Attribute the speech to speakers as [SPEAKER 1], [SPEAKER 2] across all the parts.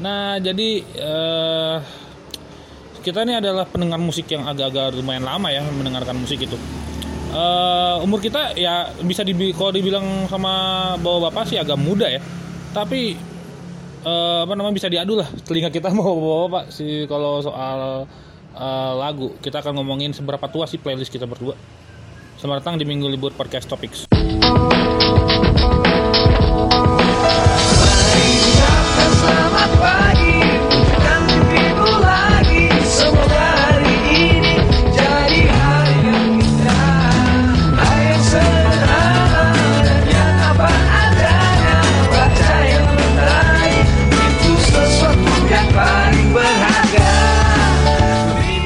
[SPEAKER 1] Nah, jadi eh, kita ini adalah pendengar musik yang agak-agak lumayan lama ya mendengarkan musik itu. Eh, umur kita ya bisa dibi kalau dibilang sama bawa bapak sih agak muda ya. Tapi eh, apa namanya bisa diadu lah telinga kita mau bapak-bapak sih kalau soal eh, lagu. Kita akan ngomongin seberapa tua sih playlist kita berdua. Selamat datang di Minggu Libur Podcast Topics.
[SPEAKER 2] Ucapkan selamat pagi, ucapkan mimpimu lagi. Semoga hari ini jadi hari yang indah. Hari yang sederhana dan yang apa adanya. Baca yang menarik itu sesuatu yang paling berharga. Mimpi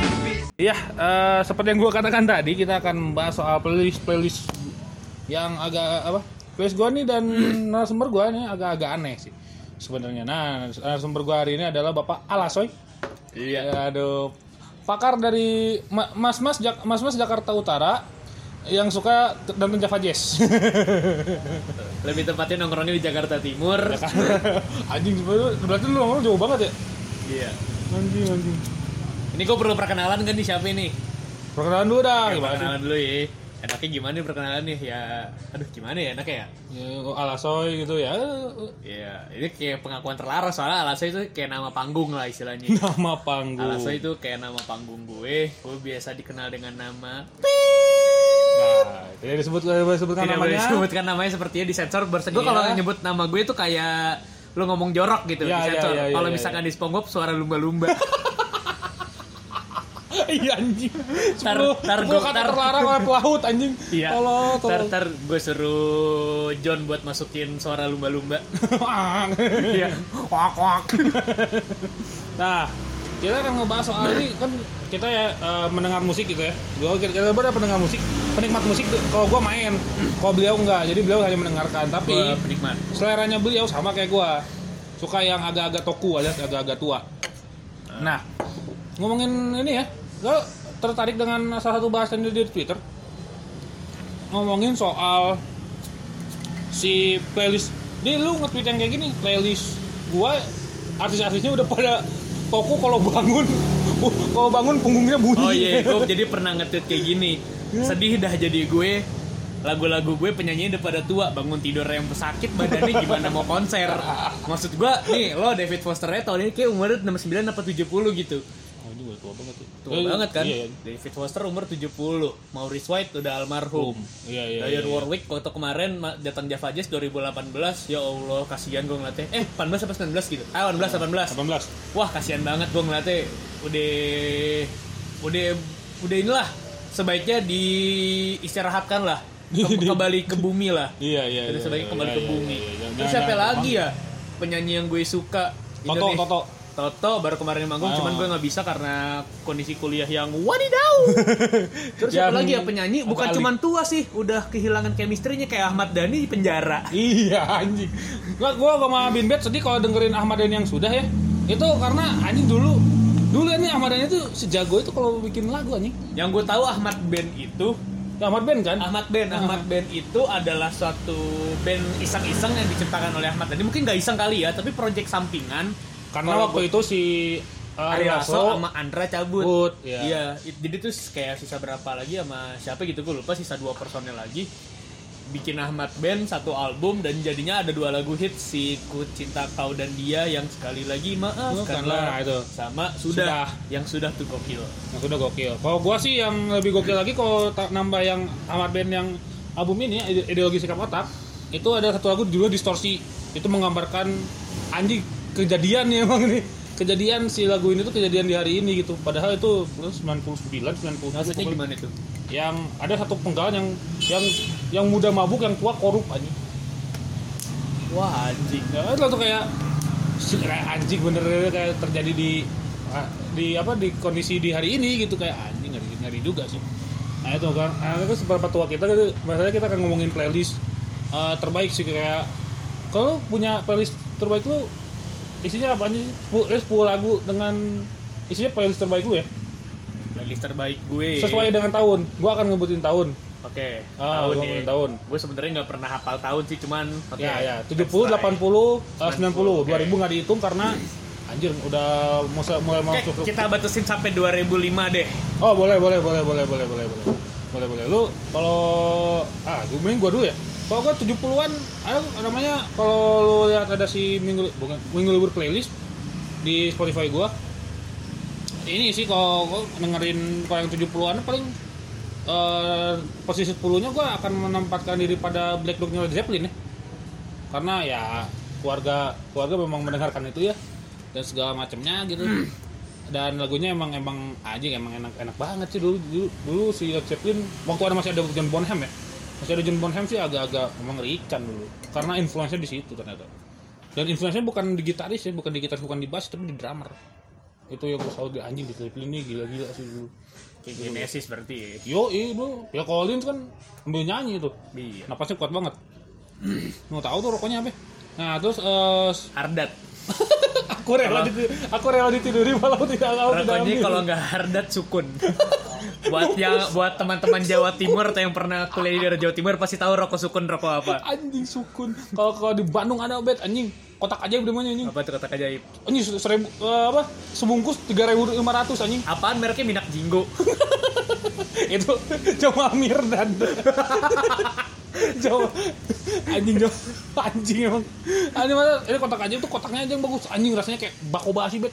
[SPEAKER 1] Iya, eh, seperti yang gue katakan tadi, kita akan membahas soal playlist playlist yang agak apa? Playlist gue nih dan narasumber gue nih agak-agak aneh sih sebenarnya. Nah, narasumber gue hari ini adalah Bapak Alasoy.
[SPEAKER 3] Iya.
[SPEAKER 1] Ya, Aduh, pakar dari ma- mas-mas Jak- mas-mas Jakarta Utara yang suka t- dan Java Jazz.
[SPEAKER 3] Lebih tepatnya nongkrongnya di Jakarta Timur.
[SPEAKER 1] anjing sebenarnya berarti lu ngomong jauh banget ya?
[SPEAKER 3] Iya.
[SPEAKER 1] Anjing anjing.
[SPEAKER 3] Ini gue perlu perkenalan kan nih siapa ini?
[SPEAKER 1] Perkenalan dulu dah. Gimana sih?
[SPEAKER 3] Perkenalan dulu ya. Enaknya gimana nih perkenalan nih? Ya, aduh gimana ya enaknya ya?
[SPEAKER 1] Ya, Alasoy gitu ya.
[SPEAKER 3] Iya, ini kayak pengakuan terlarang soalnya alasan itu kayak nama panggung lah istilahnya.
[SPEAKER 1] Nama panggung.
[SPEAKER 3] Alasan itu kayak nama panggung gue. Gue biasa dikenal dengan nama.
[SPEAKER 1] Nah, tidak disebut tidak boleh sebutkan
[SPEAKER 3] Tidak boleh
[SPEAKER 1] namanya.
[SPEAKER 3] disebutkan namanya sepertinya disensor. Berse gue
[SPEAKER 1] Iya.
[SPEAKER 3] kalau nyebut nama gue tuh kayak lu ngomong jorok
[SPEAKER 1] Iya,
[SPEAKER 3] gitu
[SPEAKER 1] iya,
[SPEAKER 3] disensor.
[SPEAKER 1] iya, iya,
[SPEAKER 3] kalau
[SPEAKER 1] iya,
[SPEAKER 3] misalkan di SpongeBob suara lumba-lumba.
[SPEAKER 1] Iya anjing.
[SPEAKER 3] Tar-
[SPEAKER 1] Sepuluh
[SPEAKER 3] tar-
[SPEAKER 1] sepuluh
[SPEAKER 3] tar-
[SPEAKER 1] kata
[SPEAKER 3] tar-
[SPEAKER 1] terlarang oleh pelaut anjing.
[SPEAKER 3] Iya.
[SPEAKER 1] Tolong
[SPEAKER 3] Ntar,
[SPEAKER 1] tolong.
[SPEAKER 3] ntar gue suruh John buat masukin suara lumba-lumba. Iya.
[SPEAKER 1] Wak wak. Nah, kita akan ngebahas soal ini kan kita ya eh, mendengar musik gitu ya. Gua kira kita berapa pendengar musik, penikmat musik. tuh, Kalau gua main, kalau beliau enggak. Jadi beliau hanya mendengarkan. Tapi
[SPEAKER 3] Gue penikmat.
[SPEAKER 1] seleranya beliau sama kayak gua suka yang agak-agak toku alias agak-agak tua nah ngomongin ini ya lo tertarik dengan salah satu bahasan di, di Twitter ngomongin soal si playlist dia lu nge-tweet yang kayak gini playlist gua artis-artisnya udah pada toku kalau bangun kalau bangun punggungnya bunyi
[SPEAKER 3] Oh iya, gue jadi pernah nge-tweet kayak gini. Sedih dah jadi gue. Lagu-lagu gue penyanyinya udah pada tua, bangun tidur yang sakit badannya gimana mau konser. Maksud gue, nih lo David Foster nya tahun ini kayak umurnya 69 apa 70 gitu.
[SPEAKER 1] Oh, ini udah tua banget ya.
[SPEAKER 3] Tua
[SPEAKER 1] Eh,
[SPEAKER 3] banget kan?
[SPEAKER 1] iya
[SPEAKER 3] David Foster umur 70, Maurice White udah almarhum.
[SPEAKER 1] iya iya, iya,
[SPEAKER 3] Dion
[SPEAKER 1] iya.
[SPEAKER 3] Warwick waktu kemarin ma- datang Java Jazz 2018 ya Allah kasihan gue ngeliatnya eh 18 apa 19 gitu ah 18
[SPEAKER 1] 18
[SPEAKER 3] 18 wah kasihan banget gue ngeliatnya udah udah udah inilah sebaiknya diistirahatkan lah Ke- kembali ke bumi lah
[SPEAKER 1] iya iya
[SPEAKER 3] Udah
[SPEAKER 1] iya,
[SPEAKER 3] sebaiknya
[SPEAKER 1] iya,
[SPEAKER 3] kembali
[SPEAKER 1] iya,
[SPEAKER 3] ke
[SPEAKER 1] iya,
[SPEAKER 3] bumi
[SPEAKER 1] iya, iya.
[SPEAKER 3] terus
[SPEAKER 1] Jangan-
[SPEAKER 3] siapa
[SPEAKER 1] jangan-
[SPEAKER 3] lagi ya penyanyi yang gue suka
[SPEAKER 1] Toto,
[SPEAKER 3] Indonesia?
[SPEAKER 1] Toto.
[SPEAKER 3] Toto baru kemarin manggung
[SPEAKER 1] Oh.
[SPEAKER 3] cuman gue nggak bisa karena kondisi kuliah yang wadidau
[SPEAKER 1] Yang
[SPEAKER 3] Terus siapa lagi ya penyanyi? Bukan
[SPEAKER 1] agak
[SPEAKER 3] cuman tua sih, udah kehilangan chemistry-nya kayak Ahmad Dhani di penjara.
[SPEAKER 1] Iya anjing. Gua gua sama Binbet sedih kalau dengerin Ahmad Dhani yang sudah ya. Itu karena anjing dulu dulu ini Ahmad Dhani tuh sejago itu kalau bikin lagu anjing.
[SPEAKER 3] Yang gue tahu Ahmad Band itu,
[SPEAKER 1] Ya, Ahmad Ben kan?
[SPEAKER 3] Ahmad Band, Ahmad Band itu adalah suatu band iseng-iseng yang diciptakan oleh Ahmad Dhani. Mungkin nggak iseng kali ya, tapi project sampingan.
[SPEAKER 1] Karena
[SPEAKER 3] Kalau
[SPEAKER 1] waktu itu si uh,
[SPEAKER 3] Ari
[SPEAKER 1] Ari
[SPEAKER 3] Lasso
[SPEAKER 1] Lasso-
[SPEAKER 3] sama Andra cabut.
[SPEAKER 1] Cabut,
[SPEAKER 3] Iya.
[SPEAKER 1] iya.
[SPEAKER 3] it- Jadi tuh kayak sisa berapa lagi sama siapa gitu gue lupa sisa dua personel lagi. Bikin Ahmad Band satu album dan jadinya ada dua lagu hit si Ku Cinta Kau dan Dia yang sekali lagi
[SPEAKER 1] Bukanlah,
[SPEAKER 3] maafkanlah
[SPEAKER 1] Oh, itu.
[SPEAKER 3] sama sudah,
[SPEAKER 1] Sudah.
[SPEAKER 3] yang sudah tuh gokil.
[SPEAKER 1] Yang sudah gokil. Kalau gua sih yang lebih gokil lagi kalau ta- nambah yang Ahmad Ben yang album ini ide- ideologi sikap otak itu ada satu lagu judulnya distorsi itu menggambarkan anjing kejadian ya emang ini kejadian si lagu ini tuh kejadian di hari ini gitu padahal itu 99 90
[SPEAKER 3] Maksudnya gimana tuh?
[SPEAKER 1] yang ada satu penggalan yang yang yang muda mabuk yang tua korup anjing
[SPEAKER 3] Wah anjing.
[SPEAKER 1] ya itu tuh kayak si- kayak anjing bener ya, kayak terjadi di ah, di apa di kondisi di hari ini gitu kayak anjing ngeri ngeri juga sih nah itu kan nah, itu seberapa tua kita gitu, masalahnya kita akan ngomongin playlist eh, terbaik sih kayak kalau lu punya playlist terbaik lu isinya apa aja sih? 10, 10 lagu dengan isinya playlist terbaik lu ya
[SPEAKER 3] Playlist terbaik gue.
[SPEAKER 1] sesuai dengan tahun gua akan ngebutin tahun
[SPEAKER 3] Oke.
[SPEAKER 1] Ah,
[SPEAKER 3] tahun
[SPEAKER 1] gua
[SPEAKER 3] ya.
[SPEAKER 1] ngomongin tahun.
[SPEAKER 3] Gue sebenarnya nggak pernah hafal tahun sih, cuman. oke,
[SPEAKER 1] Ya, ya.
[SPEAKER 3] that's
[SPEAKER 1] 70, 80, eh, 90. 2000
[SPEAKER 3] 90, oke.
[SPEAKER 1] nggak dihitung karena Anjir, udah mulai mulai
[SPEAKER 3] Oke,
[SPEAKER 1] masuk ke-
[SPEAKER 3] kita batasin sampai 2005 deh.
[SPEAKER 1] Oh, boleh boleh boleh boleh boleh boleh boleh. Boleh boleh. Lu kalau ah, gue main gua dulu ya. Kalau gua 70-an ada namanya kalau lu lihat ada si minggu bukan minggu libur playlist di Spotify gua. Ini sih kalau gua dengerin kalau yang 70-an paling eh, posisi 10-nya gua akan menempatkan diri pada Black Dog Led Zeppelin ya. Karena ya keluarga keluarga memang mendengarkan itu ya dan segala macamnya gitu. Dan lagunya emang emang aja emang enak enak banget sih dulu dulu, dulu si Led Zeppelin waktu ada masih ada John Bonham ya. Masih ada John Bonham sih agak-agak mengerikan dulu karena influence-nya di situ ternyata. Dan influence-nya bukan di gitaris ya, bukan di gitaris, bukan di bass, tapi di drummer. Itu yang gue selalu di anjing di Zeppelin ini gila-gila sih dulu.
[SPEAKER 3] Kayak Genesis berarti. ya.
[SPEAKER 1] Yo, itu Phil Collins kan ambil nyanyi itu.
[SPEAKER 3] Iya.
[SPEAKER 1] Napasnya kuat banget. Mau tahu tuh rokoknya apa? Nah, terus eh,
[SPEAKER 3] Hardat.
[SPEAKER 1] aku rela
[SPEAKER 3] Kalau-
[SPEAKER 1] ditid- aku rela ditiduri walau tidak mau tidak
[SPEAKER 3] Rokoknya
[SPEAKER 1] Oh, ambil.
[SPEAKER 3] kalau nggak Hardat Sukun. buat yang buat teman-teman Jawa Timur atau yang pernah kuliah di daerah Jawa Timur pasti tahu rokok Sukun rokok apa.
[SPEAKER 1] anjing sukun. Kalau kalau di Bandung ada obat anjing. Kotak aja namanya anjing.
[SPEAKER 3] Apa tuh kata ajaib?
[SPEAKER 1] Anjing seribu eh, apa? Sebungkus 3.500 anjing.
[SPEAKER 3] Apaan mereknya Minak Jinggo?
[SPEAKER 1] Itu cuma Mirdan. Jawa anjing Jawa anjing emang. Anjing mana? Ini kotak aja tuh kotaknya aja yang bagus. Anjing rasanya kayak bako basi bet.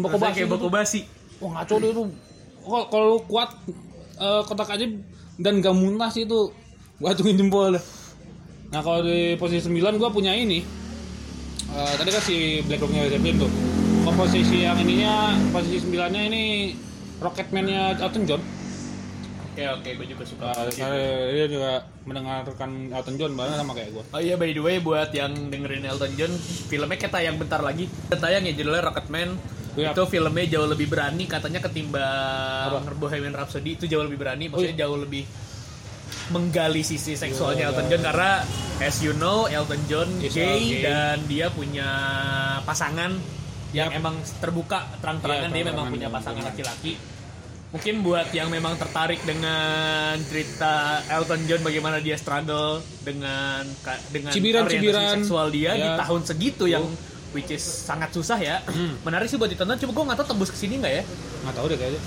[SPEAKER 1] Bako
[SPEAKER 3] Rasanya
[SPEAKER 1] basi.
[SPEAKER 3] kayak
[SPEAKER 1] gitu.
[SPEAKER 3] bako basi.
[SPEAKER 1] Wah ngaco deh itu. Kalau kalau lu kuat eh, kotak aja dan gak muntah sih itu gua acungin jempol dah. Nah kalau di posisi 9 gua punya ini. Eh, tadi kan si Black Rock-nya Led Zeppelin tuh. Kalau posisi yang ininya posisi 9-nya ini Rocketman-nya Elton John.
[SPEAKER 3] Oke oke, gue juga suka.
[SPEAKER 1] Nah, dia juga mendengarkan Elton John bareng sama kayak gua.
[SPEAKER 3] Oh iya by the way buat yang dengerin Elton John filmnya kayak tayang bentar lagi Udah tayang ya judulnya Rocketman
[SPEAKER 1] Iya.
[SPEAKER 3] itu filmnya jauh lebih berani katanya ketimbang
[SPEAKER 1] Apa?
[SPEAKER 3] Bohemian Rhapsody itu jauh lebih berani
[SPEAKER 1] Oh,
[SPEAKER 3] maksudnya jauh lebih menggali sisi
[SPEAKER 1] Iya,
[SPEAKER 3] seksualnya Elton John karena as you know Elton John
[SPEAKER 1] He's a
[SPEAKER 3] gay
[SPEAKER 1] gay.
[SPEAKER 3] dan dia punya pasangan yang
[SPEAKER 1] Yap.
[SPEAKER 3] emang terbuka terang-terangan
[SPEAKER 1] Iya,
[SPEAKER 3] dia memang
[SPEAKER 1] terang-terangan,
[SPEAKER 3] punya pasangan
[SPEAKER 1] terang-terangan.
[SPEAKER 3] laki-laki mungkin buat yang memang tertarik dengan cerita Elton John bagaimana dia struggle dengan ka- dengan orientasi
[SPEAKER 1] Cibiran-cibiran.
[SPEAKER 3] seksual dia di
[SPEAKER 1] Ya. Oh.
[SPEAKER 3] tahun segitu yang which is sangat susah ya
[SPEAKER 1] Hmm.
[SPEAKER 3] menarik sih buat ditonton cuma gue nggak tahu tembus kesini nggak ya
[SPEAKER 1] Nggak tahu deh kayaknya.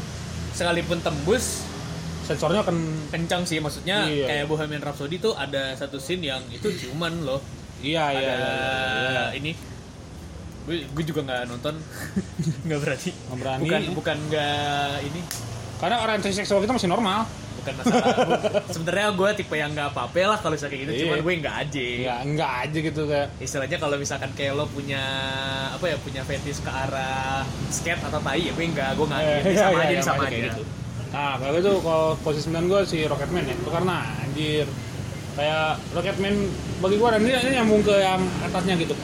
[SPEAKER 3] sekalipun tembus
[SPEAKER 1] Sensornya kan, akan
[SPEAKER 3] kencang sih maksudnya
[SPEAKER 1] Iya.
[SPEAKER 3] kayak Bohemian Rhapsody tuh ada satu scene yang itu ciuman loh
[SPEAKER 1] iya
[SPEAKER 3] ada
[SPEAKER 1] iya. iya, iya, iya.
[SPEAKER 3] ini gue gue juga nggak nonton nggak berani
[SPEAKER 1] Nggak berani.
[SPEAKER 3] bukan bukan nggak ini
[SPEAKER 1] Karena orientasi seksual kita masih normal.
[SPEAKER 3] bukan masalah sebenarnya gue tipe yang nggak apa-apa lah kalau misalnya kayak gitu
[SPEAKER 1] Iya.
[SPEAKER 3] cuman gue nggak aja
[SPEAKER 1] Iya, enggak aja gitu kayak
[SPEAKER 3] istilahnya kalau misalkan kayak lo punya apa ya punya fetish ke arah skate atau tai ya gue nggak gue nggak
[SPEAKER 1] Eh,
[SPEAKER 3] ini
[SPEAKER 1] iya,
[SPEAKER 3] sama
[SPEAKER 1] iya,
[SPEAKER 3] aja
[SPEAKER 1] iya,
[SPEAKER 3] ini sama
[SPEAKER 1] makanya
[SPEAKER 3] aja
[SPEAKER 1] kayak gitu. Nah, kalau itu kalau posisi 9 gue si Rocketman ya. Itu karena anjir kayak Rocketman bagi gue dan ini, ini nyambung ke yang atasnya gitu.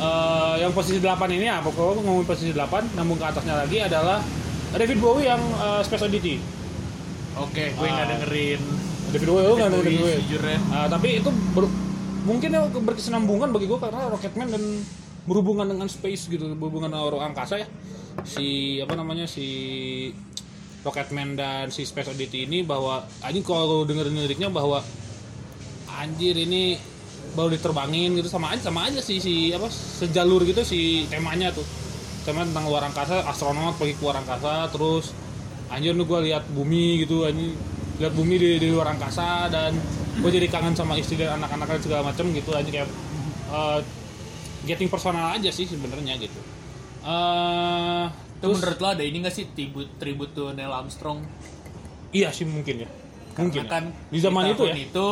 [SPEAKER 1] Eh, yang posisi 8 ini apa? Kalau gue ngomongin posisi 8, nyambung ke atasnya lagi adalah David Bowie yang eh, Space Oddity.
[SPEAKER 3] oke gue nggak
[SPEAKER 1] Ah.
[SPEAKER 3] dengerin
[SPEAKER 1] David Bowie lu nggak
[SPEAKER 3] David
[SPEAKER 1] dengerin
[SPEAKER 3] Bowie,
[SPEAKER 1] gue.
[SPEAKER 3] sejujurnya.
[SPEAKER 1] Ah, tapi itu ber- mungkin ya berkesinambungan bagi gue karena Rocketman dan berhubungan dengan space gitu, berhubungan dengan orang angkasa ya. Si apa namanya si Rocketman dan si Space Oddity ini bahwa anjing kalau lu dengerin liriknya bahwa anjir ini baru diterbangin gitu sama aja sama aja sih si apa sejalur gitu si temanya tuh tema tentang luar angkasa astronot pergi ke luar angkasa terus anjir nih gue lihat bumi gitu anjir lihat bumi di, di luar angkasa dan gue jadi kangen sama istri dan anak-anak dan segala macam gitu anjir kayak eh, getting personal aja sih sebenarnya gitu eh
[SPEAKER 3] itu menurut lo ada ini nggak sih tribut tribut tuh Neil Armstrong
[SPEAKER 1] iya sih mungkin ya mungkin
[SPEAKER 3] Karena kan
[SPEAKER 1] ya. di zaman itu ya
[SPEAKER 3] tahun itu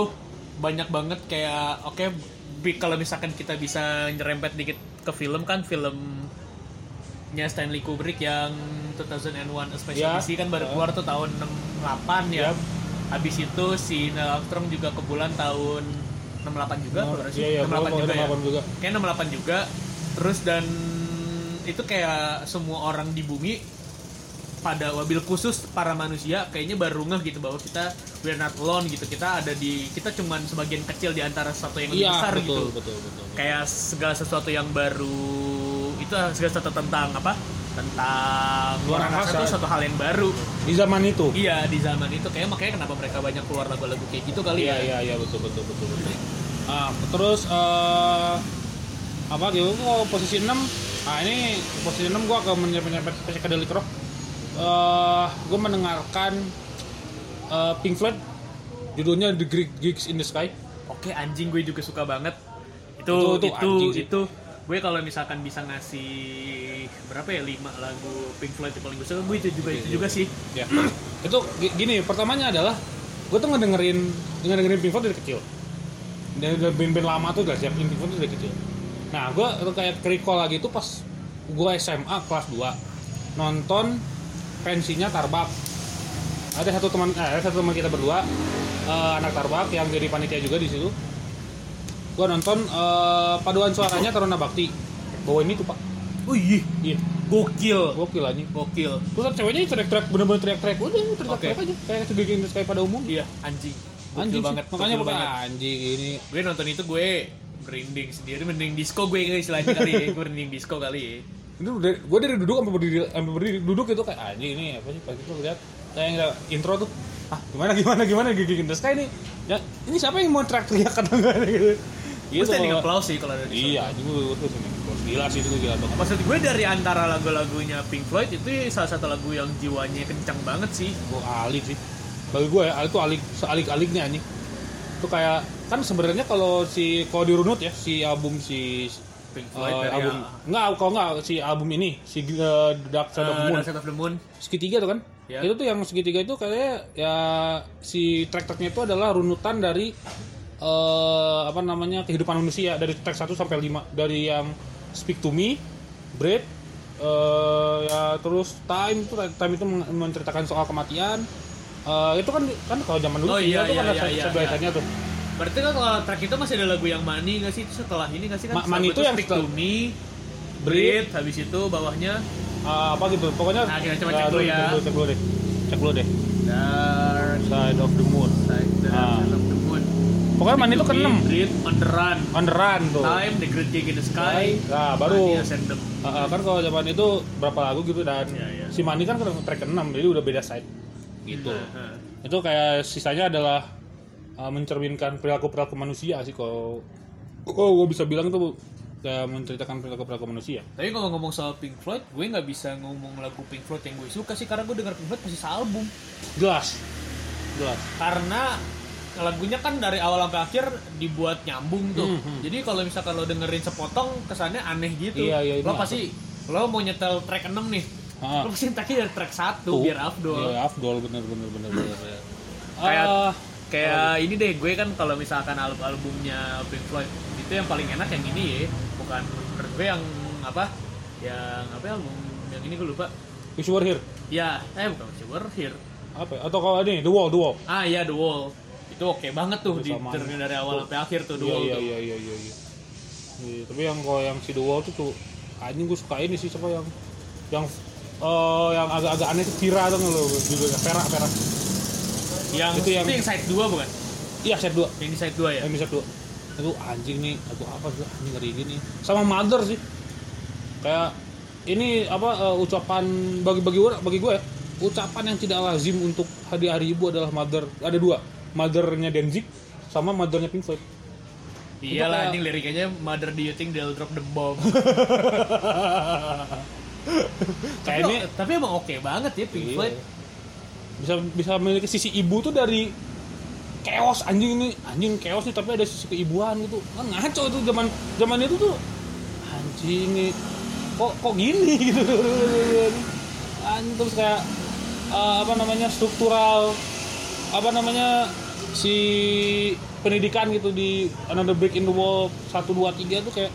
[SPEAKER 3] banyak banget kayak oke bi- kalau misalkan kita bisa nyerempet dikit ke film kan filmnya Stanley Kubrick yang 2001 A Space
[SPEAKER 1] Ya.
[SPEAKER 3] Odyssey kan baru
[SPEAKER 1] Ya.
[SPEAKER 3] keluar tuh tahun 68
[SPEAKER 1] Ya.
[SPEAKER 3] ya. Habis itu si Neil Armstrong juga ke bulan tahun 68 juga
[SPEAKER 1] Nah,
[SPEAKER 3] kalau nggak
[SPEAKER 1] iya, iya,
[SPEAKER 3] sih? 68
[SPEAKER 1] gua-
[SPEAKER 3] juga ya.
[SPEAKER 1] 68 juga.
[SPEAKER 3] Kayak 68 juga. Terus dan itu kayak semua orang di bumi pada wabil khusus para manusia kayaknya baru ngeh gitu bahwa kita we're not alone gitu kita ada di kita cuman sebagian kecil di antara sesuatu yang lebih
[SPEAKER 1] iya
[SPEAKER 3] besar gitu
[SPEAKER 1] betul, betul betul
[SPEAKER 3] kayak segala sesuatu yang baru itu segala sesuatu tentang apa tentang
[SPEAKER 1] Luar angkasa.
[SPEAKER 3] itu satu hal yang baru
[SPEAKER 1] di zaman itu
[SPEAKER 3] iya di zaman itu kayak makanya kenapa mereka banyak keluar lagu-lagu kayak gitu kali
[SPEAKER 1] Iya
[SPEAKER 3] ya
[SPEAKER 1] iya iya betul betul betul. betul. Ah, terus eh, apa gitu? Kalau posisi 6 Nah ini posisi 6 gue akan menyebut psychedelic rock. Eh, gue mendengarkan eh, Pink Floyd judulnya The Great Gigs in the Sky.
[SPEAKER 3] Oke anjing gue juga suka banget.
[SPEAKER 1] Itu- itu
[SPEAKER 3] Itu itu itu,
[SPEAKER 1] anjing sih.
[SPEAKER 3] gue kalau misalkan bisa ngasih berapa ya lima lagu Pink Floyd yang paling gue suka gue itu juga itu juga sih.
[SPEAKER 1] Ya. itu gi- gini pertamanya adalah gue tuh ngedengerin ngedengerin Pink Floyd dari kecil. Dari dari band-band lama tuh udah siapin Pink Floyd dari kecil. Nah gue kayak recall lagi tuh pas gue SMA kelas 2 nonton pensinya Tarbak. Ada satu teman eh, ada satu teman kita berdua eh, anak Tarbak yang jadi panitia juga di situ. Gue nonton eh, paduan suaranya Taruna Bakti bawain itu pak.
[SPEAKER 3] Oh iya,
[SPEAKER 1] Iya,
[SPEAKER 3] gokil,
[SPEAKER 1] gokil aja.
[SPEAKER 3] gokil.
[SPEAKER 1] Terus kan ceweknya teriak-teriak bener-bener teriak-teriak udah teriak-teriak
[SPEAKER 3] Oke.
[SPEAKER 1] aja kayak sebagai industri kayak pada umum
[SPEAKER 3] Iya anjing, gokil
[SPEAKER 1] anjing
[SPEAKER 3] banget.
[SPEAKER 1] banget makanya
[SPEAKER 3] gokil
[SPEAKER 1] bukan
[SPEAKER 3] banget.
[SPEAKER 1] anjing ini
[SPEAKER 3] Gue nonton itu gue merinding sendiri, merinding disco gue kali istilahnya kali ya. Gue merinding disco kali ya.
[SPEAKER 1] itu dari- gue dari duduk sampai berdiri sampai berdiri duduk itu kayak anjing ini apa sih pas itu lihat kayak yang ada intro tuh ah gimana gimana gimana gigi industri kayak ini ya ini siapa yang mau teriak-teriak kata gue gitu
[SPEAKER 3] Gue
[SPEAKER 1] kalau-
[SPEAKER 3] standing applause sih kalau ada di
[SPEAKER 1] iya anjing gue tuh sini gila sih itu gila banget
[SPEAKER 3] Maksud gue dari antara lagu-lagunya Pink Floyd itu salah satu lagu yang jiwanya kencang banget sih.
[SPEAKER 1] gue alik sih bagi gue ya alik tuh alik sealik-aliknya anjing itu kayak kan sebenarnya kalau si kalau dirunut ya si album si
[SPEAKER 3] Pink Floyd ya.
[SPEAKER 1] Eh,
[SPEAKER 3] dari
[SPEAKER 1] album nggak kalau nggak si album ini si eh, Dark Side of the
[SPEAKER 3] Eh,
[SPEAKER 1] Moon
[SPEAKER 3] Dark Side of the Moon.
[SPEAKER 1] segitiga tuh kan
[SPEAKER 3] Ya.
[SPEAKER 1] itu tuh yang segitiga itu kayaknya ya si track-tracknya itu adalah runutan dari eh apa namanya kehidupan manusia dari track 1 sampai 5 dari yang Speak to Me, Bread, eh ya terus Time itu Time itu men- menceritakan soal kematian Eh itu kan kan kalau zaman dulu
[SPEAKER 3] Oh,
[SPEAKER 1] single
[SPEAKER 3] iya,
[SPEAKER 1] tuh kan
[SPEAKER 3] iya,
[SPEAKER 1] ada
[SPEAKER 3] iya,
[SPEAKER 1] sub- sublightannya tuh
[SPEAKER 3] Berarti kan kalau track itu masih ada lagu yang Money nggak sih? Terus setelah ini nggak sih kan?
[SPEAKER 1] Ma- Money
[SPEAKER 3] Setelah
[SPEAKER 1] itu yang
[SPEAKER 3] Speak
[SPEAKER 1] setelah-
[SPEAKER 3] to Me,
[SPEAKER 1] Breathe,
[SPEAKER 3] Breathe, habis itu bawahnya
[SPEAKER 1] eh, apa gitu pokoknya
[SPEAKER 3] Nah, kita coba
[SPEAKER 1] eh,
[SPEAKER 3] cek dulu ya.
[SPEAKER 1] cek dulu, cek dulu deh cek dulu deh
[SPEAKER 3] Dark
[SPEAKER 1] Side of the Moon
[SPEAKER 3] Side
[SPEAKER 1] Ah.
[SPEAKER 3] of the Moon.
[SPEAKER 1] Pokoknya mandi itu
[SPEAKER 3] Speak to Me,
[SPEAKER 1] keenam.
[SPEAKER 3] Breathe, On the Run,
[SPEAKER 1] On the run tuh.
[SPEAKER 3] Time, The Great Gig in the Sky,
[SPEAKER 1] Nah, baru
[SPEAKER 3] Money, Ascendant.
[SPEAKER 1] Ah, ah, kan kalau zaman itu berapa lagu gitu dan
[SPEAKER 3] Iya, iya.
[SPEAKER 1] si Mani kan ke track 6 jadi udah beda side. Gitu.
[SPEAKER 3] Nah,
[SPEAKER 1] Itu kayak sisanya adalah ah, mencerminkan perilaku-perilaku manusia sih kalau oh gue bisa bilang tuh kayak menceritakan perilaku-perilaku manusia.
[SPEAKER 3] Tapi kalau ngomong soal Pink Floyd, gue nggak bisa ngomong lagu Pink Floyd yang gue suka sih karena gue denger Pink Floyd pasti album.
[SPEAKER 1] Jelas. Jelas.
[SPEAKER 3] karena lagunya kan dari awal sampai akhir dibuat nyambung tuh.
[SPEAKER 1] Hmm, hmm.
[SPEAKER 3] Jadi kalau misalkan lo dengerin sepotong kesannya aneh gitu.
[SPEAKER 1] Iya, iya, ini
[SPEAKER 3] lo pasti lo mau nyetel track 6 nih.
[SPEAKER 1] Ah.
[SPEAKER 3] Lo pasti nyetelnya dari track 1
[SPEAKER 1] Tuh.
[SPEAKER 3] biar afdol.
[SPEAKER 1] Iya, Afdol bener bener bener bener. bener.
[SPEAKER 3] Kayak-
[SPEAKER 1] Ah,
[SPEAKER 3] Kayak ini deh gue kan kalau misalkan album-albumnya Pink Floyd itu yang paling enak yang ini ya. Bukan menurut gue yang apa? Yang apa ya, album yang ini gue lupa.
[SPEAKER 1] Wish You Were Here.
[SPEAKER 3] Ya, eh bukan Wish You Were Here.
[SPEAKER 1] Apa? ya? Atau kalau ini The Wall, The Wall.
[SPEAKER 3] Ah iya The Wall. Itu oke banget tuh di,
[SPEAKER 1] Bersamaan.
[SPEAKER 3] dari awal sampai akhir tuh The
[SPEAKER 1] Iya
[SPEAKER 3] Wall
[SPEAKER 1] iya
[SPEAKER 3] tuh.
[SPEAKER 1] iya iya iya. iya. Iya, tapi yang kalau yang si The Wall tuh tuh anjing gue suka ini sih siapa yang yang eh yang agak-agak aneh tuh Tira tuh lo juga perak perak.
[SPEAKER 3] yang
[SPEAKER 1] Itu
[SPEAKER 3] itu
[SPEAKER 1] yang-
[SPEAKER 3] yang, side 2 bukan?
[SPEAKER 1] Iya set dua,
[SPEAKER 3] Yang di side 2 ya?
[SPEAKER 1] yang bisa dua. Itu anjing nih, aku apa sih anjing ngeri gini. Sama Mother sih. Kayak ini apa eh, ucapan bagi bagi orang bagi gue ya, ucapan yang tidak lazim untuk hari hari ibu adalah mother ada dua mothernya Danzig sama mothernya Pink Floyd
[SPEAKER 3] Iyalah
[SPEAKER 1] kayak-
[SPEAKER 3] Iya anjing liriknya mother do you think they'll drop the bomb.
[SPEAKER 1] kayak
[SPEAKER 3] tapi,
[SPEAKER 1] ini
[SPEAKER 3] tapi emang oke banget ya Pink
[SPEAKER 1] Iya.
[SPEAKER 3] Floyd.
[SPEAKER 1] bisa bisa memiliki sisi ibu tuh dari chaos anjing ini anjing chaos nih tapi ada sisi keibuan gitu kan ngaco itu zaman zaman itu tuh anjing nih kok kok gini gitu anjing terus kayak eh, apa namanya struktural apa namanya si pendidikan gitu di another break in the wall 1 2 3 tuh kayak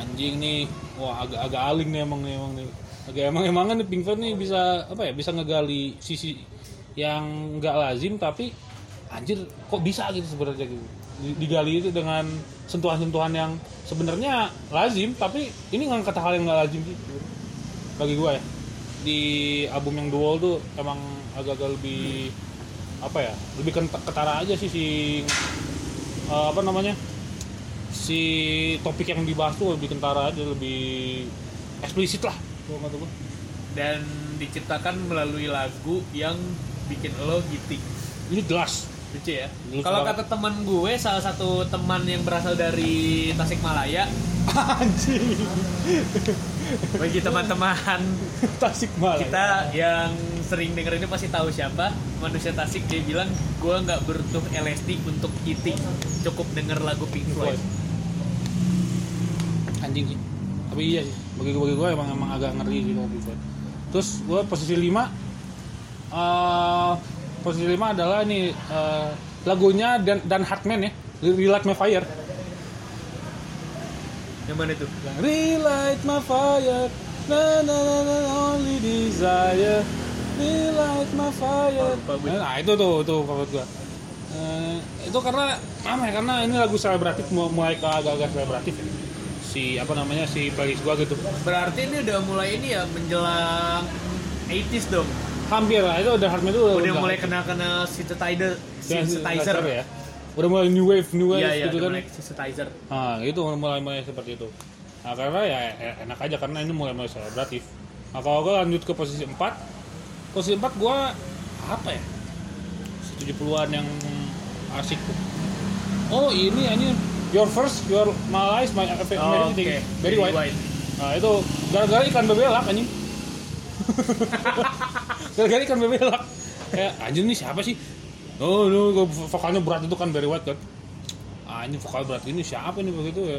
[SPEAKER 1] anjing nih wah agak agak aling nih emang nih emang nih agak emang emangan nih Pink Floyd nih bisa apa ya bisa ngegali sisi yang nggak lazim tapi anjir kok bisa gitu sebenarnya gitu Di- digali itu dengan sentuhan-sentuhan yang sebenarnya lazim tapi ini ngangkat hal yang nggak lazim sih bagi gue ya di album yang dual tuh emang agak-agak lebih apa ya lebih kent- ketara aja sih si eh, apa namanya si topik yang dibahas tuh lebih kentara aja lebih eksplisit lah kalau kata gue
[SPEAKER 3] Dan diciptakan melalui lagu yang bikin lo giting.
[SPEAKER 1] ini jelas
[SPEAKER 3] Lucu ya.
[SPEAKER 1] Lucu
[SPEAKER 3] Kalau
[SPEAKER 1] banget.
[SPEAKER 3] kata teman gue, salah satu teman yang berasal dari Tasikmalaya,
[SPEAKER 1] anjing
[SPEAKER 3] bagi teman-teman
[SPEAKER 4] Tasik malah.
[SPEAKER 3] kita yang sering denger ini pasti tahu siapa manusia Tasik dia bilang gua nggak butuh LSD untuk eating cukup denger lagu Pink Floyd
[SPEAKER 1] anjing sih tapi iya sih bagi gue bagi gue emang emang agak ngeri sih kalau Bigfoot terus gue posisi lima eh posisi lima adalah nih eh, lagunya dan dan Hartman ya Relight My Fire
[SPEAKER 3] yang mana tuh
[SPEAKER 1] Yang Relight My Fire na na na na only desire Relight My Fire
[SPEAKER 3] Lupa gue.
[SPEAKER 1] nah itu tuh tuh favorit gue Eh, itu karena apa ya karena ini lagu selebratif mu- mulai ke agak-agak selebratif ya. si apa namanya si playlist gue gitu
[SPEAKER 3] berarti ini udah mulai ini ya menjelang 80s dong
[SPEAKER 1] hampir lah itu udah Hartman itu
[SPEAKER 3] udah mulai kenal-kenal synthesizer
[SPEAKER 1] dan-
[SPEAKER 3] synthesizer
[SPEAKER 1] Iya, ya udah mulai new wave new wave
[SPEAKER 3] iya iya
[SPEAKER 1] gitu
[SPEAKER 3] udah
[SPEAKER 1] kan
[SPEAKER 3] mulai synthesizer
[SPEAKER 1] nah itu mulai mulai seperti itu nah karena ya e- enak aja karena ini mulai mulai selebratif nah kalau gue lanjut ke posisi 4 posisi 4 gue apa ya 70-an yang asik tuh oh ini ini your first your my life my everything
[SPEAKER 3] Oh, oke
[SPEAKER 1] very white. Nah itu gara-gara ikan bebelak anjing. gara-gara ikan bebelak. Kayak anjing nih siapa sih? Oh, no, vokalnya berat itu kan Barry White kan. Anjing vokal berat ini siapa nih begitu ya?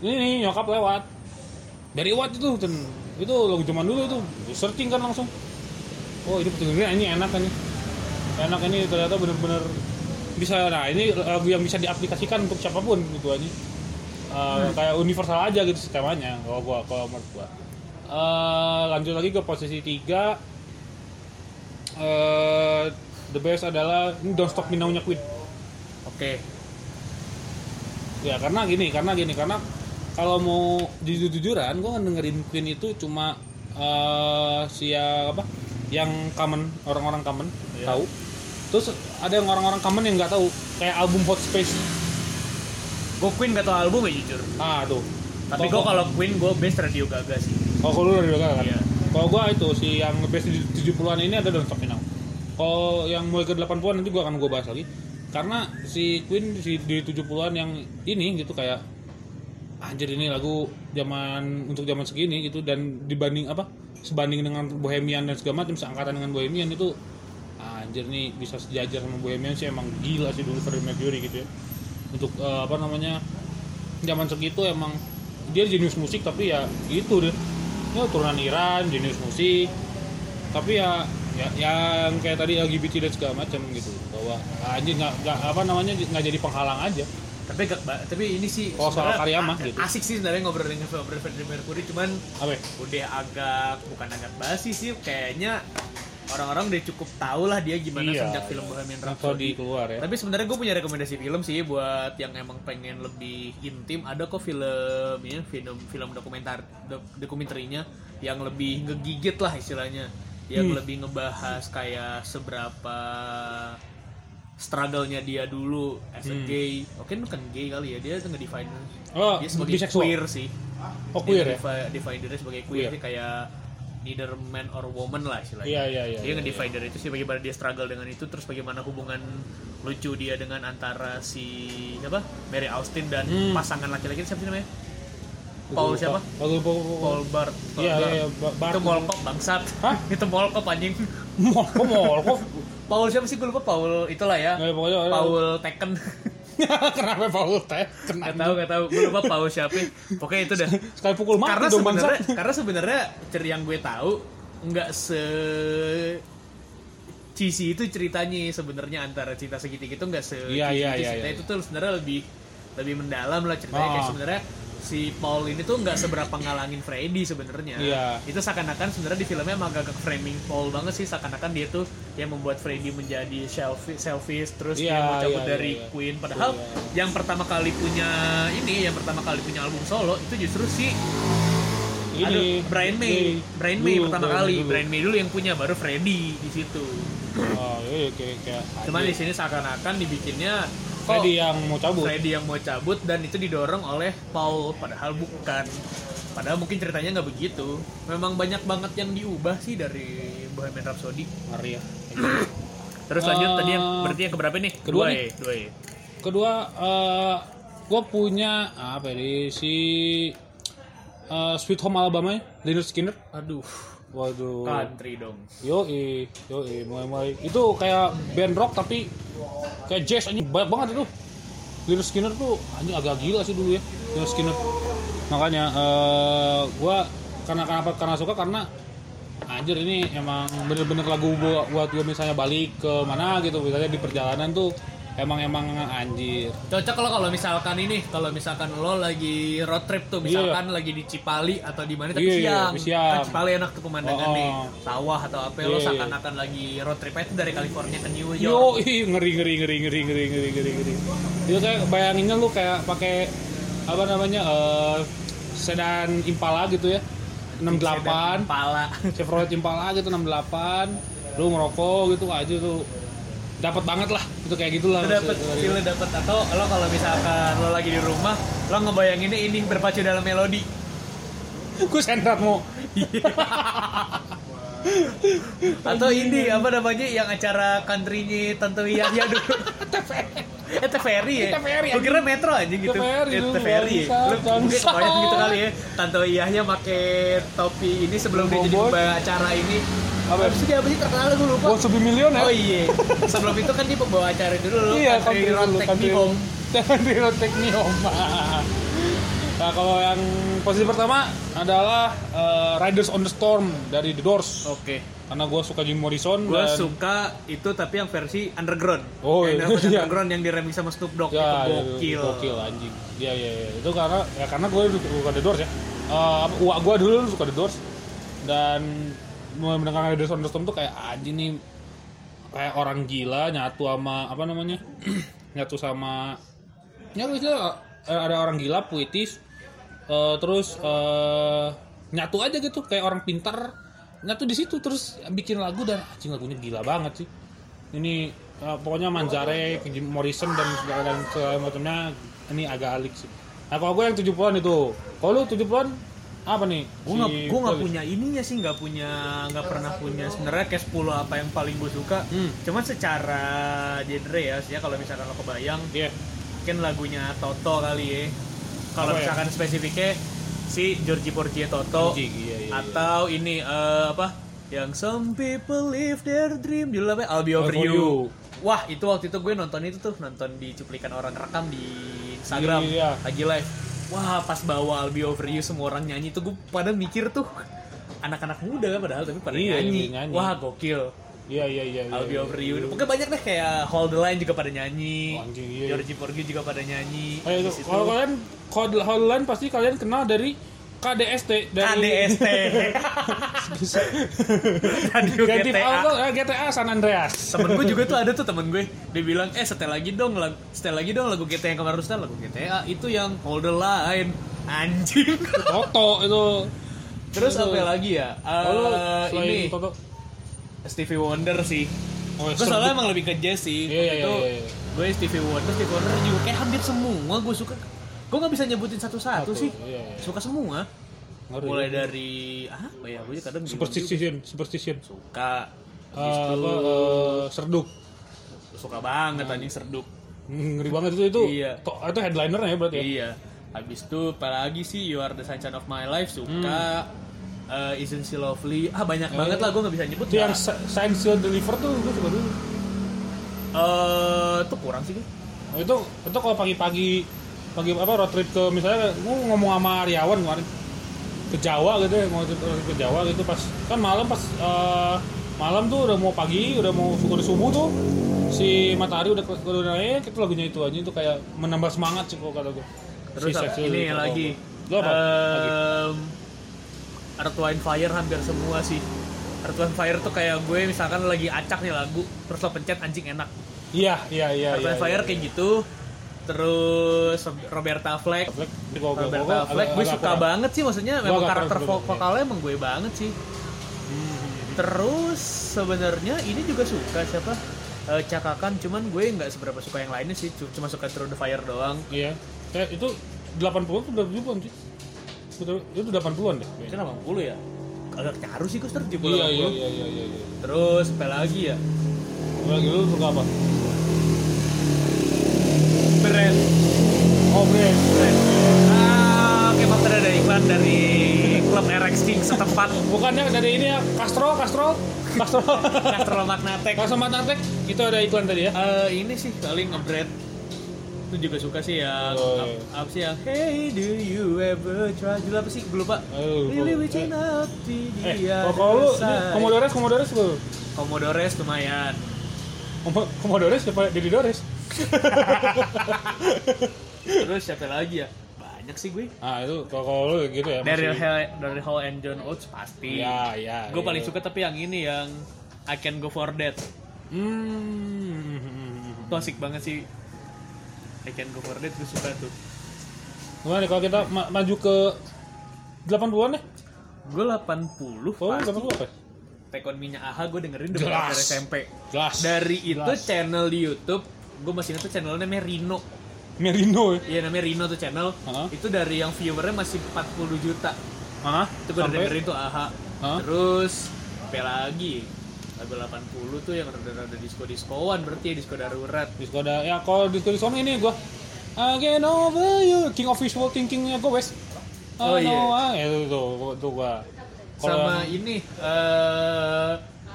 [SPEAKER 1] Ini nih nyokap lewat. Barry White itu dan itu lagu zaman dulu itu searching kan langsung. Oh, ini petunjuknya ini enak kan Enak ini ternyata bener-bener bisa nah ini lagu yang bisa diaplikasikan untuk siapapun gitu anjing. Uh, kayak universal aja gitu sistemanya kalau gua kalau menurut gua Uh, lanjut lagi ke posisi tiga Uh, the best adalah ini don't stop me now-nya Queen
[SPEAKER 3] oke
[SPEAKER 1] ya karena gini karena gini karena kalau mau jujur-jujuran gua dengerin Queen itu cuma eh si ya, apa yang common orang-orang common
[SPEAKER 3] Iya.
[SPEAKER 1] tahu terus ada yang orang-orang common yang nggak tahu kayak album Hot Space
[SPEAKER 3] gue Queen gak tau album ya jujur
[SPEAKER 1] ah tuh
[SPEAKER 3] tapi gue kalau Queen gue best Radio Gaga sih
[SPEAKER 1] Oh, kalau lu dari Gagal kan?
[SPEAKER 3] Iya.
[SPEAKER 1] Kalau gua itu si yang best di 70-an ini ada dalam top now. Kalau yang mulai ke 80-an nanti gua akan gua bahas lagi. Karena si Queen si di 70-an yang ini gitu kayak anjir ini lagu zaman untuk zaman segini gitu dan dibanding apa? Sebanding dengan Bohemian dan segala macam seangkatan dengan Bohemian itu anjir nih bisa sejajar sama Bohemian sih emang gila sih dulu Freddie Mercury gitu ya. Untuk eh, apa namanya zaman segitu emang dia jenius musik tapi ya gitu deh ya turunan Iran jenius musik tapi ya ya yang kayak tadi LGBT dan segala macam gitu bahwa anjir nggak nggak apa namanya nggak jadi penghalang aja
[SPEAKER 3] tapi gak, ba- tapi ini sih
[SPEAKER 1] Oh, soal
[SPEAKER 3] sebenarnya
[SPEAKER 1] karya mah,
[SPEAKER 3] a-
[SPEAKER 1] gitu.
[SPEAKER 3] asik sih sebenarnya ngobrol dengan ngobrol Freddie Mercury cuman
[SPEAKER 1] apa ya?
[SPEAKER 3] udah agak bukan agak basi sih kayaknya orang-orang udah cukup tahu lah dia gimana
[SPEAKER 1] Iya,
[SPEAKER 3] sejak
[SPEAKER 1] iya.
[SPEAKER 3] film Bohemian
[SPEAKER 1] kalau di
[SPEAKER 3] Rhapsody
[SPEAKER 1] keluar ya
[SPEAKER 3] tapi sebenarnya gue punya rekomendasi film sih buat yang emang pengen lebih intim ada kok film ya, film film dokumenter dok- dokumenterinya yang lebih ngegigit lah istilahnya
[SPEAKER 1] Hmm.
[SPEAKER 3] yang lebih ngebahas kayak seberapa struggle-nya dia dulu as a gay oke bukan gay kali ya dia tuh nge-define
[SPEAKER 1] Hmm. Oh,
[SPEAKER 3] dia sebagai
[SPEAKER 1] biseksual.
[SPEAKER 3] queer sih
[SPEAKER 1] oh queer ya
[SPEAKER 3] Dia defi- define diri sebagai
[SPEAKER 1] Queer.
[SPEAKER 3] queer, sih kayak neither man or woman lah istilahnya.
[SPEAKER 1] Iya, iya, iya,
[SPEAKER 3] Dia
[SPEAKER 1] iya,
[SPEAKER 3] ngedefine diri itu sih bagaimana dia struggle dengan itu terus bagaimana hubungan lucu dia dengan antara si apa? Mary Austin dan
[SPEAKER 1] Hmm.
[SPEAKER 3] pasangan laki-laki siapa sih namanya? Paul siapa?
[SPEAKER 1] Paul Paul, Paul, Paul.
[SPEAKER 3] Paul Bart. Paul
[SPEAKER 1] Iya,
[SPEAKER 3] Bart.
[SPEAKER 1] iya, Ba- Bart.
[SPEAKER 3] Itu Molkop bangsat.
[SPEAKER 1] Hah?
[SPEAKER 3] itu Molkop anjing.
[SPEAKER 1] Mol kok mol kok
[SPEAKER 3] Paul siapa sih gue lupa Paul itulah ya.
[SPEAKER 1] Ya, pokoknya ada-
[SPEAKER 3] Paul Tekken.
[SPEAKER 1] kenapa Paul teh kena
[SPEAKER 3] Gak tahu gak tahu gue lupa Paul siapa. Pokoknya itu dah.
[SPEAKER 1] sekali pukul mati
[SPEAKER 3] karena
[SPEAKER 1] dong bangsa
[SPEAKER 3] sebenarnya karena sebenarnya cer yang gue tahu nggak se cheesy itu ceritanya sebenarnya antara cinta segitiga itu nggak se
[SPEAKER 1] Iya, iya,
[SPEAKER 3] cheesy
[SPEAKER 1] iya,
[SPEAKER 3] ceritanya.
[SPEAKER 1] iya.
[SPEAKER 3] itu tuh sebenarnya lebih lebih mendalam lah ceritanya kayak
[SPEAKER 1] Ah.
[SPEAKER 3] sebenarnya si Paul ini tuh nggak seberapa ngalangin Freddy sebenarnya
[SPEAKER 1] Iya.
[SPEAKER 3] itu seakan-akan sebenarnya di filmnya emang agak framing Paul banget sih seakan-akan dia tuh yang membuat Freddy menjadi selfish, selfish terus dia
[SPEAKER 1] Iya,
[SPEAKER 3] mau cabut
[SPEAKER 1] iya,
[SPEAKER 3] dari
[SPEAKER 1] iya, iya.
[SPEAKER 3] Queen padahal
[SPEAKER 1] Iya.
[SPEAKER 3] yang pertama kali punya ini yang pertama kali punya album solo itu justru si
[SPEAKER 1] ini
[SPEAKER 3] Aduh, Brian May,
[SPEAKER 1] ini.
[SPEAKER 3] Brian May
[SPEAKER 1] Dulu,
[SPEAKER 3] pertama
[SPEAKER 1] Brian
[SPEAKER 3] kali,
[SPEAKER 1] dulu.
[SPEAKER 3] Brian May dulu yang punya, baru Freddy di situ.
[SPEAKER 1] oh iya kayak kayak
[SPEAKER 3] Cuman di sini seakan-akan dibikinnya kok
[SPEAKER 1] Freddy
[SPEAKER 3] Freddy yang,
[SPEAKER 1] yang mau cabut
[SPEAKER 3] mau cabut dan itu didorong oleh Paul, padahal bukan. Padahal mungkin ceritanya nggak begitu. Memang banyak banget yang diubah sih dari Bohemian Rhapsody.
[SPEAKER 1] ngeri ya
[SPEAKER 3] Terus lanjut
[SPEAKER 1] Eh,
[SPEAKER 3] tadi yang berarti yang keberapa nih?
[SPEAKER 1] kedua
[SPEAKER 3] Kedua,
[SPEAKER 1] nih.
[SPEAKER 3] ya, dua ya.
[SPEAKER 1] kedua eh gue punya apa ya di si eh, Sweet Home Alabama ya, Leonard Skinner.
[SPEAKER 3] Aduh,
[SPEAKER 1] Waduh.
[SPEAKER 3] country dong.
[SPEAKER 1] Yoi, yoi, mulai-mulai. Itu kayak band rock tapi kayak jazz anjing banyak banget itu. Leonard Skinner tuh anjing agak gila sih dulu ya, Leonard Skinner. Makanya eh gua karena kenapa karena suka karena anjir ini emang bener-bener lagu buat, buat gue misalnya balik ke mana gitu misalnya di perjalanan tuh emang emang anjir
[SPEAKER 3] Cocok lo kalau misalkan ini, kalau misalkan lo lagi road trip tuh,
[SPEAKER 1] Iya.
[SPEAKER 3] misalkan lagi di Cipali atau di mana tapi
[SPEAKER 1] Iya, iya,
[SPEAKER 3] siang.
[SPEAKER 1] tapi siang.
[SPEAKER 3] Kan Cipali enak tuh pemandangan
[SPEAKER 1] Oh, oh.
[SPEAKER 3] nih, sawah atau apa lo
[SPEAKER 1] Iya.
[SPEAKER 3] seakan-akan lagi road trip itu dari California ke New York.
[SPEAKER 1] Yo, ngeri ngeri ngeri ngeri ngeri ngeri ngeri ngeri. Itu kayak bayanginnya lu kayak pakai apa namanya eh sedan Impala gitu ya. 68
[SPEAKER 3] Pala.
[SPEAKER 1] Chevrolet Impala gitu 68 lu ngerokok gitu aja tuh dapat banget lah itu kayak gitulah
[SPEAKER 3] Lo dapet, feel lo dapet atau lo kalau misalkan lo lagi di rumah, lo ngebayanginnya ini berpacu dalam melodi.
[SPEAKER 1] gue sentrat mau
[SPEAKER 3] Atau ini apa namanya yang acara country-nya Tante Yahya dulu. Eh TVRI ya?
[SPEAKER 1] TVRI,
[SPEAKER 3] Gue kira Metro aja gitu
[SPEAKER 1] TVRI
[SPEAKER 3] Eh,
[SPEAKER 1] dulu,
[SPEAKER 3] TVRI ya?
[SPEAKER 1] bangsat,
[SPEAKER 3] Lu mungkin
[SPEAKER 1] bangsat.
[SPEAKER 3] kebayang gitu kali ya Tanto Iyahnya pake topi ini sebelum dia jadi
[SPEAKER 1] Bobot.
[SPEAKER 3] pembawa acara ini
[SPEAKER 1] Apa?
[SPEAKER 3] Habis itu dia apa sih terkenal gue lupa
[SPEAKER 1] buat sebi million ya
[SPEAKER 3] Oh iya Sebelum itu kan dia pembawa acara dulu loh
[SPEAKER 1] iya kan
[SPEAKER 3] Country Road Take Me Home
[SPEAKER 1] country road take me home nah kalau yang posisi pertama adalah eh, Riders on the Storm dari The Doors
[SPEAKER 3] Oke
[SPEAKER 1] karena gue suka Jim Morrison
[SPEAKER 3] Gue
[SPEAKER 1] dan
[SPEAKER 3] suka itu tapi yang versi underground
[SPEAKER 1] Oh,
[SPEAKER 3] Yang
[SPEAKER 1] iya.
[SPEAKER 3] versi Underground yang diremix sama Snoop Dogg
[SPEAKER 1] ya,
[SPEAKER 3] Itu
[SPEAKER 1] ya,
[SPEAKER 3] gokil
[SPEAKER 1] gokil anjing ya ya ya itu karena ya karena gue suka The Doors ya Eh, apa, uak gue dulu suka The Doors dan mendengar The Doors on the Storm tuh kayak anjing nih kayak orang gila nyatu sama apa namanya nyatu sama ya lu istilah, eh, ada orang gila puitis eh, terus eh, nyatu aja gitu kayak orang pintar nyatu di situ terus bikin lagu dan anjing lagunya gila banget sih ini eh, pokoknya Manzare, Jim Morrison dan segala dan segala macamnya ini agak alik sih. Nah kalau gue yang 70-an itu, kalau lu 70-an apa nih?
[SPEAKER 3] gue nggak gue nggak punya ininya sih nggak punya nggak pernah punya sebenarnya kayak 10 apa yang paling gue suka
[SPEAKER 1] Hmm.
[SPEAKER 3] cuman secara genre ya sih kalau misalkan lo kebayang
[SPEAKER 1] Iya.
[SPEAKER 3] mungkin lagunya Toto kali ya
[SPEAKER 1] Apa
[SPEAKER 3] kalau
[SPEAKER 1] ya?
[SPEAKER 3] misalkan spesifiknya si Giorgi Porgie Toto
[SPEAKER 1] Giorgi, iya, iya, iya.
[SPEAKER 3] atau ini eh, apa yang some people live their dream judulnya apa I'll be over
[SPEAKER 1] Over
[SPEAKER 3] you.
[SPEAKER 1] You.
[SPEAKER 3] wah itu waktu itu gue nonton itu tuh nonton di cuplikan orang rekam di Instagram
[SPEAKER 1] Iya.
[SPEAKER 3] lagi live wah pas bawa I'll be over you semua orang nyanyi tuh gue pada mikir tuh anak-anak muda kan padahal tapi pada
[SPEAKER 1] Iya,
[SPEAKER 3] nyanyi.
[SPEAKER 1] nyanyi.
[SPEAKER 3] wah gokil
[SPEAKER 1] Iya iya iya. iya,
[SPEAKER 3] I'll be
[SPEAKER 1] iya.
[SPEAKER 3] over you. Pokoknya banyak deh kayak Hold the Line juga pada nyanyi.
[SPEAKER 1] Oh, anjing, iya, iya.
[SPEAKER 3] Georgie Porgy juga pada nyanyi.
[SPEAKER 1] Oh, iya, itu.
[SPEAKER 3] Habis itu
[SPEAKER 1] Kalau kalian kalau Holland pasti kalian kenal dari KDST dari
[SPEAKER 3] KDST. Radio
[SPEAKER 1] Ganti
[SPEAKER 3] GTA.
[SPEAKER 1] Auto eh, GTA San Andreas.
[SPEAKER 3] Temen gue juga tuh ada tuh temen gue Dia bilang, eh setel lagi dong lagu, Setel lagi dong lagu GTA yang kemarin lu setel Lagu GTA itu yang Hold the Line Anjing
[SPEAKER 1] Toto itu.
[SPEAKER 3] Terus apa lagi ya?
[SPEAKER 1] Oh, lu
[SPEAKER 3] Eh,
[SPEAKER 1] selain
[SPEAKER 3] ini
[SPEAKER 1] Toto.
[SPEAKER 3] Stevie Wonder sih
[SPEAKER 1] Oh,
[SPEAKER 3] Gue soalnya emang lebih ke jazz sih
[SPEAKER 1] Iya,
[SPEAKER 3] Waktu
[SPEAKER 1] iya,
[SPEAKER 3] itu
[SPEAKER 1] iya, iya.
[SPEAKER 3] Gue Stevie Wonder, Stevie Wonder juga Kayak hampir semua gue suka Gue gak bisa nyebutin
[SPEAKER 1] Satu,
[SPEAKER 3] satu-satu sih
[SPEAKER 1] iya, iya.
[SPEAKER 3] Suka semua
[SPEAKER 1] Ngeri.
[SPEAKER 3] mulai dari apa ya gue kadang bingung
[SPEAKER 1] superstition, superstition.
[SPEAKER 3] juga. suka
[SPEAKER 1] Eh,
[SPEAKER 3] habis itu
[SPEAKER 1] apa, eh, serduk.
[SPEAKER 3] suka banget anjing serduk
[SPEAKER 1] Hmm, Ngeri banget itu itu.
[SPEAKER 3] Iya.
[SPEAKER 1] To, itu headliner ya berarti. ya?
[SPEAKER 3] iya habis itu apalagi sih you are the sunshine of my life suka
[SPEAKER 1] Hmm.
[SPEAKER 3] Eh, isn't she lovely ah banyak
[SPEAKER 1] Eh.
[SPEAKER 3] banget lah gue nggak bisa nyebut
[SPEAKER 1] Itu yang
[SPEAKER 3] Nah,
[SPEAKER 1] Sa- Sign Seal Deliver tuh gue suka dulu.
[SPEAKER 3] eh, tuh kurang sih gue.
[SPEAKER 1] Nah, itu itu kalau pagi-pagi pagi apa road trip ke misalnya gue ngomong sama Aryawan kemarin ke Jawa gitu ya, mau road trip ke Jawa gitu pas kan malam pas eh, malam tuh udah mau pagi, udah mau udah subuh tuh si matahari udah ke- udah naik itu lagunya itu aja itu kayak menambah semangat sih kalau kata gue. Si
[SPEAKER 3] terus apa-
[SPEAKER 1] Sign Seal
[SPEAKER 3] ini
[SPEAKER 1] Deliver.
[SPEAKER 3] lagi Eh,
[SPEAKER 1] Lu apa? Lagi.
[SPEAKER 3] Em, Earth Wind Fire hampir semua sih Earth Wind Fire tuh kayak gue misalkan lagi acak nih lagu terus lo pencet anjing enak
[SPEAKER 1] Iya, iya, iya.
[SPEAKER 3] Earth
[SPEAKER 1] iya,
[SPEAKER 3] Wind Fire
[SPEAKER 1] iya.
[SPEAKER 3] kayak gitu terus Roberta Fleck
[SPEAKER 1] Fleck,
[SPEAKER 3] Roberta Fleck gue suka banget sih maksudnya memang
[SPEAKER 1] agak
[SPEAKER 3] karakter
[SPEAKER 1] kurang juga,
[SPEAKER 3] vo-
[SPEAKER 1] Hmm. iya.
[SPEAKER 3] vokalnya emang gue banget sih terus sebenarnya ini juga suka siapa Eh, cakakan cuman gue nggak seberapa suka yang lainnya sih cu- cuma suka Through the Fire doang
[SPEAKER 1] Iya. Kayak itu 80 atau berapa an sih? Betul- Itu 80-an deh.
[SPEAKER 3] mungkin 80 ya agak nyaru sih gue terus
[SPEAKER 1] Iya, iya, iya, iya, iya. iya.
[SPEAKER 3] terus apa lagi ya
[SPEAKER 1] Lu Lagi lu suka apa?
[SPEAKER 3] Brand
[SPEAKER 1] Oh, Brand.
[SPEAKER 3] Brand ah kayak materi dari iklan dari klub RX King setempat
[SPEAKER 1] Bukannya dari ini ya Castro, Castro, Castro.
[SPEAKER 3] Castrol Magnatek.
[SPEAKER 1] Kalau sama Natek itu ada iklan tadi ya.
[SPEAKER 3] Eh, ini sih paling ngebread itu juga suka sih yang
[SPEAKER 1] Oh,
[SPEAKER 3] ap-
[SPEAKER 1] iya.
[SPEAKER 3] apa sih yang Hey do you ever try dulu apa sih gue lupa
[SPEAKER 1] Oh,
[SPEAKER 3] Really
[SPEAKER 1] lupa.
[SPEAKER 3] reaching out to the
[SPEAKER 1] Eh, kalau-
[SPEAKER 3] other
[SPEAKER 1] kalau lu ini
[SPEAKER 3] side.
[SPEAKER 1] Komodores, Komodores lu.
[SPEAKER 3] Komodores lumayan
[SPEAKER 1] Komo- Komodores siapa Didi Dores?
[SPEAKER 3] terus siapa lagi ya banyak sih gue
[SPEAKER 1] Ah, itu kalau kalau lu gitu ya.
[SPEAKER 3] Daryl
[SPEAKER 1] masih-
[SPEAKER 3] Hall Daryl Hall and John Oates pasti
[SPEAKER 1] Iya, iya.
[SPEAKER 3] gue
[SPEAKER 1] iya.
[SPEAKER 3] paling suka tapi yang ini yang I Can Go For That
[SPEAKER 1] Hmm.
[SPEAKER 3] itu asik banget sih I Can Go For That gue suka tuh
[SPEAKER 1] Gimana nih kalau kita ma- maju ke 80-an deh?
[SPEAKER 3] gue 80
[SPEAKER 1] Kalau lu
[SPEAKER 3] pasti.
[SPEAKER 1] 80 apa? ya?
[SPEAKER 3] Tekon Minyak Aha gue dengerin dari
[SPEAKER 1] Jelas.
[SPEAKER 3] dari SMP.
[SPEAKER 1] Jelas.
[SPEAKER 3] Dari itu
[SPEAKER 1] Jelas.
[SPEAKER 3] channel di YouTube, gue masih ingat tuh channelnya namanya Rino.
[SPEAKER 1] Merino ya.
[SPEAKER 3] Iya namanya Rino tuh channel.
[SPEAKER 1] Heeh.
[SPEAKER 3] Itu dari yang viewernya masih 40 juta.
[SPEAKER 1] Hah?
[SPEAKER 3] Itu gue dengerin tuh Aha.
[SPEAKER 1] Heeh.
[SPEAKER 3] Terus apa lagi? Lagu 80 tuh yang rada-rada disco-discoan berarti ya disco darurat.
[SPEAKER 1] Disco ada ya kalau disco di sana ini gua Again over you King of Visual Thinkingnya gua wes
[SPEAKER 3] Oh, iya.
[SPEAKER 1] ya, itu tuh itu gua Kalau
[SPEAKER 3] Sama
[SPEAKER 1] yang-
[SPEAKER 3] ini eh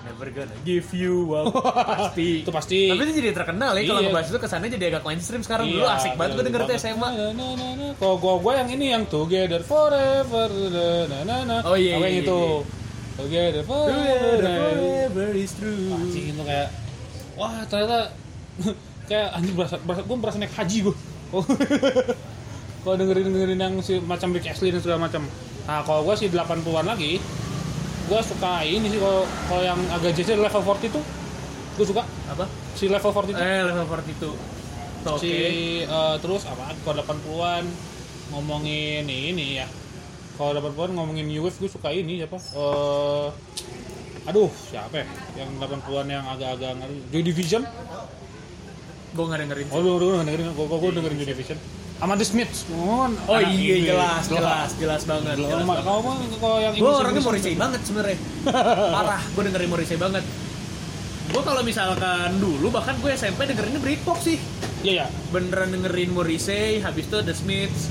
[SPEAKER 3] Never gonna give you up pasti.
[SPEAKER 1] Itu pasti.
[SPEAKER 3] Tapi itu jadi terkenal ya kalau
[SPEAKER 1] Iya.
[SPEAKER 3] ngebahas itu kesannya jadi agak mainstream sekarang. Dulu
[SPEAKER 1] Iya,
[SPEAKER 3] asik banget gue
[SPEAKER 1] bener
[SPEAKER 3] denger tuh
[SPEAKER 1] banget.
[SPEAKER 3] SMA.
[SPEAKER 1] Na, na, na, na. iya, Kalau gua gua yang ini yang Together Forever na, na, na, na.
[SPEAKER 3] Oh, iya,
[SPEAKER 1] Apa
[SPEAKER 3] iya,
[SPEAKER 1] yang itu
[SPEAKER 3] iya,
[SPEAKER 1] Together Forever na, na, na. anjing itu kayak wah ternyata kayak anjing berasa, berasa gue berasa naik haji gue kalau dengerin dengerin yang si macam Big Ashley dan segala macam nah kalau gue sih 80-an lagi gue suka ini sih kalau kalau yang agak jazz level 40 tuh gue suka
[SPEAKER 3] Apa?
[SPEAKER 1] si level 40 tuh
[SPEAKER 3] Eh level 42. Tuh, Oke.
[SPEAKER 1] si eh, terus apa kalau 80-an ngomongin ini ya kalau 80-an ngomongin new wave gue suka ini siapa eh aduh siapa ya yang 80-an yang agak-agak ngeri Joy Division
[SPEAKER 3] Gue nggak dengerin.
[SPEAKER 1] oh lu lu dengerin gue gue dengerin Joy Division sama The Smiths oh,
[SPEAKER 3] Oh iya jelas jelas jelas banget.
[SPEAKER 1] kalau mah kalau yang Inggris-
[SPEAKER 3] Gue orangnya
[SPEAKER 1] Inggris-
[SPEAKER 3] Morrissey banget sebenarnya. Parah, gue dengerin Morrissey banget. Gue kalau misalkan dulu bahkan gue SMP dengerinnya Britpop sih.
[SPEAKER 1] iya iya
[SPEAKER 3] beneran dengerin Morrissey, habis itu The Smiths.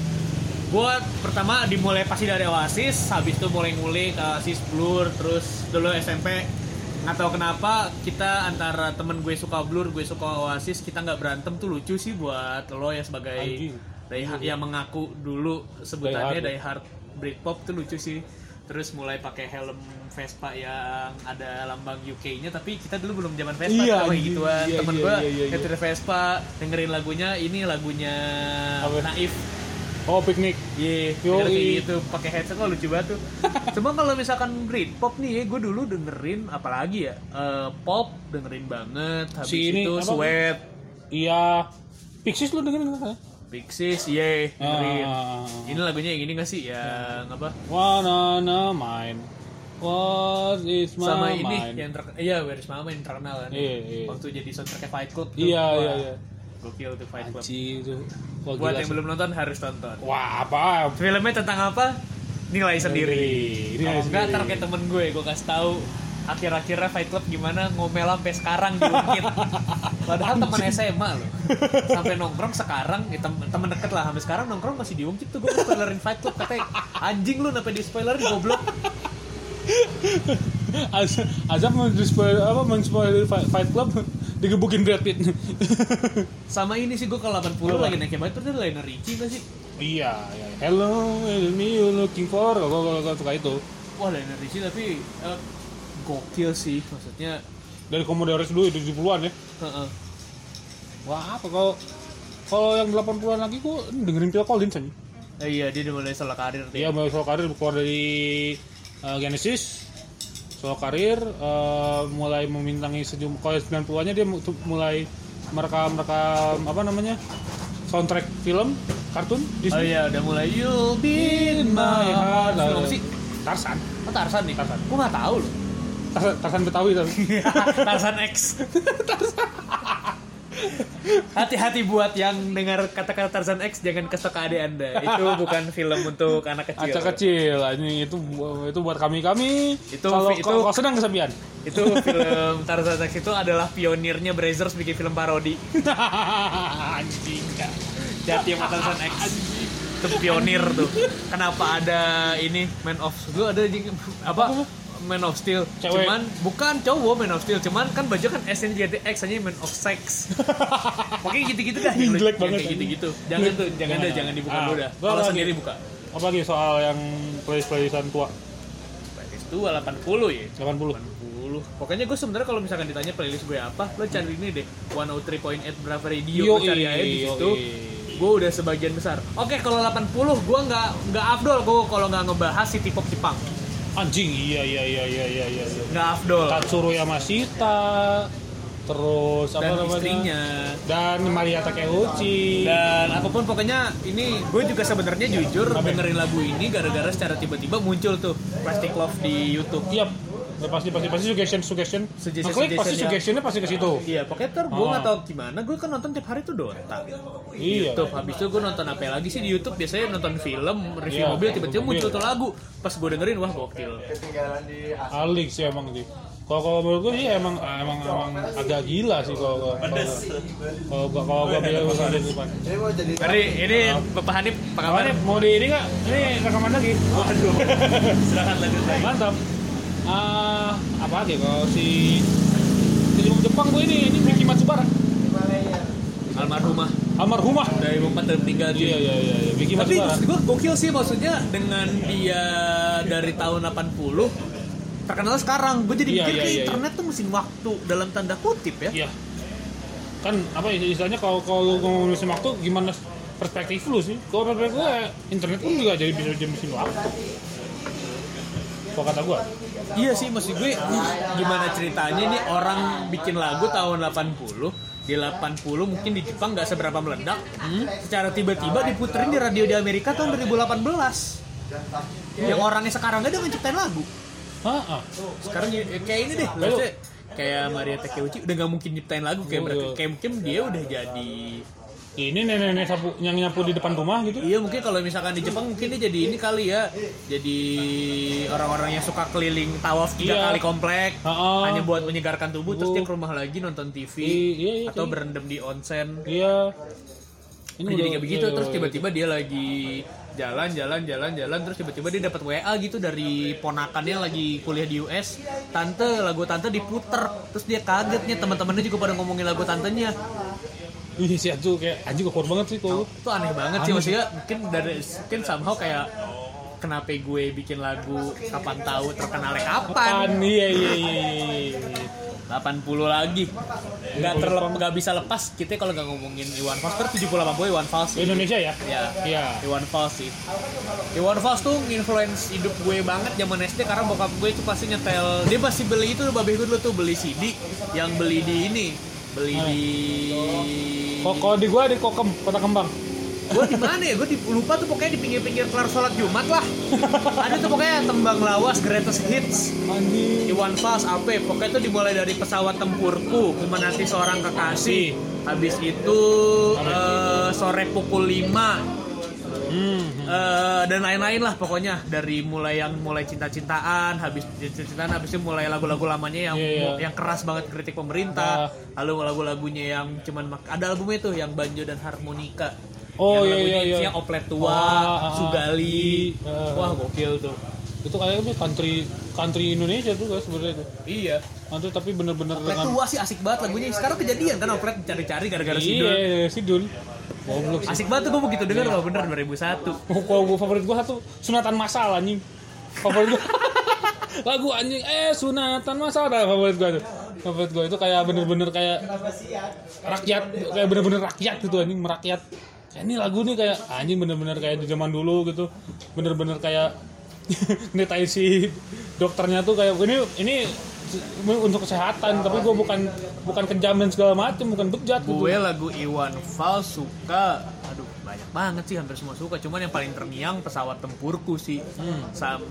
[SPEAKER 3] Gua pertama dimulai pasti dari Oasis, habis itu mulai ngulik ke Oasis Blur, terus dulu SMP nggak tahu kenapa kita antara temen gue suka Blur, gue suka Oasis, kita nggak berantem tuh lucu sih buat lo ya sebagai
[SPEAKER 1] Anjing. Iya.
[SPEAKER 3] die- yang mengaku dulu sebutannya
[SPEAKER 1] Die
[SPEAKER 3] die hard Britpop tuh lucu sih. Terus mulai pakai helm Vespa yang ada lambang UK-nya, tapi kita dulu belum zaman Vespa,
[SPEAKER 1] Iya,
[SPEAKER 3] kita pakai
[SPEAKER 1] anjing.
[SPEAKER 3] gituan.
[SPEAKER 1] Iya,
[SPEAKER 3] Temen
[SPEAKER 1] iya,
[SPEAKER 3] gue
[SPEAKER 1] iya, iya, iya.
[SPEAKER 3] nyetir Vespa, dengerin lagunya ini lagunya
[SPEAKER 1] Apa?
[SPEAKER 3] Naif.
[SPEAKER 1] oh piknik
[SPEAKER 3] Ye,
[SPEAKER 1] Yoi.
[SPEAKER 3] denger kayak gitu pakai headset kok lucu banget tuh. Cuma kalau misalkan Britpop nih ya, gue dulu dengerin apalagi ya eh, pop dengerin banget. Habis
[SPEAKER 1] Si ini,
[SPEAKER 3] itu
[SPEAKER 1] apa?
[SPEAKER 3] Sweat,
[SPEAKER 1] iya Pixies lu dengerin nggak?
[SPEAKER 3] Pixies, ye, iya, dengerin.
[SPEAKER 1] Ah.
[SPEAKER 3] Ini lagunya yang ini gak sih? Yang apa?
[SPEAKER 1] One on a mine What is my
[SPEAKER 3] Sama ini
[SPEAKER 1] mind?
[SPEAKER 3] yang ter iya Where's Mama yang terkenal kan.
[SPEAKER 1] Iya, iya.
[SPEAKER 3] Waktu jadi soundtracknya Fight Club. tuh.
[SPEAKER 1] Iya,
[SPEAKER 3] Wah,
[SPEAKER 1] iya, iya.
[SPEAKER 3] Gokil tuh Fight Club.
[SPEAKER 1] Anjir, tuh. Wah,
[SPEAKER 3] Buat
[SPEAKER 1] gila
[SPEAKER 3] yang
[SPEAKER 1] sih.
[SPEAKER 3] belum nonton harus tonton.
[SPEAKER 1] Wah, apa?
[SPEAKER 3] Filmnya tentang apa? Nilai sendiri.
[SPEAKER 1] Ini
[SPEAKER 3] Kalau
[SPEAKER 1] harus
[SPEAKER 3] enggak ntar
[SPEAKER 1] sendiri.
[SPEAKER 3] kayak temen gue, gue kasih tahu akhir-akhirnya Fight Club gimana ngomel sampai sekarang di Ungkit. Padahal temen SMA loh. Sampai nongkrong sekarang, ya tem- temen deket lah. Sampai sekarang nongkrong masih di Ungkit tuh gue spoilerin Fight Club katanya anjing lu kenapa di spoilerin goblok.
[SPEAKER 1] Az- Azab men-spoil apa men-spoil Fight Fight Club digebukin Brad Pitt.
[SPEAKER 3] Sama ini sih gue ke 80 lagi naik banget terus dia Lionel Richie gak sih?
[SPEAKER 1] iya, iya. Hello, it's me you looking for. Kalau kalau- kalau suka itu.
[SPEAKER 3] Wah Lionel Richie tapi eh, gokil sih maksudnya.
[SPEAKER 1] Dari Commodores dulu 70-an ya.
[SPEAKER 3] heeh.
[SPEAKER 1] Wah, apa kalau kalau yang 80-an lagi gua dengerin Phil Collins aja.
[SPEAKER 3] Eh, iya dia udah mulai solo karir
[SPEAKER 1] Dia
[SPEAKER 3] dia.
[SPEAKER 1] mulai solo Iya, karir keluar dari uh, Genesis solo karir uh, mulai memintangi sejumlah kalau 90-annya dia mu- tu- mulai merekam merekam apa namanya soundtrack film kartun
[SPEAKER 3] Oh
[SPEAKER 1] Disney.
[SPEAKER 3] iya udah mulai You'll be in
[SPEAKER 1] Iya,
[SPEAKER 3] my heart. Film apa sih?
[SPEAKER 1] Tarsan.
[SPEAKER 3] Oh, Tarsan nih.
[SPEAKER 1] Tarzan.
[SPEAKER 3] Gue nggak tahu loh.
[SPEAKER 1] Tarsan, Tarsan Betawi tapi.
[SPEAKER 3] Iya, Tarsan X. Hati-hati buat yang dengar kata-kata Tarzan X jangan kesel ke adik anda. Itu bukan film untuk anak kecil.
[SPEAKER 1] Acak kecil, ini itu itu buat kami kami.
[SPEAKER 3] iya. Itu-
[SPEAKER 1] kalau
[SPEAKER 3] itu-
[SPEAKER 1] kalau kalau sedang kesepian.
[SPEAKER 3] Itu film Tarzan X itu adalah pionirnya Brazers bikin film parodi.
[SPEAKER 1] Anjing.
[SPEAKER 3] Jati sama Tarzan X. itu pionir tuh kenapa ada ini Man of gue ada di- apa Man of Steel
[SPEAKER 1] Cewek.
[SPEAKER 3] cuman bukan cowok Man of Steel cuman kan baju kan SNGTX hanya Man of Sex pokoknya gitu-gitu dah
[SPEAKER 1] Ini jelek
[SPEAKER 3] Kayak
[SPEAKER 1] banget.
[SPEAKER 3] gitu-gitu jangan tuh jangan deh jangan dibuka
[SPEAKER 1] Ah,
[SPEAKER 3] dulu dah
[SPEAKER 1] gua
[SPEAKER 3] kalau
[SPEAKER 1] lagi.
[SPEAKER 3] sendiri buka
[SPEAKER 1] Apalagi soal yang playlist-playlistan tua
[SPEAKER 3] playlist tua 80 ya
[SPEAKER 1] 80.
[SPEAKER 3] 80 pokoknya gue sebenarnya kalau misalkan ditanya playlist gue apa lo cari ini deh 103.8 Brava Radio
[SPEAKER 1] Yo,
[SPEAKER 3] lo cari aja di
[SPEAKER 1] yo,
[SPEAKER 3] situ
[SPEAKER 1] yo.
[SPEAKER 3] gue udah sebagian besar oke kalau 80 gue nggak nggak afdol gue kalau nggak ngebahas city pop Jepang
[SPEAKER 1] Anjing, iya iya iya iya iya iya. iya.
[SPEAKER 3] nggak afdol
[SPEAKER 1] Katsuro Yamashita, terus apa
[SPEAKER 3] dan
[SPEAKER 1] namanya?
[SPEAKER 3] istrinya
[SPEAKER 1] Dan Maria Takeuchi.
[SPEAKER 3] dan apapun pokoknya ini gue juga sebenarnya jujur dengerin lagu ini gara-gara secara tiba-tiba muncul tuh Plastic Love di YouTube
[SPEAKER 1] Iya, pasti pasti pasti suggestion suggestion.
[SPEAKER 3] Suggestion,
[SPEAKER 1] Nah, klik pasti
[SPEAKER 3] suggestion, ya.
[SPEAKER 1] suggestionnya pasti ke situ.
[SPEAKER 3] Iya, pokoknya ntar gue
[SPEAKER 1] Ah.
[SPEAKER 3] nggak tahu gimana, gue kan nonton tiap hari tuh Dota.
[SPEAKER 1] Iya.
[SPEAKER 3] YouTube. gitu. Habis itu gue nonton apa lagi sih di YouTube? Biasanya nonton film, review
[SPEAKER 1] Iya,
[SPEAKER 3] mobil, tiba-tiba
[SPEAKER 1] mobil.
[SPEAKER 3] muncul tuh lagu. Pas gue dengerin, wah gokil.
[SPEAKER 1] Alik sih emang sih. Kalau kalau menurut gue sih emang emang emang agak gila sih kalau kalau- kalau kalau kalau gue bilang urusan di depan.
[SPEAKER 3] Tadi ini Bapak Hanif, apa kabar?
[SPEAKER 1] Kapan mau di ini nggak? Ini rekaman lagi. Waduh.
[SPEAKER 3] Silahkan lanjut lagi.
[SPEAKER 1] Mantap. Ah, apa lagi kalau si film Jepang gue ini ini Miki Matsubara.
[SPEAKER 3] Almarhumah
[SPEAKER 1] Almarhumah.
[SPEAKER 3] dari Bapak tertinggal
[SPEAKER 1] Iya iya iya iya. Miki
[SPEAKER 3] Tapi
[SPEAKER 1] Matsubara.
[SPEAKER 3] gue gokil sih maksudnya dengan dia dari tahun 80 terkenal sekarang gue jadi
[SPEAKER 1] Iya,
[SPEAKER 3] mikir
[SPEAKER 1] iya,
[SPEAKER 3] kayak
[SPEAKER 1] iya,
[SPEAKER 3] internet tuh mesin waktu dalam tanda kutip ya
[SPEAKER 1] Iya. Kan apa ya, istilahnya kalau kalau lu ngomong mesin waktu gimana perspektif lu sih? Kalau perspektif gue internet pun juga jadi bisa jadi mesin waktu. Kalau kata gue.
[SPEAKER 3] Iya sih maksud gue uh, gimana ceritanya nih orang bikin lagu tahun 80 di 80 mungkin di Jepang nggak seberapa meledak hmm, secara tiba-tiba diputerin di radio di Amerika tahun 2018 yang orangnya sekarang aja udah menciptain lagu
[SPEAKER 1] Ah, ah.
[SPEAKER 3] sekarang ya- ya kayak ini deh maksudnya kayak Maria Takeuchi udah nggak mungkin nyiptain lagu kayak berarti kayak mungkin dia udah jadi
[SPEAKER 1] Ini nenek-nenek sapu yang nyapu di depan rumah gitu.
[SPEAKER 3] Iya mungkin kalau misalkan di Jepang mungkin dia jadi ini kali ya jadi orang-orang yang suka keliling tawaf tiga
[SPEAKER 1] Iya.
[SPEAKER 3] kali komplek
[SPEAKER 1] Heeh.
[SPEAKER 3] hanya buat menyegarkan tubuh terus
[SPEAKER 1] Tubuh.
[SPEAKER 3] dia ke rumah lagi nonton TV
[SPEAKER 1] I- iya, iya, iya.
[SPEAKER 3] atau berendam di onsen
[SPEAKER 1] Iya.
[SPEAKER 3] Dia jadi
[SPEAKER 1] udah-
[SPEAKER 3] kayak begitu
[SPEAKER 1] iya,
[SPEAKER 3] terus
[SPEAKER 1] iya,
[SPEAKER 3] tiba-tiba dia lagi jalan jalan jalan jalan terus tiba-tiba dia dapat WA gitu dari ponakannya lagi kuliah di US tante lagu tante diputer terus dia kagetnya teman-temannya juga pada ngomongin lagu tantenya
[SPEAKER 1] iya. Ih, si Aju kayak anjing gua banget sih kalau. lu.
[SPEAKER 3] itu aneh banget sih
[SPEAKER 1] Aneh.
[SPEAKER 3] maksudnya mungkin dari mungkin somehow kayak kenapa gue bikin lagu kapan tahu terkenalnya kapan
[SPEAKER 1] Pan, iya iya iya. iya.
[SPEAKER 3] 80 lagi nggak terlep nggak bisa lepas kita kalau nggak ngomongin Iwan Fals kan 70 80 Iwan Fals
[SPEAKER 1] Di
[SPEAKER 3] sih.
[SPEAKER 1] Indonesia ya?
[SPEAKER 3] ya
[SPEAKER 1] Iya.
[SPEAKER 3] Iwan Fals sih Iwan Fals tuh influence hidup gue banget zaman SD karena bokap gue itu pasti nyetel dia pasti beli itu babeh gue dulu tuh beli CD yang beli di ini beli di Oh.
[SPEAKER 1] Kok kalau di gua di Kokem, Kota Kembang.
[SPEAKER 3] gue di mana ya gue di, lupa tuh pokoknya di pinggir-pinggir kelar sholat jumat lah ada tuh pokoknya tembang lawas greatest hits
[SPEAKER 1] Anjing.
[SPEAKER 3] Iwan Fals apa pokoknya tuh dimulai dari pesawat tempurku menanti seorang kekasih habis itu eh, sore pukul 5
[SPEAKER 1] Hmm.
[SPEAKER 3] Eh, dan lain-lain lah pokoknya dari mulai yang mulai cinta-cintaan habis cinta-cintaan habis itu mulai lagu-lagu lamanya yang
[SPEAKER 1] Iya, iya. Nah.
[SPEAKER 3] yang keras banget kritik pemerintah lalu lagu-lagunya yang cuman mak- ada albumnya tuh yang banjo dan harmonika
[SPEAKER 1] Oh,
[SPEAKER 3] yang
[SPEAKER 1] iya,
[SPEAKER 3] lagunya
[SPEAKER 1] iya, iya.
[SPEAKER 3] isinya oplet tua
[SPEAKER 1] Ah, ah,
[SPEAKER 3] sugali
[SPEAKER 1] iya.
[SPEAKER 3] wah gokil tuh
[SPEAKER 1] Itu kayaknya country country Indonesia tuh guys sebenarnya itu.
[SPEAKER 3] iya
[SPEAKER 1] Nanti tapi bener-bener
[SPEAKER 3] Oplet
[SPEAKER 1] dengan
[SPEAKER 3] tua sih asik banget lagunya. Sekarang kejadian kan Oplet dicari-cari gara-gara sidul.
[SPEAKER 1] Iya, Sidul. Goblok sih.
[SPEAKER 3] Asik banget tuh gue begitu denger loh
[SPEAKER 1] Iya.
[SPEAKER 3] bener 2001.
[SPEAKER 1] Kalau gue favorit gue satu sunatan masal anjing. Favorit gue lagu anjing eh sunatan masal dah favorit gue tuh. Favorit gue itu kayak bener-bener kayak
[SPEAKER 3] ya?
[SPEAKER 1] rakyat kayak bener-bener rakyat gitu anjing merakyat. Kayak ini lagu nih kayak ah, anjing bener-bener kayak di zaman dulu gitu. Bener-bener kayak netain si dokternya tuh kayak ini ini untuk kesehatan tapi gue bukan bukan kejam dan segala macem bukan bejat gitu.
[SPEAKER 3] Gue lagu Iwan Fals suka aduh banyak banget sih hampir semua suka cuman yang paling terngiang pesawat tempurku sih sama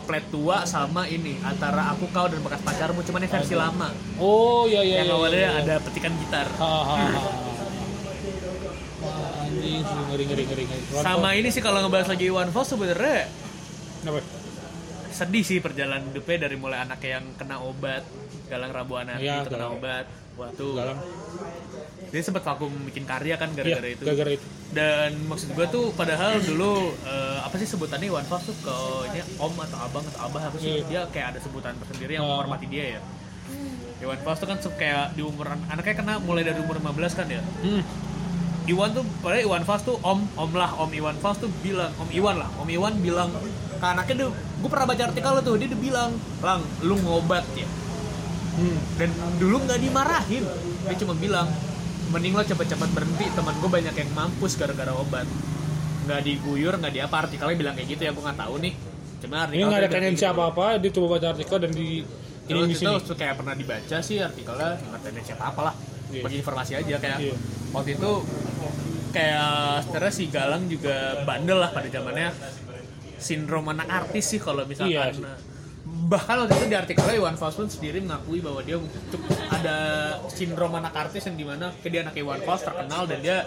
[SPEAKER 3] Oplet tua sama ini antara aku kau dan bekas pacarmu cuman yang versi lama
[SPEAKER 1] Oh iya iya.
[SPEAKER 3] yang
[SPEAKER 1] iya,
[SPEAKER 3] awalnya
[SPEAKER 1] iya.
[SPEAKER 3] ada petikan gitar
[SPEAKER 1] Hahaha. Wah, Anjing, sih, ngeri ngeri ngeri ngeri.
[SPEAKER 3] sama ini sih kalau ngebahas lagi Iwan Fals sebenernya
[SPEAKER 1] Apa?
[SPEAKER 3] sedih sih perjalanan hidupnya dari mulai anak yang kena obat galang rabuan hati
[SPEAKER 1] Iya,
[SPEAKER 3] kena
[SPEAKER 1] Galang.
[SPEAKER 3] obat waktu
[SPEAKER 1] Galang.
[SPEAKER 3] dia sempat vakum bikin karya kan
[SPEAKER 1] Iya,
[SPEAKER 3] gara-gara itu
[SPEAKER 1] gara-gara itu.
[SPEAKER 3] dan maksud gue tuh padahal dulu eh, apa sih sebutannya Iwan Fals tuh kayaknya om atau abang atau abah apa sih dia kayak ada sebutan tersendiri yang
[SPEAKER 1] Ah.
[SPEAKER 3] menghormati dia ya Iwan Fals tuh kan se- kayak di umuran anaknya kena mulai dari umur 15 kan ya
[SPEAKER 1] Hmm.
[SPEAKER 3] Iwan tuh padahal Iwan Fals tuh om om lah om Iwan Fals tuh bilang om Iwan lah om Iwan bilang ke anaknya tuh gue pernah baca artikel lo tuh dia udah bilang lang lu ngobat ya
[SPEAKER 1] Hmm.
[SPEAKER 3] dan dulu nggak dimarahin dia cuma bilang mending lo cepet-cepet berhenti teman gue banyak yang mampus gara-gara obat nggak diguyur nggak di apa artikelnya bilang kayak gitu ya gue nggak tahu nih
[SPEAKER 1] Ini
[SPEAKER 3] cuma artikel
[SPEAKER 1] nggak ada
[SPEAKER 3] tuh
[SPEAKER 1] kalian
[SPEAKER 3] bilang
[SPEAKER 1] siapa apa, dia coba baca artikel dan di
[SPEAKER 3] gitu.
[SPEAKER 1] ini
[SPEAKER 3] terus
[SPEAKER 1] di
[SPEAKER 3] itu
[SPEAKER 1] sini.
[SPEAKER 3] kayak pernah dibaca sih artikelnya nggak tendensi apa apalah
[SPEAKER 1] Iya.
[SPEAKER 3] bagi informasi aja kayak
[SPEAKER 1] Iya.
[SPEAKER 3] waktu itu kayak sebenarnya si Galang juga bandel lah pada zamannya sindrom anak artis sih kalau misalkan
[SPEAKER 1] Iya sih.
[SPEAKER 3] eh, bahkan waktu itu di artikelnya Iwan Fals pun sendiri mengakui bahwa dia cukup ada sindrom anak artis yang dimana ke dia anak Iwan Fals terkenal dan dia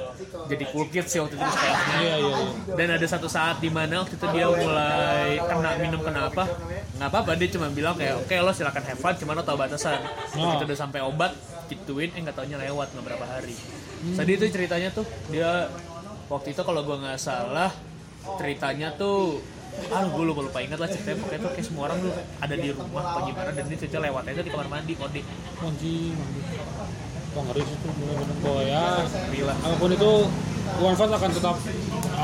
[SPEAKER 3] jadi cool kids sih waktu itu di sekolahnya
[SPEAKER 1] Iya, iya, iya.
[SPEAKER 3] dan ada satu saat di mana waktu itu dia mulai kena minum kenapa nggak apa-apa dia cuma bilang kayak oke lo silakan have fun cuman lo tau batasan
[SPEAKER 1] Oh.
[SPEAKER 3] begitu udah sampai obat gituin eh nggak taunya lewat nggak berapa hari tadi itu ceritanya tuh dia waktu itu kalau gue nggak salah ceritanya tuh ah gue lupa lupa ingat lah ceritanya pokoknya tuh kayak semua orang tuh ada di rumah apa gimana dan dia cerita lewatnya itu di kamar mandi kode
[SPEAKER 1] Anjing, anjing. Wah ngeri sih itu bener-bener Wah, ya.
[SPEAKER 3] Gila.
[SPEAKER 1] Apapun itu, Iwan Fals akan tetap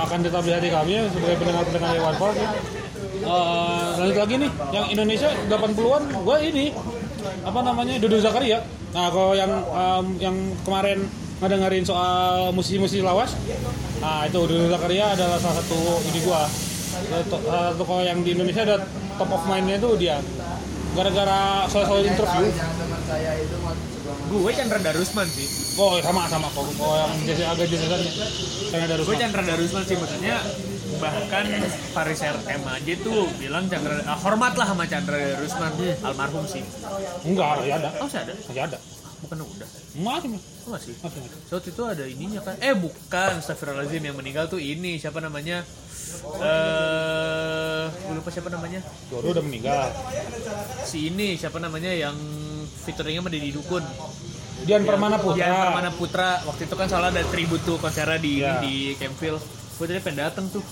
[SPEAKER 1] akan tetap di hati kami ya, sebagai pendengar-pendengar Iwan Fals. Ya. Eh, lanjut lagi nih, yang Indonesia 80-an, gue ini apa namanya Dodo Zakaria. Nah kalau yang em, yang kemarin ngedengerin soal musisi-musisi lawas, nah itu Dodo Zakaria adalah salah satu ini gue. Salah satu kalau yang di Indonesia ada top of mind-nya tuh dia. Gara-gara soal-soal interview,
[SPEAKER 3] gue Chandra Darusman sih
[SPEAKER 1] Oh sama sama kok. Oh yang jasa agak jasatannya. Karena ada
[SPEAKER 3] gue
[SPEAKER 1] rusak.
[SPEAKER 3] Chandra Darusman sih maksudnya bahkan Faris RM aja tuh bilang Chandra ah, hormatlah sama Chandra Darusman
[SPEAKER 1] Hmm.
[SPEAKER 3] almarhum sih
[SPEAKER 1] Enggak, masih ada.
[SPEAKER 3] oh masih ada
[SPEAKER 1] Masih ada.
[SPEAKER 3] bukan udah
[SPEAKER 1] Masih
[SPEAKER 3] oh, masih
[SPEAKER 1] masih ada.
[SPEAKER 3] So, waktu itu ada ininya kan eh bukan Astagfirullahaladzim yang meninggal tuh ini siapa namanya eh gue lupa siapa namanya
[SPEAKER 1] Dodo udah meninggal.
[SPEAKER 3] si ini siapa namanya yang featuringnya sama Deddy Dukun
[SPEAKER 1] Dian Permana Putra.
[SPEAKER 3] Dian Permana Putra waktu itu kan soalnya ada tribute tuh konsernya di
[SPEAKER 1] Iya.
[SPEAKER 3] di Campfield gue tadi pengen dateng tuh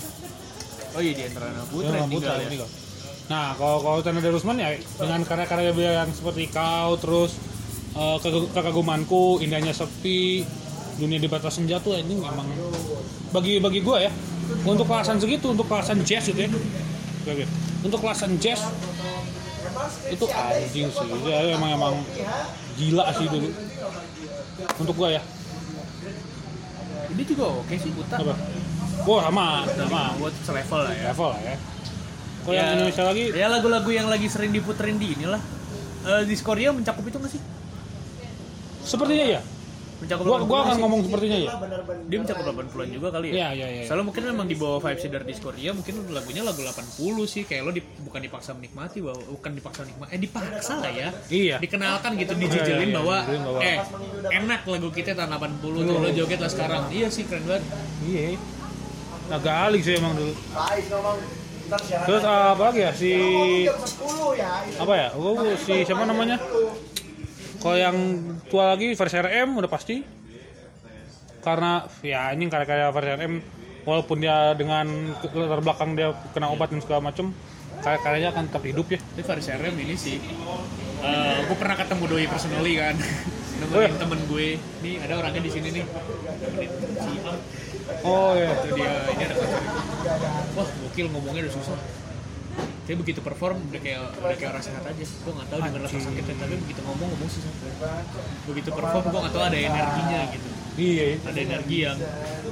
[SPEAKER 3] oh iya Dian Permana
[SPEAKER 1] Dian
[SPEAKER 3] Putra
[SPEAKER 1] Permana
[SPEAKER 3] yang tinggal
[SPEAKER 1] Putra,
[SPEAKER 3] ya
[SPEAKER 1] meninggal. Nah, kalau kalau Tanda Darusman ya dengan karya-karya beliau yang seperti kau terus eh, Keg- kekagumanku, indahnya sepi, dunia di batas senja tuh ini memang bagi bagi gua ya untuk kelasan segitu untuk kelasan jazz gitu ya Oke, oke. untuk kelasan jazz itu anjing sih ya, emang emang gila sih dulu untuk gua ya
[SPEAKER 3] ini juga oke sih Putra
[SPEAKER 1] apa wah sama sama
[SPEAKER 3] nah, gue selevel lah ya
[SPEAKER 1] level lah ya kalau yang Indonesia lagi
[SPEAKER 3] ya lagu-lagu yang lagi sering diputerin di inilah Eh di Korea mencakup itu nggak sih
[SPEAKER 1] sepertinya ya
[SPEAKER 3] mencakup
[SPEAKER 1] gua gua
[SPEAKER 3] 80-an
[SPEAKER 1] akan
[SPEAKER 3] sih.
[SPEAKER 1] ngomong sepertinya ya
[SPEAKER 3] dia mencakup 80-an juga kali ya.
[SPEAKER 1] Iya, iya, iya.
[SPEAKER 3] Soalnya mungkin memang di bawah vibes dari Discord ya, mungkin lagunya lagu 80 sih kayak lo di- bukan dipaksa menikmati bahwa bukan dipaksa menikmati eh dipaksa lah ya.
[SPEAKER 1] Iya.
[SPEAKER 3] Dikenalkan gitu
[SPEAKER 1] Iya, iya,
[SPEAKER 3] dijejelin
[SPEAKER 1] iya,
[SPEAKER 3] bahwa
[SPEAKER 1] dijejelin bahwa-
[SPEAKER 3] eh enak lagu kita tahun 80 tuh lo joget lah sekarang. Iya sih keren banget.
[SPEAKER 1] Iya. Agak alik sih emang dulu. Terus apa lagi ya si apa ya? Oh, si siapa namanya? Kalau yang tua lagi versi RM udah pasti. Karena ya ini karya-karya versi RM walaupun dia dengan ke- latar belakang dia kena obat dan segala macem karya-karyanya akan tetap hidup ya.
[SPEAKER 3] Tapi Faris RM ini sih eh gue pernah ketemu doi personally kan.
[SPEAKER 1] Oh
[SPEAKER 3] Nemenin
[SPEAKER 1] iya.
[SPEAKER 3] temen gue. Nih ada orangnya di sini nih. Nemenin si Am.
[SPEAKER 1] Oh iya.
[SPEAKER 3] Itu dia ini ada pacar. Wah, gokil ngomongnya udah susah. Tapi begitu perform udah kayak udah kayak orang sehat aja. Gue nggak tahu di mana rasa sakitnya, tapi begitu ngomong ngomong susah. Begitu perform gue nggak tahu ada energinya gitu.
[SPEAKER 1] Iya. iya.
[SPEAKER 3] Ada energi yang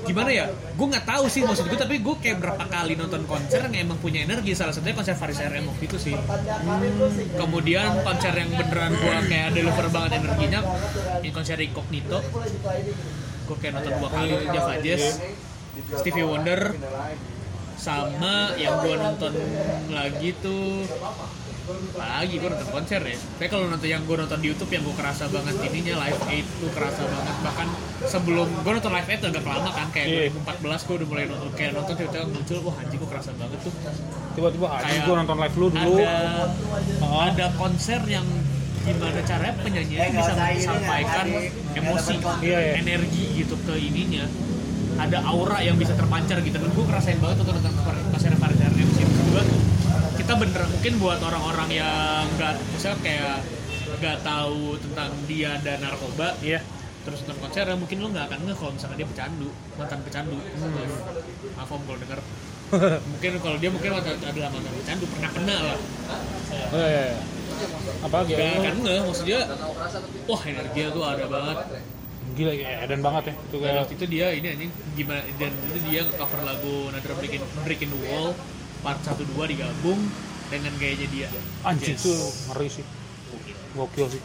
[SPEAKER 3] gimana ya? Gue nggak tahu sih maksud gue, tapi gue kayak berapa kali nonton konser yang emang punya energi. Salah satunya konser Faris RM waktu itu sih. Hmm, Kemudian konser yang beneran gue kayak deliver banget energinya, yang konser Incognito. Gue kayak nonton dua kali Java Jazz, Stevie Wonder, sama yang gue nonton lagi tuh Apalagi gue nonton konser ya. Tapi kalau nonton yang gue nonton di YouTube yang gue kerasa banget ininya Live Aid tuh kerasa banget. Bahkan sebelum gue nonton Live Aid tuh agak lama kan
[SPEAKER 1] Iya.
[SPEAKER 3] kayak 2014 gue udah mulai nonton kayak nonton tiba-tiba muncul wah anjing gue kerasa banget tuh.
[SPEAKER 1] Tiba-tiba anjing
[SPEAKER 3] Kayak
[SPEAKER 1] gue nonton live lu dulu.
[SPEAKER 3] Ada ada konser yang gimana caranya penyanyi itu bisa menyampaikan emosi,
[SPEAKER 1] Iya, iya.
[SPEAKER 3] energi gitu ke ininya. Ada aura yang bisa terpancar gitu. Dan gue ngerasain banget tuh nonton konser Farid Arnhem sih. Maksud gua, kita bener mungkin buat orang-orang yang nggak misalnya kayak nggak tahu tentang dia dan narkoba
[SPEAKER 1] Iya.
[SPEAKER 3] terus nonton konser ya mungkin lo nggak akan nge kalau misalkan dia pecandu mantan pecandu
[SPEAKER 1] Hmm.
[SPEAKER 3] maaf om kalau denger mungkin kalau dia mungkin waktu itu adalah mantan pecandu pernah kena lah
[SPEAKER 1] Iya, iya, iya. Apalagi ya?
[SPEAKER 3] nggak akan nge maksudnya wah energi gue ada banget
[SPEAKER 1] Gila ya, edan banget ya. Itu
[SPEAKER 3] dan
[SPEAKER 1] kayak
[SPEAKER 3] waktu itu dia ini anjing gimana dan itu dia cover lagu Another Break in, Break in the Wall part 1 2 digabung dengan gayanya dia
[SPEAKER 1] anjing
[SPEAKER 3] Yes.
[SPEAKER 1] tuh ngeri sih. Gokil sih.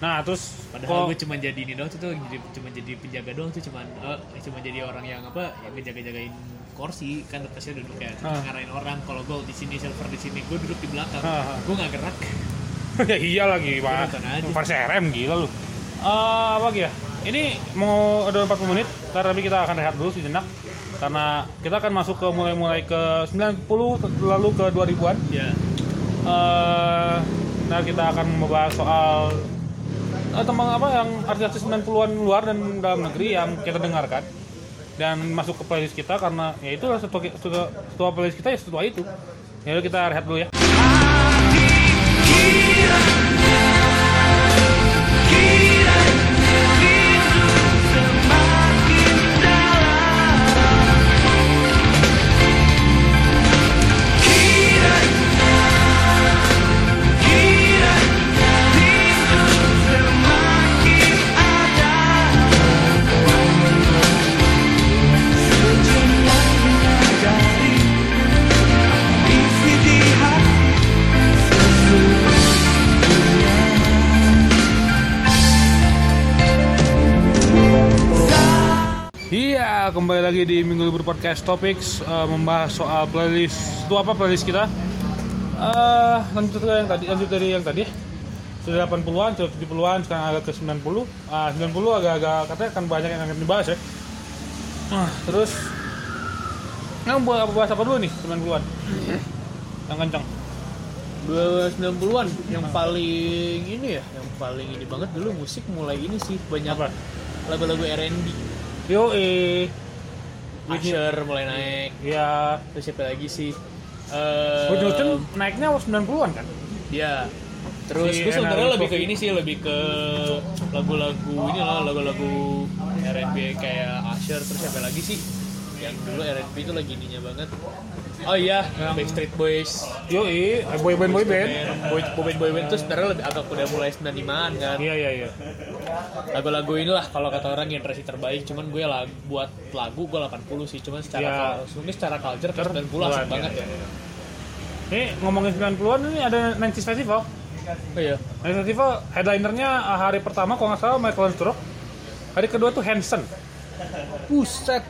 [SPEAKER 1] Nah, terus
[SPEAKER 3] Padahal
[SPEAKER 1] kok-
[SPEAKER 3] gue cuma jadi ini doang tuh, tuh jadi, cuma jadi penjaga doang tuh cuman eh, cuma jadi orang yang apa yang ngejaga-jagain kursi kan atasnya duduk ya
[SPEAKER 1] Ah.
[SPEAKER 3] ngarahin orang kalau gold di sini silver di sini gue duduk di belakang
[SPEAKER 1] Ah, ah.
[SPEAKER 3] gue nggak gerak
[SPEAKER 1] ya iya lagi pak
[SPEAKER 3] nonton aja.
[SPEAKER 1] Versi RM gila lu Eh, apa lagi ya ini mau ada 40 menit ntar tapi kita akan rehat dulu sejenak karena kita akan masuk ke mulai-mulai ke 90 lalu ke 2000-an
[SPEAKER 3] ya
[SPEAKER 1] Eh, nah kita akan membahas soal eh, tentang apa yang artis-artis 90-an luar dan dalam negeri yang kita dengarkan dan masuk ke playlist kita karena ya itu setua, setua, setua playlist kita ya setua itu ya udah kita rehat dulu ya
[SPEAKER 5] Isi di hati
[SPEAKER 1] Iya, kembali lagi di Minggu Libur Podcast Topics eh, membahas soal playlist itu apa playlist kita? Eh, lanjut dari yang tadi, lanjut dari yang tadi. Sudah 80-an, sudah 70-an, sekarang agak ke 90. Ah, 90 agak-agak katanya akan banyak yang akan dibahas ya. Ah, terus yang buat apa bahas apa dulu nih 90-an? Yang kencang.
[SPEAKER 3] 1990-an yang paling ini ya yang paling ini banget dulu musik mulai ini sih banyak
[SPEAKER 1] Apa?
[SPEAKER 3] lagu-lagu R&B
[SPEAKER 1] Yo eh
[SPEAKER 3] Usher mulai naik
[SPEAKER 1] ya
[SPEAKER 3] terus siapa lagi sih Eh,
[SPEAKER 1] Whitney Houston Eh, naiknya 90-an kan?
[SPEAKER 3] Ya. Terus
[SPEAKER 1] Si
[SPEAKER 3] gue
[SPEAKER 1] Enel
[SPEAKER 3] sebenarnya lebih ke
[SPEAKER 1] Coffee.
[SPEAKER 3] ini sih, lebih ke lagu-lagu ini lah, lagu-lagu R&B kayak Usher terus siapa lagi sih? Yang dulu R&B itu lagi ininya banget. Oh iya, Backstreet Boys.
[SPEAKER 1] Yo eh boy band boy band.
[SPEAKER 3] Boy boy band boy band itu sebenarnya lebih agak udah mulai 95-an kan.
[SPEAKER 1] Iya iya iya.
[SPEAKER 3] Lagu-lagu inilah kalau kata orang generasi terbaik, cuman gue lah buat lagu gue 80 sih, cuman secara
[SPEAKER 1] Iya.
[SPEAKER 3] kal- mungkin secara culture ke 90 asik
[SPEAKER 1] Iya,
[SPEAKER 3] banget
[SPEAKER 1] iya,
[SPEAKER 3] ya.
[SPEAKER 1] iya. Ini ngomongin 90-an ini ada 90s Festival.
[SPEAKER 3] Oh iya.
[SPEAKER 1] 90s Festival headlinernya ah, hari pertama kalau nggak salah Michael Stroke. Hari kedua tuh Hanson.
[SPEAKER 3] Pusat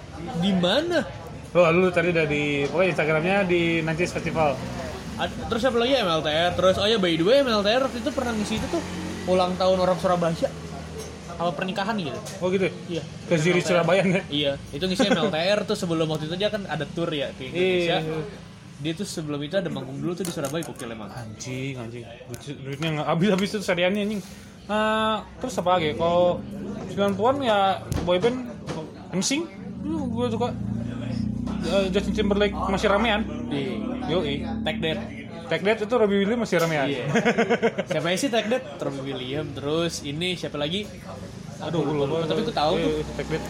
[SPEAKER 3] di mana?
[SPEAKER 1] Loh, lu tadi dari pokoknya Instagramnya di 90s Festival.
[SPEAKER 3] Ad- terus apa lagi MLTR terus oh ya by the way MLTR waktu itu pernah ngisi itu tuh ulang tahun orang Surabaya apa pernikahan gitu
[SPEAKER 1] Oh gitu. ya?
[SPEAKER 3] iya
[SPEAKER 1] Ke Ziri Surabaya ya.
[SPEAKER 3] iya itu ngisi MLTR tuh sebelum waktu itu dia kan ada tour ya ke Indonesia
[SPEAKER 1] Iya.
[SPEAKER 3] dia tuh sebelum itu ada manggung dulu tuh di Surabaya gokil emang
[SPEAKER 1] Anjing, anjing. Duit- Duitnya nggak habis-habis tuh seriannya anjing. Nah, terus apa lagi? Kalau 90-an ya boyband MSing. Lu gue suka Eh, Justin Timberlake masih ramean.
[SPEAKER 3] di
[SPEAKER 1] Yoi.
[SPEAKER 3] Take That
[SPEAKER 1] Tech Dead itu Robbie Williams masih ramean.
[SPEAKER 3] iya siapa sih Take That Robbie William terus ini siapa lagi
[SPEAKER 1] Aduh, gue lupa.
[SPEAKER 3] Oh, tapi gue tahu tuh
[SPEAKER 1] Iya, Tech Dead.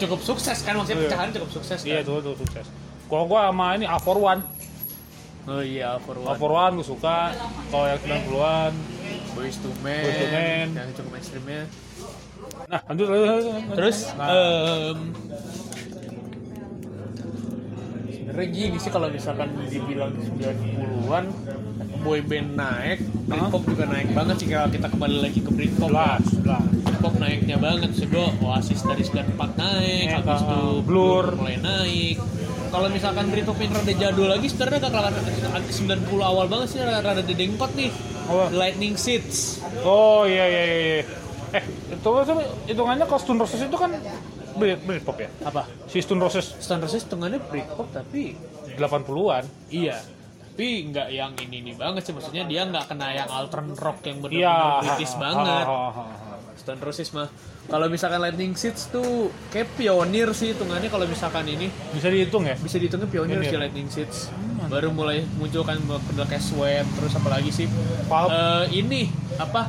[SPEAKER 3] cukup sukses kan
[SPEAKER 1] Iya.
[SPEAKER 3] maksudnya pecahan cukup sukses kan?
[SPEAKER 1] Iya, tuh, tuh, sukses. Kalau gua sama ini A41 One.
[SPEAKER 3] oh iya for
[SPEAKER 1] A41
[SPEAKER 3] one
[SPEAKER 1] gue suka. Kalau yang 90-an.
[SPEAKER 3] Boys to Men
[SPEAKER 1] Boyz II Men.
[SPEAKER 3] yang cukup mainstreamnya
[SPEAKER 1] Nah, lanjut. lanjut, lanjut.
[SPEAKER 3] Terus
[SPEAKER 1] Nah.
[SPEAKER 3] em, sebenarnya gini sih kalau misalkan dibilang 90-an boy band naik, Britpop juga naik banget sih kalau kita kembali lagi ke Britpop. ya.
[SPEAKER 1] 11, 11.
[SPEAKER 3] Britpop naiknya banget sih gua Oasis dari 94 naik,
[SPEAKER 1] Naik,
[SPEAKER 3] habis itu
[SPEAKER 1] uh, Blur.
[SPEAKER 3] mulai naik. kalau misalkan Britpop ini rada jadul lagi sebenarnya gak kelamaan 90 awal banget sih rada, rada dedengkot nih
[SPEAKER 1] Apa?
[SPEAKER 3] Lightning Seeds
[SPEAKER 1] Oh iya iya iya. iya. Eh, itu itu hitungannya kalau Stone Roses itu kan Brit Britpop ya.
[SPEAKER 3] apa?
[SPEAKER 1] Si Stone Roses
[SPEAKER 3] Stone Roses setengahnya Britpop tapi
[SPEAKER 1] 80-an.
[SPEAKER 3] iya tapi nggak yang ini ini banget sih maksudnya dia nggak kena yang altern rock yang
[SPEAKER 1] Iya. Oh.
[SPEAKER 3] benar-benar British banget
[SPEAKER 1] Ha, ha, ha, ha.
[SPEAKER 3] Stone Roses mah kalau misalkan Lightning Seeds tuh kayak pionir sih hitungannya kalau misalkan ini
[SPEAKER 1] Bisa dihitung ya?
[SPEAKER 3] bisa dihitungnya
[SPEAKER 1] Pionir.
[SPEAKER 3] pionir
[SPEAKER 1] Hmm.
[SPEAKER 3] sih Lightning Seeds baru mulai muncul kan pedal kayak Sweat terus apa lagi sih
[SPEAKER 1] Pulp.
[SPEAKER 3] Eh, ini apa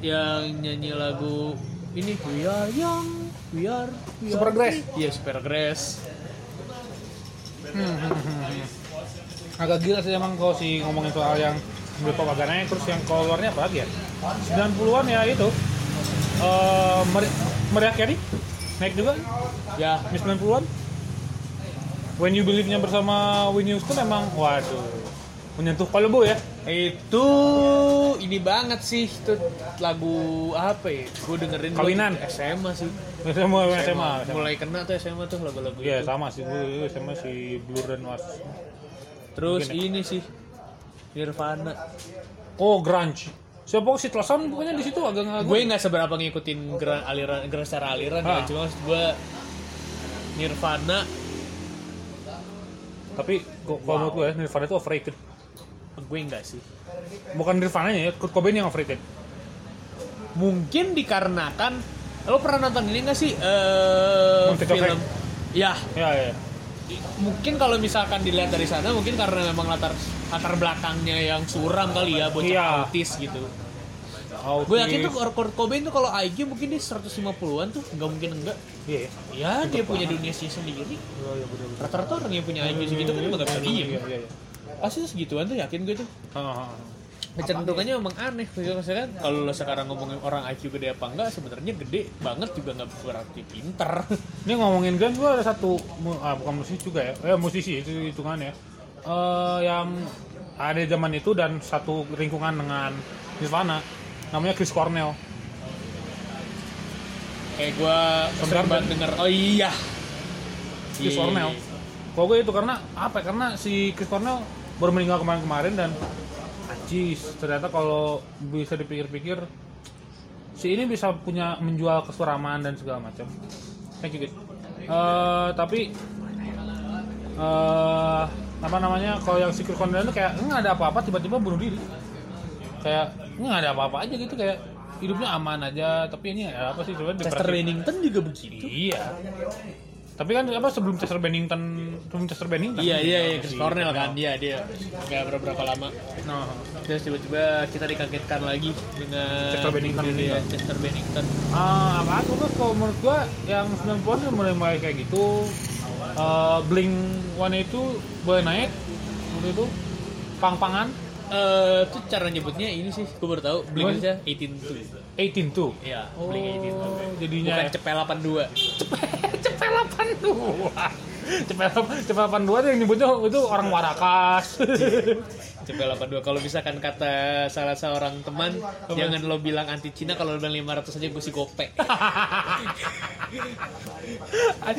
[SPEAKER 3] yang nyanyi lagu ini We Are Young We Are, we are
[SPEAKER 1] Supergrass.
[SPEAKER 3] free. iya Supergrass
[SPEAKER 1] Agak gila sih emang kalau si ngomongin soal yang Britpop agak naik terus yang kalau luarnya apa lagi ya? 90-an ya itu. Eh Mar- Mariah Carey naik juga
[SPEAKER 3] ya
[SPEAKER 1] di 90-an. When You Believe-nya bersama Whitney Houston emang waduh menyentuh Palebo ya.
[SPEAKER 3] itu ini banget sih itu lagu apa ya gue dengerin gua
[SPEAKER 1] Kawinan.
[SPEAKER 3] SMA sih
[SPEAKER 1] Sama sama SMA.
[SPEAKER 3] mulai kena tuh SMA tuh lagu-lagu
[SPEAKER 1] Iya
[SPEAKER 3] itu.
[SPEAKER 1] sama sih gue sama si Blur dan Was.
[SPEAKER 3] terus
[SPEAKER 1] Mungkin ya.
[SPEAKER 3] ini sih Nirvana
[SPEAKER 1] Oh grunge. Siapa si Tlason pokoknya di situ agak nggak
[SPEAKER 3] gue nggak seberapa ngikutin geran aliran geran secara aliran
[SPEAKER 1] Ah.
[SPEAKER 3] ya cuma maksud gue Nirvana
[SPEAKER 1] Tapi kok kalau menurut gue ya, Nirvana itu overrated.
[SPEAKER 3] gue enggak sih
[SPEAKER 1] Bukan Nirvana ya, Kurt Cobain yang overrated.
[SPEAKER 3] mungkin dikarenakan lo pernah nonton ini nggak sih eh
[SPEAKER 1] Monty Python.
[SPEAKER 3] film ya
[SPEAKER 1] Ya ya.
[SPEAKER 3] i- mungkin kalau misalkan dilihat dari sana mungkin karena memang latar latar belakangnya yang suram kali ya bocah
[SPEAKER 1] Iya.
[SPEAKER 3] autis gitu
[SPEAKER 1] Oh,
[SPEAKER 3] gue yakin tuh Kurt Cobain tuh kalau IG mungkin dia 150-an tuh nggak mungkin enggak
[SPEAKER 1] Iya. ya.
[SPEAKER 3] ya dia punya dunia sendiri
[SPEAKER 1] Iya iya benar.
[SPEAKER 3] rata-rata orang yang punya IG segitu kan emang nggak bisa diem
[SPEAKER 1] Hmm, Iya iya. iya.
[SPEAKER 3] pasti segituan tuh yakin gue tuh
[SPEAKER 1] Ha, ha, ha.
[SPEAKER 3] kecenderungannya memang aneh maksudnya kan kalau lo sekarang ngomongin orang IQ gede apa enggak sebenarnya gede banget juga nggak berarti pinter
[SPEAKER 1] Ini ngomongin Guns gue ada satu mu- ah, bukan musisi juga ya. Eh musisi itu hitungannya. ya. Eh yang ada zaman itu dan satu lingkungan dengan Nirvana namanya Chris Cornell.
[SPEAKER 3] kayak gue
[SPEAKER 1] Sebentar,
[SPEAKER 3] sering banget denger oh iya
[SPEAKER 1] Chris
[SPEAKER 3] Iya.
[SPEAKER 1] Cornell. Kalau gue itu karena apa? ya? Karena si Chris Cornell baru meninggal kemarin-kemarin dan anjis ternyata kalau bisa dipikir-pikir si ini bisa punya menjual keseramaan dan segala macam. Thank you guys. Eh, tapi eh apa namanya kalau yang si Chris Cornell itu kayak nggak ada apa-apa tiba-tiba bunuh diri kayak nggak ada apa-apa aja gitu kayak hidupnya aman aja tapi ini ada apa sih sebenarnya
[SPEAKER 3] Chester
[SPEAKER 1] depresi.
[SPEAKER 3] Bennington juga begitu
[SPEAKER 1] Iya. Tapi kan apa sebelum Chester Bennington, sebelum Chester Bennington.
[SPEAKER 3] iya iya iya Chris Cornell kan iya dia nggak berapa lama
[SPEAKER 1] Nah,
[SPEAKER 3] terus tiba-tiba kita dikagetkan lagi dengan
[SPEAKER 1] Chester Bennington
[SPEAKER 3] iya,
[SPEAKER 1] meninggal.
[SPEAKER 3] Chester Bennington
[SPEAKER 1] ah, apa aku kan kalau menurut gua yang 90-an udah mulai mulai kayak gitu. Eh Blink One itu boleh naik menurut itu pang-pangan
[SPEAKER 3] Eh, itu cara nyebutnya ini sih gue baru tahu Blink aja 18 tuh
[SPEAKER 1] 18 tuh.
[SPEAKER 3] iya Blink 18 tuh
[SPEAKER 1] jadinya
[SPEAKER 3] bukan cepel 82
[SPEAKER 1] cepet 82. cepet cepet 82 tuh yang nyebutnya itu orang warakas.
[SPEAKER 3] Cepet 82 kalau misalkan kata salah seorang teman jangan lo bilang anti Cina kalau lo bilang 500 aja gue si gope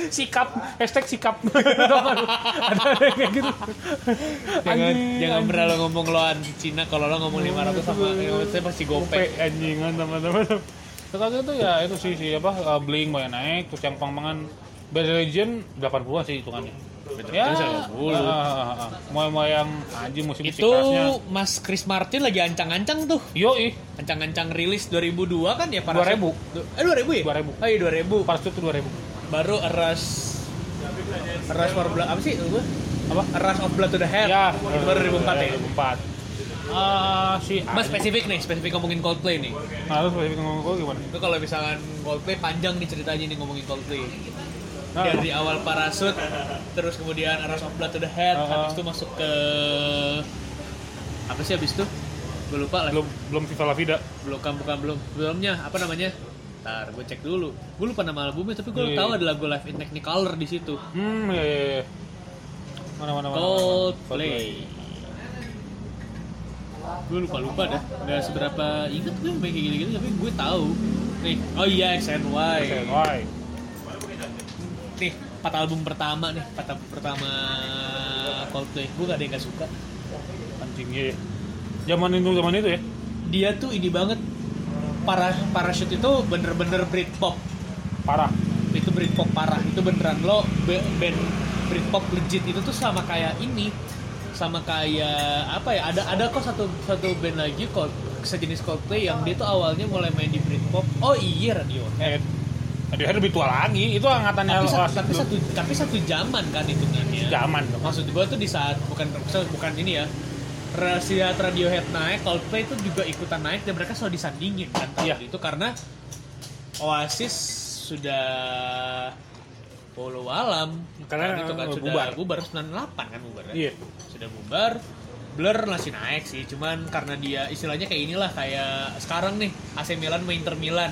[SPEAKER 1] sikap hashtag sikap ada yang kayak gitu
[SPEAKER 3] jangan
[SPEAKER 1] Anjing,
[SPEAKER 3] jangan
[SPEAKER 1] anjing.
[SPEAKER 3] pernah lo ngomong lo anti Cina kalau lo ngomong 500 sama saya pasti
[SPEAKER 1] gope
[SPEAKER 3] Oh, gope
[SPEAKER 1] anjingan teman-teman terus itu ya itu sih si apa uh, bling banyak naik terus yang pangpangan Bad Religion 80-an sih hitungannya ya
[SPEAKER 3] Religion 80.
[SPEAKER 1] mau mau ah. yang anjing musik-musik
[SPEAKER 3] itu
[SPEAKER 1] kerasnya
[SPEAKER 3] Mas Chris Martin lagi ancang-ancang tuh
[SPEAKER 1] yo ih
[SPEAKER 3] ancang-ancang rilis 2002 kan
[SPEAKER 1] 2000.
[SPEAKER 3] ya eh 2000 ya
[SPEAKER 1] 2000.
[SPEAKER 3] oh iya 2000
[SPEAKER 1] Parachute itu 2000
[SPEAKER 3] baru eras eras for blood apa sih Apa?
[SPEAKER 1] Apa?
[SPEAKER 3] eras of blood to the head
[SPEAKER 1] ya
[SPEAKER 3] itu baru 2004 ya
[SPEAKER 1] 2004 Ah, si
[SPEAKER 3] Mas spesifik nih, spesifik ngomongin Coldplay nih.
[SPEAKER 1] nah lu spesifik ngomong gua gimana
[SPEAKER 3] Itu kalau misalkan Coldplay panjang nih ceritanya nih ngomongin Coldplay.
[SPEAKER 1] Nah.
[SPEAKER 3] Dari awal parasut, terus kemudian Arras of Blood to the Head,
[SPEAKER 1] Uh-huh.
[SPEAKER 3] habis itu masuk ke apa sih habis itu? Gue lupa lah.
[SPEAKER 1] belum belum Viva La Vida
[SPEAKER 3] Belum kan bukan belum. Belumnya apa namanya? Ntar gue cek dulu. Gue lupa nama albumnya, tapi
[SPEAKER 1] Iya,
[SPEAKER 3] gue tahu
[SPEAKER 1] iya.
[SPEAKER 3] ada lagu Live in Technicolor di situ.
[SPEAKER 1] hmm ya ya ya mana mana mana, mana
[SPEAKER 3] Coldplay. Gue lupa lupa dah. Gak seberapa inget gue main kayak gini-gini, tapi gue tahu. Nih, oh iya X and Y.
[SPEAKER 1] Why?
[SPEAKER 3] Nih, empat album pertama nih empat album pertama Coldplay gue gak ada yang gak suka
[SPEAKER 1] anjing iya. Zaman itu zaman itu ya.
[SPEAKER 3] dia tuh ini banget para parachute itu bener-bener Britpop
[SPEAKER 1] Parah.
[SPEAKER 3] itu Britpop parah itu beneran lo be- band Britpop legit itu tuh sama kayak ini sama kayak apa ya ada ada kok satu satu band lagi kok sejenis Coldplay yang dia tuh awalnya mulai main di Britpop oh iya Radiohead
[SPEAKER 1] Radiohead lebih tua lagi. Itu angkatannya
[SPEAKER 3] tapi satu,
[SPEAKER 1] kelas
[SPEAKER 3] tapi
[SPEAKER 1] dua-
[SPEAKER 3] satu tapi satu zaman kan hitungannya
[SPEAKER 1] zaman dong.
[SPEAKER 3] gitu. maksud gue tuh di saat bukan bukan ini ya Rahasia Radiohead naik, Coldplay itu juga ikutan naik dan mereka selalu disandingin kan tahun
[SPEAKER 1] Iya.
[SPEAKER 3] itu karena Oasis sudah Polo alam
[SPEAKER 1] Karena
[SPEAKER 3] Saat itu kan sudah
[SPEAKER 1] bubar.
[SPEAKER 3] bubar 98 kan bubar ya?
[SPEAKER 1] Iya.
[SPEAKER 3] sudah bubar Blur masih naik sih, cuman karena dia istilahnya kayak inilah kayak sekarang nih AC Milan sama Inter Milan.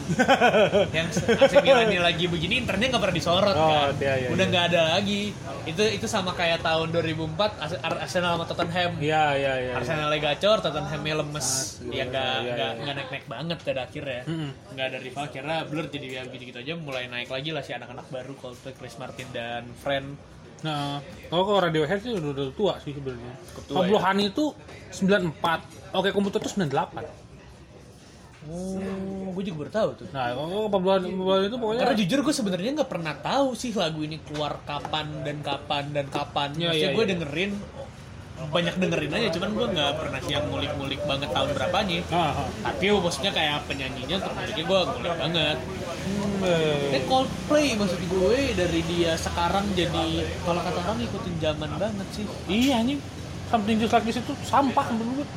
[SPEAKER 3] yang AC Milannya lagi begini, Internya nggak pernah disorot
[SPEAKER 1] Oh,
[SPEAKER 3] kan.
[SPEAKER 1] iya, iya,
[SPEAKER 3] Udah
[SPEAKER 1] iya.
[SPEAKER 3] nggak ada lagi. Itu itu sama kayak tahun 2004 Ars- Ar- Arsenal sama Tottenham.
[SPEAKER 1] Iya iya iya. iya.
[SPEAKER 3] Arsenal lagi gacor, Tottenhamnya lemes.
[SPEAKER 1] Ah,
[SPEAKER 3] Ya nggak
[SPEAKER 1] iya, iya,
[SPEAKER 3] nggak
[SPEAKER 1] iya.
[SPEAKER 3] nggak naik-naik banget pada akhirnya.
[SPEAKER 1] Mm-mm.
[SPEAKER 3] Nggak ada rival, kira Blur jadi ya gitu-gitu aja mulai naik lagi lah si anak-anak baru Coldplay, Chris Martin dan Friend.
[SPEAKER 1] Nah, kalau kalau Radiohead sih udah, udah tua sih sebenarnya.
[SPEAKER 3] tua,
[SPEAKER 1] Pablo
[SPEAKER 3] ya.
[SPEAKER 1] Honey itu 94. Oke, komputer itu 98.
[SPEAKER 3] Oh, gue juga baru tahu tuh.
[SPEAKER 1] Nah, oh, Pablo, Honey- Pablo Honey itu pokoknya
[SPEAKER 3] Karena jujur gue sebenarnya nggak pernah tahu sih lagu ini keluar kapan dan kapan dan kapan.
[SPEAKER 1] Ya,
[SPEAKER 3] Maksudnya
[SPEAKER 1] ya,
[SPEAKER 3] gue
[SPEAKER 1] ya.
[SPEAKER 3] dengerin banyak dengerin aja, cuman gue nggak pernah yang ngulik-ngulik banget tahun berapanya.
[SPEAKER 1] Ah, ah.
[SPEAKER 3] Tapi maksudnya kayak penyanyinya termuliknya gue ngulik banget.
[SPEAKER 1] Hmm, eh.
[SPEAKER 3] Ini Coldplay maksud gue dari dia sekarang jadi kalau kata orang ngikutin zaman banget sih.
[SPEAKER 1] Iya anjing. Something just like this itu sampah menurut gue.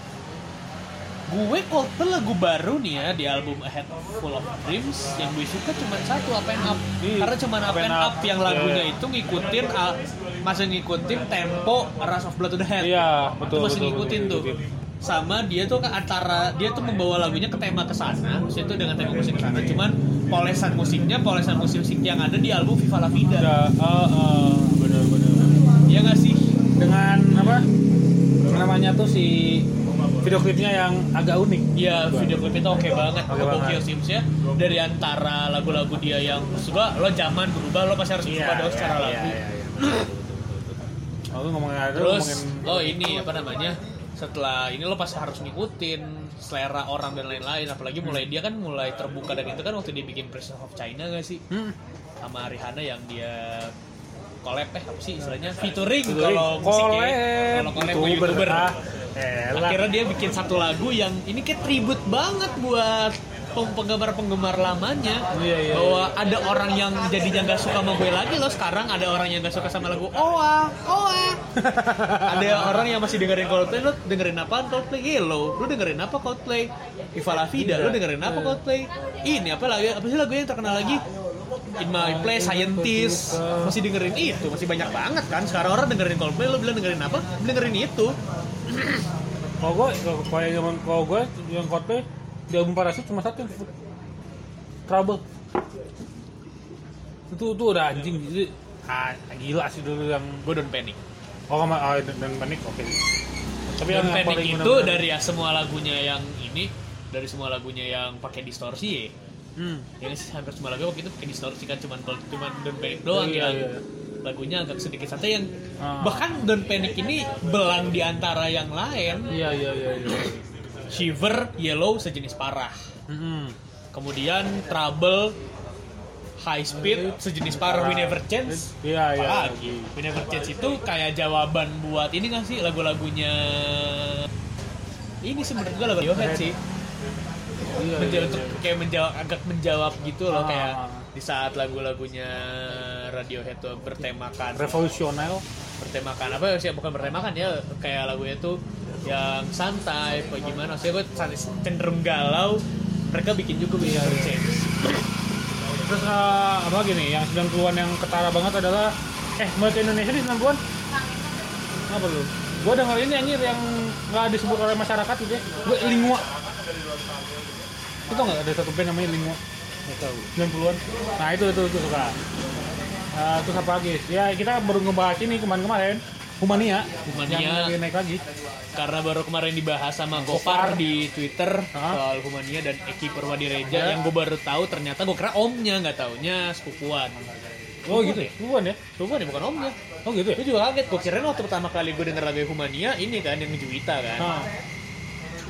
[SPEAKER 3] Gue Coldplay lagu baru nih ya di album Ahead Full of Dreams yang gue suka cuma satu Up and Up.
[SPEAKER 1] Iya,
[SPEAKER 3] Karena cuma Up, and Up, yang lagunya
[SPEAKER 1] Iya.
[SPEAKER 3] itu ngikutin uh, masih ngikutin tempo Rush of Blood to the Head.
[SPEAKER 1] Iya,
[SPEAKER 3] itu
[SPEAKER 1] betul
[SPEAKER 3] masih
[SPEAKER 1] betul,
[SPEAKER 3] ngikutin
[SPEAKER 1] betul,
[SPEAKER 3] tuh.
[SPEAKER 1] betul.
[SPEAKER 3] Sama dia tuh ke antara dia tuh membawa lagunya ke tema ke sana, maksudnya itu dengan tema musik ke
[SPEAKER 1] Iya.
[SPEAKER 3] sana cuman polesan musiknya, polesan musik-musik yang ada di album Viva La Vida.
[SPEAKER 1] Iya, eh, eh, benar benar.
[SPEAKER 3] Ya nggak sih?
[SPEAKER 1] Dengan apa? Namanya tuh si video klipnya yang agak unik.
[SPEAKER 3] Ya video klip itu oke banget
[SPEAKER 1] Oke
[SPEAKER 3] Oke
[SPEAKER 1] banget.
[SPEAKER 3] Sims ya Dari antara lagu-lagu dia yang Suka lo zaman berubah Lo pasti
[SPEAKER 1] Iya,
[SPEAKER 3] harus berubah dong secara lagu
[SPEAKER 1] Oh, lu ngomongin ada
[SPEAKER 3] iya, Terus
[SPEAKER 1] ngomongin
[SPEAKER 3] lo ini apa namanya setelah ini lo pasti harus ngikutin selera orang dan lain-lain apalagi mulai dia kan mulai terbuka dan itu kan waktu dia bikin Princess of China gak sih
[SPEAKER 1] Hmm.
[SPEAKER 3] sama Rihanna yang dia collab eh apa sih istilahnya featuring
[SPEAKER 1] Iya, Featuring.
[SPEAKER 3] kalau musik ya.
[SPEAKER 1] Collab.
[SPEAKER 3] kalau collab sama
[SPEAKER 1] Youtuber.
[SPEAKER 3] youtuber
[SPEAKER 1] Ah, elah.
[SPEAKER 3] akhirnya dia bikin satu lagu yang ini kayak tribut banget buat peng- penggemar-penggemar lamanya
[SPEAKER 1] Iya, iya,
[SPEAKER 3] bahwa ada orang yang jadinya nggak suka sama gue lagi loh sekarang ada orang yang nggak suka sama lagu Oa Oa ada orang yang masih dengerin Coldplay lo dengerin apa Coldplay Hello lo dengerin apa Coldplay Viva La
[SPEAKER 1] Iya.
[SPEAKER 3] Vida lo dengerin apa Coldplay ini apa lagu apa sih lagu yang terkenal lagi In My Place Scientist masih dengerin itu masih banyak banget kan sekarang orang dengerin Coldplay lo bilang dengerin apa dengerin itu
[SPEAKER 1] Kalau gue, kalau yang zaman kalau gue yang Coldplay di album Parasit cuma satu yang Trouble. Itu itu udah anjing jadi ah, gila sih dulu yang
[SPEAKER 3] gue don't panic
[SPEAKER 1] oh sama ah, dan, dan panik oke. Tapi
[SPEAKER 3] Don't Panic
[SPEAKER 1] paling
[SPEAKER 3] itu
[SPEAKER 1] benar-benar-
[SPEAKER 3] dari ya semua lagunya yang ini dari semua lagunya yang pakai distorsi ya.
[SPEAKER 1] hmm.
[SPEAKER 3] Yang hampir semua lagu waktu itu pakai distorsi kan cuman kalau cuman Don't Panic doang
[SPEAKER 1] Iya,
[SPEAKER 3] yang
[SPEAKER 1] iya.
[SPEAKER 3] lagunya agak sedikit santai yang
[SPEAKER 1] Ah.
[SPEAKER 3] bahkan Don't Panic ini belang di antara yang lain
[SPEAKER 1] Iya iya iya. iya.
[SPEAKER 3] Shiver, Yellow sejenis parah.
[SPEAKER 1] Mm-mm.
[SPEAKER 3] Kemudian Trouble, High Speed sejenis parah We Never Change.
[SPEAKER 1] Iya iya.
[SPEAKER 3] Apalagi We Never Change itu kayak jawaban buat ini nggak sih lagu-lagunya ini sih menurut gue lagu Radiohead sih
[SPEAKER 1] Iya,
[SPEAKER 3] Menja-
[SPEAKER 1] iya,
[SPEAKER 3] untuk
[SPEAKER 1] iya.
[SPEAKER 3] kayak menjawab agak menjawab gitu loh
[SPEAKER 1] Ah.
[SPEAKER 3] kayak di saat lagu-lagunya Radiohead tuh bertemakan
[SPEAKER 1] Revolusioner.
[SPEAKER 3] bertemakan apa sih bukan bertemakan ya kayak lagunya tuh yang santai apa gimana sih gue cenderung galau mereka bikin juga We Never Change
[SPEAKER 1] Terus eh, apa lagi nih yang 90-an yang ketara banget adalah eh mulai ke Indonesia di 90-an. Apa lu? Gua dengerin ini anjir yang nggak disebut oleh masyarakat gitu ya. Gue lingua. Itu nggak ada satu band namanya lingua. Nggak tahu. 90-an. Nah itu itu itu suka. Eh, terus apa lagi? Ya kita baru ngebahas ini kemarin-kemarin. Humania.
[SPEAKER 3] Humania.
[SPEAKER 1] Yang lagi naik lagi.
[SPEAKER 3] karena baru kemarin dibahas sama
[SPEAKER 1] Gopar.
[SPEAKER 3] Gopar di Twitter
[SPEAKER 1] Hah?
[SPEAKER 3] soal Humania dan Eki Perwadi Reja
[SPEAKER 1] Ya.
[SPEAKER 3] yang gue baru tahu ternyata gue kira omnya nggak taunya sepupuan
[SPEAKER 1] Oh gitu ya? Bukan ya?
[SPEAKER 3] Bukan ya, bukan om ya.
[SPEAKER 1] Oh gitu ya?
[SPEAKER 3] Gue juga kaget, gue kirain waktu pertama kali gue denger lagu Humania ini kan yang Juwita kan.
[SPEAKER 1] Nah,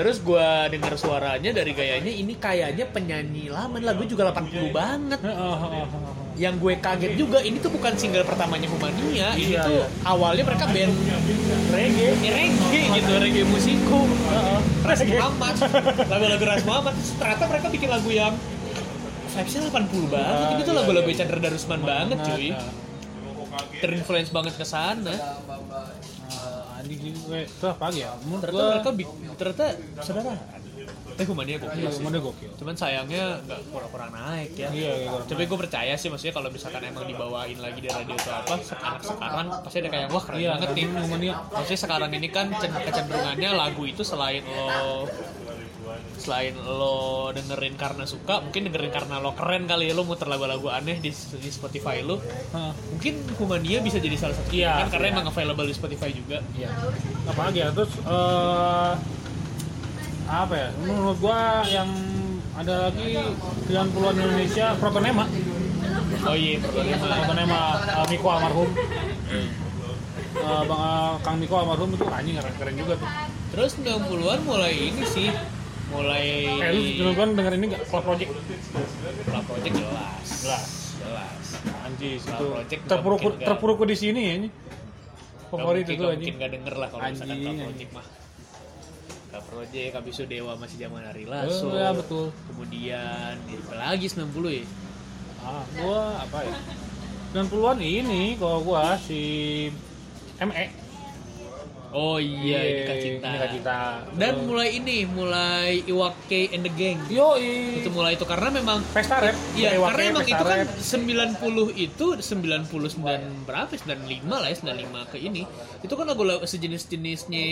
[SPEAKER 3] Terus gue denger suaranya dari gayanya ini kayaknya penyanyi lama lagu juga 80 banget. Yang gue kaget juga ini tuh bukan single pertamanya Humania,
[SPEAKER 1] Iya,
[SPEAKER 3] ini tuh
[SPEAKER 1] iya.
[SPEAKER 3] awalnya mereka band reggae, eh, reggae gitu, reggae musiko. Ras Muhammad, lagu-lagu Ras Muhammad. Terus Ternyata mereka bikin lagu yang vibesnya 80 banget. Ini tuh lagu-lagu Chandra Darusman banget
[SPEAKER 1] iya.
[SPEAKER 3] cuy.
[SPEAKER 1] Nah,
[SPEAKER 3] Terinfluence banget ke sana.
[SPEAKER 1] Anjing ini gue itu apa lagi ya? Menurut
[SPEAKER 3] Ternyata
[SPEAKER 1] gue
[SPEAKER 3] mereka bi- ternyata saudara. Eh Humania gokil sih.
[SPEAKER 1] Mana gokil?
[SPEAKER 3] cuman sayangnya nggak kurang-kurang naik
[SPEAKER 1] Iya,
[SPEAKER 3] ya
[SPEAKER 1] iya, kurang
[SPEAKER 3] tapi gue percaya sih maksudnya kalau misalkan emang dibawain lagi di radio atau apa sekarang sekarang pasti ada kayak wah keren
[SPEAKER 1] Iya,
[SPEAKER 3] banget nih
[SPEAKER 1] keren banget ya.
[SPEAKER 3] maksudnya sekarang ini kan cen- kecenderungannya lagu itu selain lo selain lo dengerin karena suka mungkin dengerin karena lo keren kali ya lo muter lagu-lagu aneh di, di Spotify lo
[SPEAKER 1] Hah,
[SPEAKER 3] mungkin Humania bisa jadi salah satu
[SPEAKER 1] Iya,
[SPEAKER 3] kan karena
[SPEAKER 1] iya.
[SPEAKER 3] emang available di Spotify juga
[SPEAKER 1] Iya. Apa lagi ya? Terus eh apa ya? Menurut gua yang ada lagi 90-an Indonesia Protonema.
[SPEAKER 3] oh iya Protonema.
[SPEAKER 1] Protonema eh, Miko almarhum. Eh, Bang eh, Kang Miko almarhum itu anjing keren-keren juga tuh.
[SPEAKER 3] terus 90-an mulai ini sih mulai
[SPEAKER 1] Eh lu sebelum denger ini enggak Club Project?
[SPEAKER 3] Lah project jelas.
[SPEAKER 1] Jelas.
[SPEAKER 3] Jelas.
[SPEAKER 1] Anjis
[SPEAKER 3] Club
[SPEAKER 1] itu
[SPEAKER 3] Project nggak
[SPEAKER 1] terpuruk
[SPEAKER 3] mungkin nggak-
[SPEAKER 1] terpuruk di sini ya. ini. Favorit
[SPEAKER 3] Nggak
[SPEAKER 1] itu anjing.
[SPEAKER 3] mungkin- nggak mungkin gak denger lah kalau misalkan
[SPEAKER 1] Anjing,
[SPEAKER 3] Club
[SPEAKER 1] anjing.
[SPEAKER 3] project mah. Club project habis itu Dewa masih zaman hari Lasso.
[SPEAKER 1] Oh, ya betul.
[SPEAKER 3] Kemudian apa lagi 90 ya?
[SPEAKER 1] Ah, gua apa ya? 90-an ini kalau gua si E. ME.
[SPEAKER 3] Oh iya,
[SPEAKER 1] Yeay,
[SPEAKER 3] Nikah Cinta.
[SPEAKER 1] Nikah Cinta.
[SPEAKER 3] Dan
[SPEAKER 1] Betul.
[SPEAKER 3] mulai ini, mulai Iwake and the Gang.
[SPEAKER 1] Yoi.
[SPEAKER 3] Itu mulai itu karena memang
[SPEAKER 1] Pesta rap.
[SPEAKER 3] Iya,
[SPEAKER 1] Iwake,
[SPEAKER 3] karena emang
[SPEAKER 1] Pesta
[SPEAKER 3] itu kan
[SPEAKER 1] Rap.
[SPEAKER 3] 90 itu 99 berapa? ya? 95 lah ya, 95 ke ini. Itu kan lagu lagu sejenis-jenisnya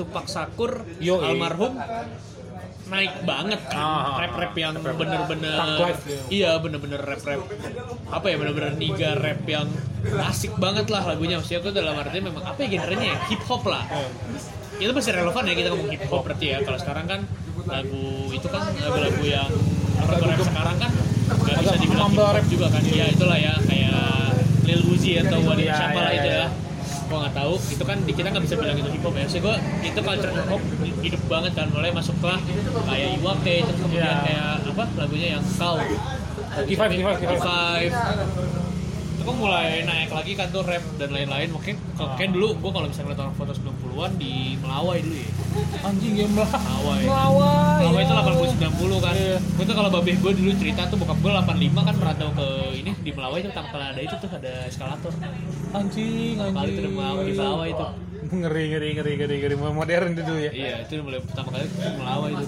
[SPEAKER 3] Tupak Sakur
[SPEAKER 1] Yoi.
[SPEAKER 3] almarhum naik banget
[SPEAKER 1] eh. Ah,
[SPEAKER 3] kan. Rap-rap yang
[SPEAKER 1] rap-rap.
[SPEAKER 3] bener-bener
[SPEAKER 1] Punk life.
[SPEAKER 3] Iya, bener-bener rap-rap apa ya bener-bener niga rap yang asik banget lah lagunya maksudnya itu dalam artinya memang apa ya genrenya ya? hip hop lah
[SPEAKER 1] Eh.
[SPEAKER 3] itu masih relevan ya kita ngomong hip hop berarti ya kalau sekarang kan lagu itu kan lagu-lagu yang orang-orang sekarang kan nggak bisa
[SPEAKER 1] Agak
[SPEAKER 3] dibilang hip
[SPEAKER 1] mumble
[SPEAKER 3] hop
[SPEAKER 1] rap.
[SPEAKER 3] juga kan ya itulah ya kayak Lil Uzi atau Wadi
[SPEAKER 1] Iya,
[SPEAKER 3] siapa
[SPEAKER 1] iya,
[SPEAKER 3] lah itu
[SPEAKER 1] iya.
[SPEAKER 3] ya gua nggak tahu itu kan di- kita nggak bisa bilang itu hip hop ya so gua itu culture hip hop hidup banget kan mulai masuklah kayak Iwake terus kemudian
[SPEAKER 1] Iya.
[SPEAKER 3] kayak apa lagunya yang kau
[SPEAKER 1] Kifaif, kifaif, kifaif.
[SPEAKER 3] Kifaif. itu kan mulai naik lagi kan tuh rap dan lain-lain mungkin kalau kayak dulu gua kalau misalnya ngeliat orang foto 90-an di Melawai dulu ya
[SPEAKER 1] Anjing game lah.
[SPEAKER 3] Melawai
[SPEAKER 1] Melawai.
[SPEAKER 3] Melawai itu
[SPEAKER 1] ya.
[SPEAKER 3] 80 90 kan.
[SPEAKER 1] Iya.
[SPEAKER 3] Gue tuh kalau babeh gue dulu cerita tuh bokap gue 85 kan merantau ke ini di Melawai itu pertama kali ada itu tuh ada eskalator.
[SPEAKER 1] Anjing, anjing.
[SPEAKER 3] Kali itu di Melawai, di Melawai itu.
[SPEAKER 1] Ngeri, ngeri, ngeri, ngeri, ngeri. Modern itu dulu ya.
[SPEAKER 3] Iya, itu mulai pertama kali itu Melawai itu.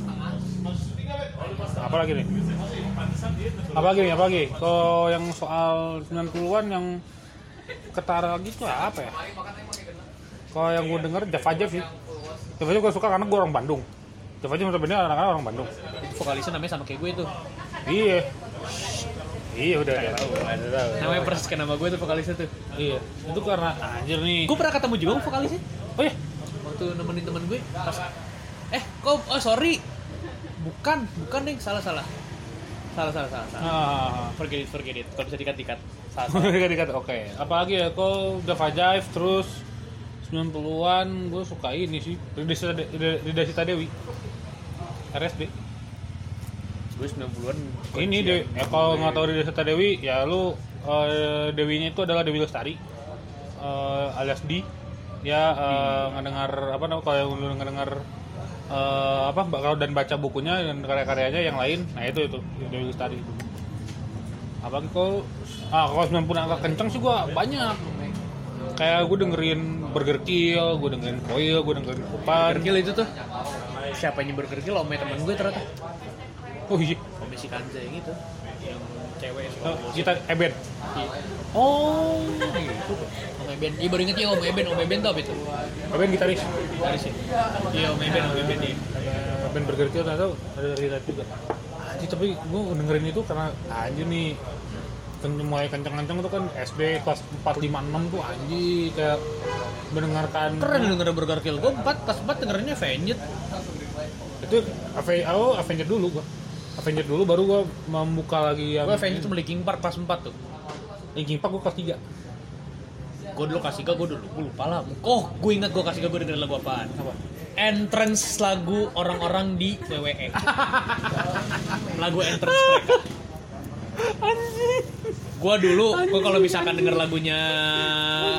[SPEAKER 1] Apa lagi nih? Apa lagi nih? Apa lagi? Kalau yang soal 90-an yang ketara lagi itu apa ya? Kalau yang gue denger Java Jeff sih. Java Jeff gue suka karena gue orang Bandung. Java Jeff sebenarnya anak-anak orang Bandung.
[SPEAKER 3] Itu vokalisnya namanya sama kayak gue tuh.
[SPEAKER 1] Iya. Iya udah udah tahu. Udah tahu.
[SPEAKER 3] Namanya persis kayak nama gue tuh vokalisnya tuh.
[SPEAKER 1] Iya. Itu karena anjir nih.
[SPEAKER 3] Gue pernah ketemu juga sama vokalisnya
[SPEAKER 1] Oh iya.
[SPEAKER 3] waktu nemenin teman gue pas eh kok oh sorry. Bukan, bukan deh, salah salah. Salah salah salah. salah.
[SPEAKER 1] Ah.
[SPEAKER 3] Forget it, forget it. Kalau bisa dikat-dikat. Salah. salah.
[SPEAKER 1] Mereka dikata oke. Apalagi ya kau Java Jive terus 90-an gue suka ini sih. Ridesita De- Ride- Ridesita Dewi. RSD.
[SPEAKER 3] Gue 90-an.
[SPEAKER 1] Ini
[SPEAKER 3] kuncian.
[SPEAKER 1] deh, ya, kalau nggak tahu Ridesita Dewi ya lu eh, dewinya itu adalah Dewi Lestari. Eh, alias D. Ya eh, ngedengar apa namanya kalau yang lu ngedengar eh, apa kalau dan baca bukunya dan karya-karyanya yang lain. Nah itu itu Dewi Lestari. Apalagi kalau ah kalau 90 agak kenceng sih gua banyak. Kayak gue dengerin Burger Kill, gue dengerin Koil, gue dengerin Kupan.
[SPEAKER 3] Burger Kill itu tuh siapa yang Burger Kill omnya temen gue ternyata
[SPEAKER 1] Oh iya,
[SPEAKER 3] omnya si Kanza yang itu yang cewek suka
[SPEAKER 1] Eh,
[SPEAKER 3] bosi.
[SPEAKER 1] kita Eben.
[SPEAKER 3] Iya.
[SPEAKER 1] Oh, gitu.
[SPEAKER 3] Om Eben iya baru inget ya Om Eben Om Eben tuh apa itu
[SPEAKER 1] Eben gitaris.
[SPEAKER 3] dari sih iya Om Eben Om Eben iya
[SPEAKER 1] Ada band Burger Kill nggak tahu ada dari Red juga Anjir, tapi gue dengerin itu karena ah, anjir nih kenceng mulai kenceng-kenceng itu kan SD kelas 4, 5, 6 tuh anjir kayak mendengarkan
[SPEAKER 3] keren denger Burger Kill gue 4 pas 4 dengernya Avenged
[SPEAKER 1] itu Aven- oh, Avenger dulu gua Avenger dulu baru gua membuka lagi yang
[SPEAKER 3] gue Avenged tuh beli King Park pas 4 tuh
[SPEAKER 1] Linkin Park gue kelas tiga
[SPEAKER 3] Gue dulu kasih gue dulu gue lupa lah. Oh, gue ingat gue kasih gue dengerin lagu apaan? Entrance lagu orang-orang di WWE. lagu entrance mereka. Gue dulu, gue kalau misalkan denger lagunya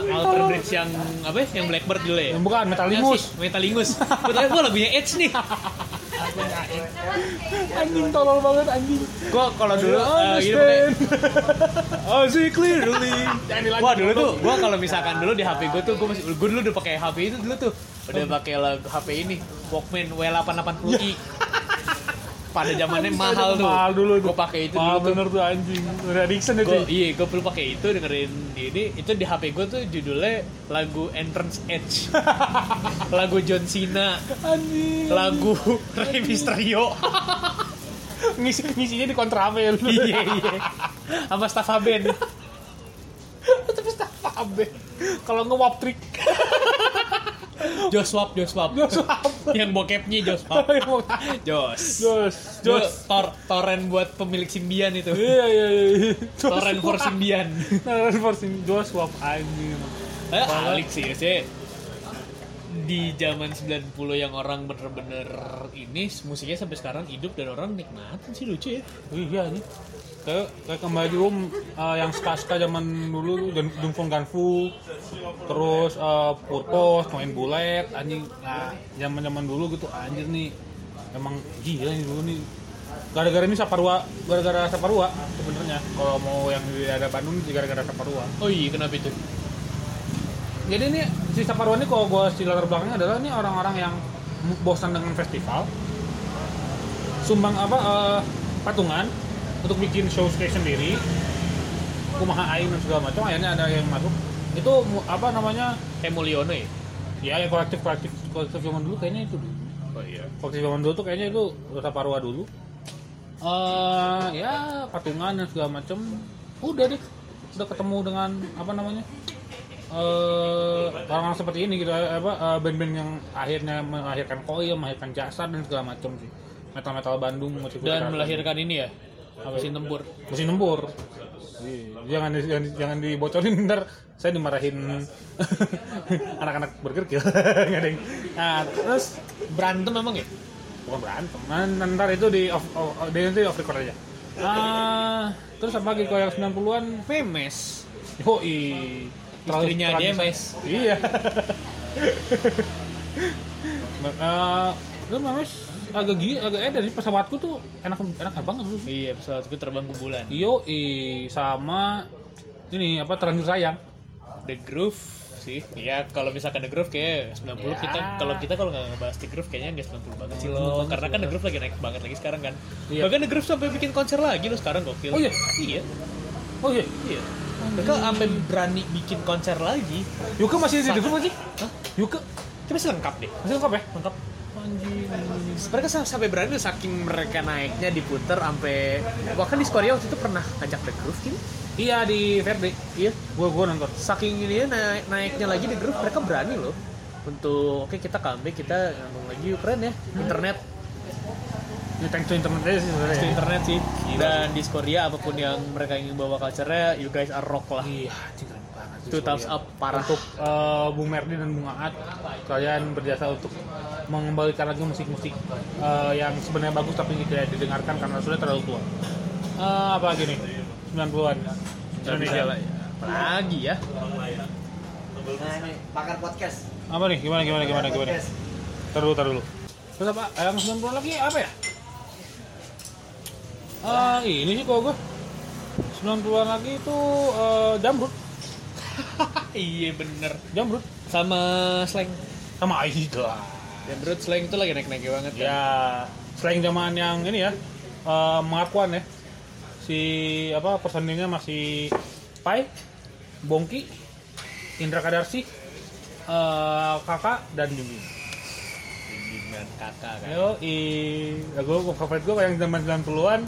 [SPEAKER 3] Alter Bridge yang apa ya? Yang Blackbird dulu ya.
[SPEAKER 1] Yang bukan Metalingus.
[SPEAKER 3] Yang si Metalingus. Gue tanya gue lagunya Edge nih.
[SPEAKER 1] Anjing tolol banget anjing.
[SPEAKER 3] Gue kalau
[SPEAKER 1] Ah,
[SPEAKER 3] dulu
[SPEAKER 1] iya,
[SPEAKER 3] eh, gitu
[SPEAKER 1] Understand.
[SPEAKER 3] pakai-
[SPEAKER 1] I see Ah, clearly.
[SPEAKER 3] Wah dulu tuh, gua kalau misalkan dulu di HP gua tuh, gua masih, gua dulu udah pakai HP itu dulu tuh, udah pakai lagu HP ini, Walkman W880i. Pada zamannya mahal
[SPEAKER 1] Ya.
[SPEAKER 3] tuh.
[SPEAKER 1] Mahal dulu tuh.
[SPEAKER 3] Gua pakai itu
[SPEAKER 1] Mahal
[SPEAKER 3] dulu tuh.
[SPEAKER 1] bener tuh anjing. Addiction itu.
[SPEAKER 3] Gua, iya, gua perlu pakai itu dengerin ini. Itu di HP gua tuh judulnya lagu Entrance Edge, lagu John Cena,
[SPEAKER 1] Anjing.
[SPEAKER 3] lagu Rey Mysterio,
[SPEAKER 1] Ngisi ngisinya di kontravel.
[SPEAKER 3] iya iya, sama Stafa Band.
[SPEAKER 1] Tapi apa abe? Kalau nge-wap trick.
[SPEAKER 3] Joswap, Joswap.
[SPEAKER 1] Jos apa?
[SPEAKER 3] Yang bokepnya Joswap. Jos.
[SPEAKER 1] Jos. Jos.
[SPEAKER 3] Lu tor torrent buat pemilik simbian itu.
[SPEAKER 1] Iya iya iya.
[SPEAKER 3] torrent for simbian.
[SPEAKER 1] Torrent for sin. Jos wap anjing.
[SPEAKER 3] Eh, alik sih sih. Di zaman 90 yang orang bener-bener ini musiknya sampai sekarang hidup dan orang nikmatin sih lucu ya.
[SPEAKER 1] Wih, Iya nih. Kayak, kayak kembali dulu eh, yang ska-ska zaman dulu dan Dungfung Ganfu terus eh, Purpose, main bulet anjing nah zaman zaman dulu gitu anjir nih emang gila nih dulu nih gara-gara ini Saparua gara-gara Saparua sebenarnya kalau mau yang di daerah Bandung sih gara-gara Saparua
[SPEAKER 3] Oh iya kenapa itu?
[SPEAKER 1] jadi ini si Saparua ini kalau gue si latar belakangnya adalah ini orang-orang yang m- bosan dengan festival sumbang apa eh, patungan untuk bikin show kayak sendiri kumaha aing dan segala macam akhirnya ada yang masuk itu mu- apa namanya
[SPEAKER 3] Kayak Mulyono ya?
[SPEAKER 1] ya yang kolektif kolektif kolektif zaman dulu kayaknya itu dulu
[SPEAKER 3] Oh iya.
[SPEAKER 1] kolektif zaman dulu tuh kayaknya itu Saparua dulu eh ya patungan dan segala macam udah deh udah ketemu dengan apa namanya eh orang-orang seperti ini gitu eh, apa eh, band-band yang akhirnya melahirkan koil melahirkan jasa dan segala macam sih metal metal Bandung musik
[SPEAKER 3] Dan melahirkan ini ya? Apa sih tempur?
[SPEAKER 1] mesin tempur Iya, jangan di- jangan, di- jangan dibocorin ntar saya dimarahin anak-anak burger kill nggak ada yang nah terus
[SPEAKER 3] Berantem emang ya?
[SPEAKER 1] bukan berantem Nah, ntar itu di off, off, off- di- nanti off record aja ah terus apa lagi kalau yang 90-an
[SPEAKER 3] Memes.
[SPEAKER 1] yoi Terlalu-
[SPEAKER 3] Istrinya
[SPEAKER 1] terlalu-
[SPEAKER 3] dia mes.
[SPEAKER 1] iya Eh, lu memes agak gila agak eh dari pesawatku tuh enak enak banget lu
[SPEAKER 3] Iya, pesawat gue terbang ke bulan.
[SPEAKER 1] yoi sama ini apa terlanjur sayang
[SPEAKER 3] The Groove sih. Ya kalau misalkan The Groove kayak 90 kita kalau kita kalau nggak ngebahas The Groove kayaknya nggak 90 Ya. banget sih lo. Karena kan The Groove lagi naik banget lagi sekarang kan.
[SPEAKER 1] Iya.
[SPEAKER 3] Bahkan The Groove sampai bikin konser lagi lo sekarang gokil.
[SPEAKER 1] Oh iya?
[SPEAKER 3] Iya.
[SPEAKER 1] oh iya
[SPEAKER 3] Iya. Mereka sampai berani bikin konser lagi.
[SPEAKER 1] Yuka masih di grup lagi
[SPEAKER 3] Hah?
[SPEAKER 1] Yuka
[SPEAKER 3] Coba sih lengkap deh.
[SPEAKER 1] masih lengkap ya
[SPEAKER 3] Lengkap. Anjing. Mereka sam- sampai berani saking mereka naiknya diputer sampai bahkan di Korea waktu itu pernah ngajak The Groove gitu.
[SPEAKER 1] iya di Verde
[SPEAKER 3] Iya.
[SPEAKER 1] gua gua nonton
[SPEAKER 3] saking ini naik naiknya lagi di grup mereka berani loh untuk oke kita comeback kita ngomong lagi yuk, keren ya internet
[SPEAKER 1] ini thanks to internet aja sih sebenarnya
[SPEAKER 3] Pasti
[SPEAKER 1] ya.
[SPEAKER 3] internet Hmm. sih dan di Korea apapun yang mereka ingin bawa culture-nya you guys are rock lah
[SPEAKER 1] Iya, anjing keren banget. sih,
[SPEAKER 3] two thumbs
[SPEAKER 1] sorry
[SPEAKER 3] up parah
[SPEAKER 1] Untuk eh, Bung Merdi dan Bung Aat, kalian berjasa untuk mengembalikan lagi musik-musik eh, yang sebenarnya bagus tapi tidak didengarkan karena sudah terlalu tua. Eh, apa lagi nih? 90-an. Indonesia.
[SPEAKER 3] lagi ya
[SPEAKER 6] Nah, ini pakar podcast.
[SPEAKER 1] Apa nih? Gimana gimana gimana gimana?
[SPEAKER 6] Podcast.
[SPEAKER 1] Ntar dulu, ntar dulu. Terus apa? Eh, Yang 90 lagi apa ya? Eh, ini sih kalau gue 90-an lagi itu eh, Jamrut,
[SPEAKER 3] iya bener
[SPEAKER 1] Jamrut
[SPEAKER 3] sama slang
[SPEAKER 1] sama Aida.
[SPEAKER 3] dan menurut slang itu lagi naik naik banget kan?
[SPEAKER 1] Ya, selain zaman yang ini ya, eh Markwan ya. Si apa personilnya masih Pai, Bongki, Indra Kadarsi, eh Kakak dan Jumi.
[SPEAKER 3] bimbingan kakak kan
[SPEAKER 1] Yo, i lagu favorit gue yang zaman 90-an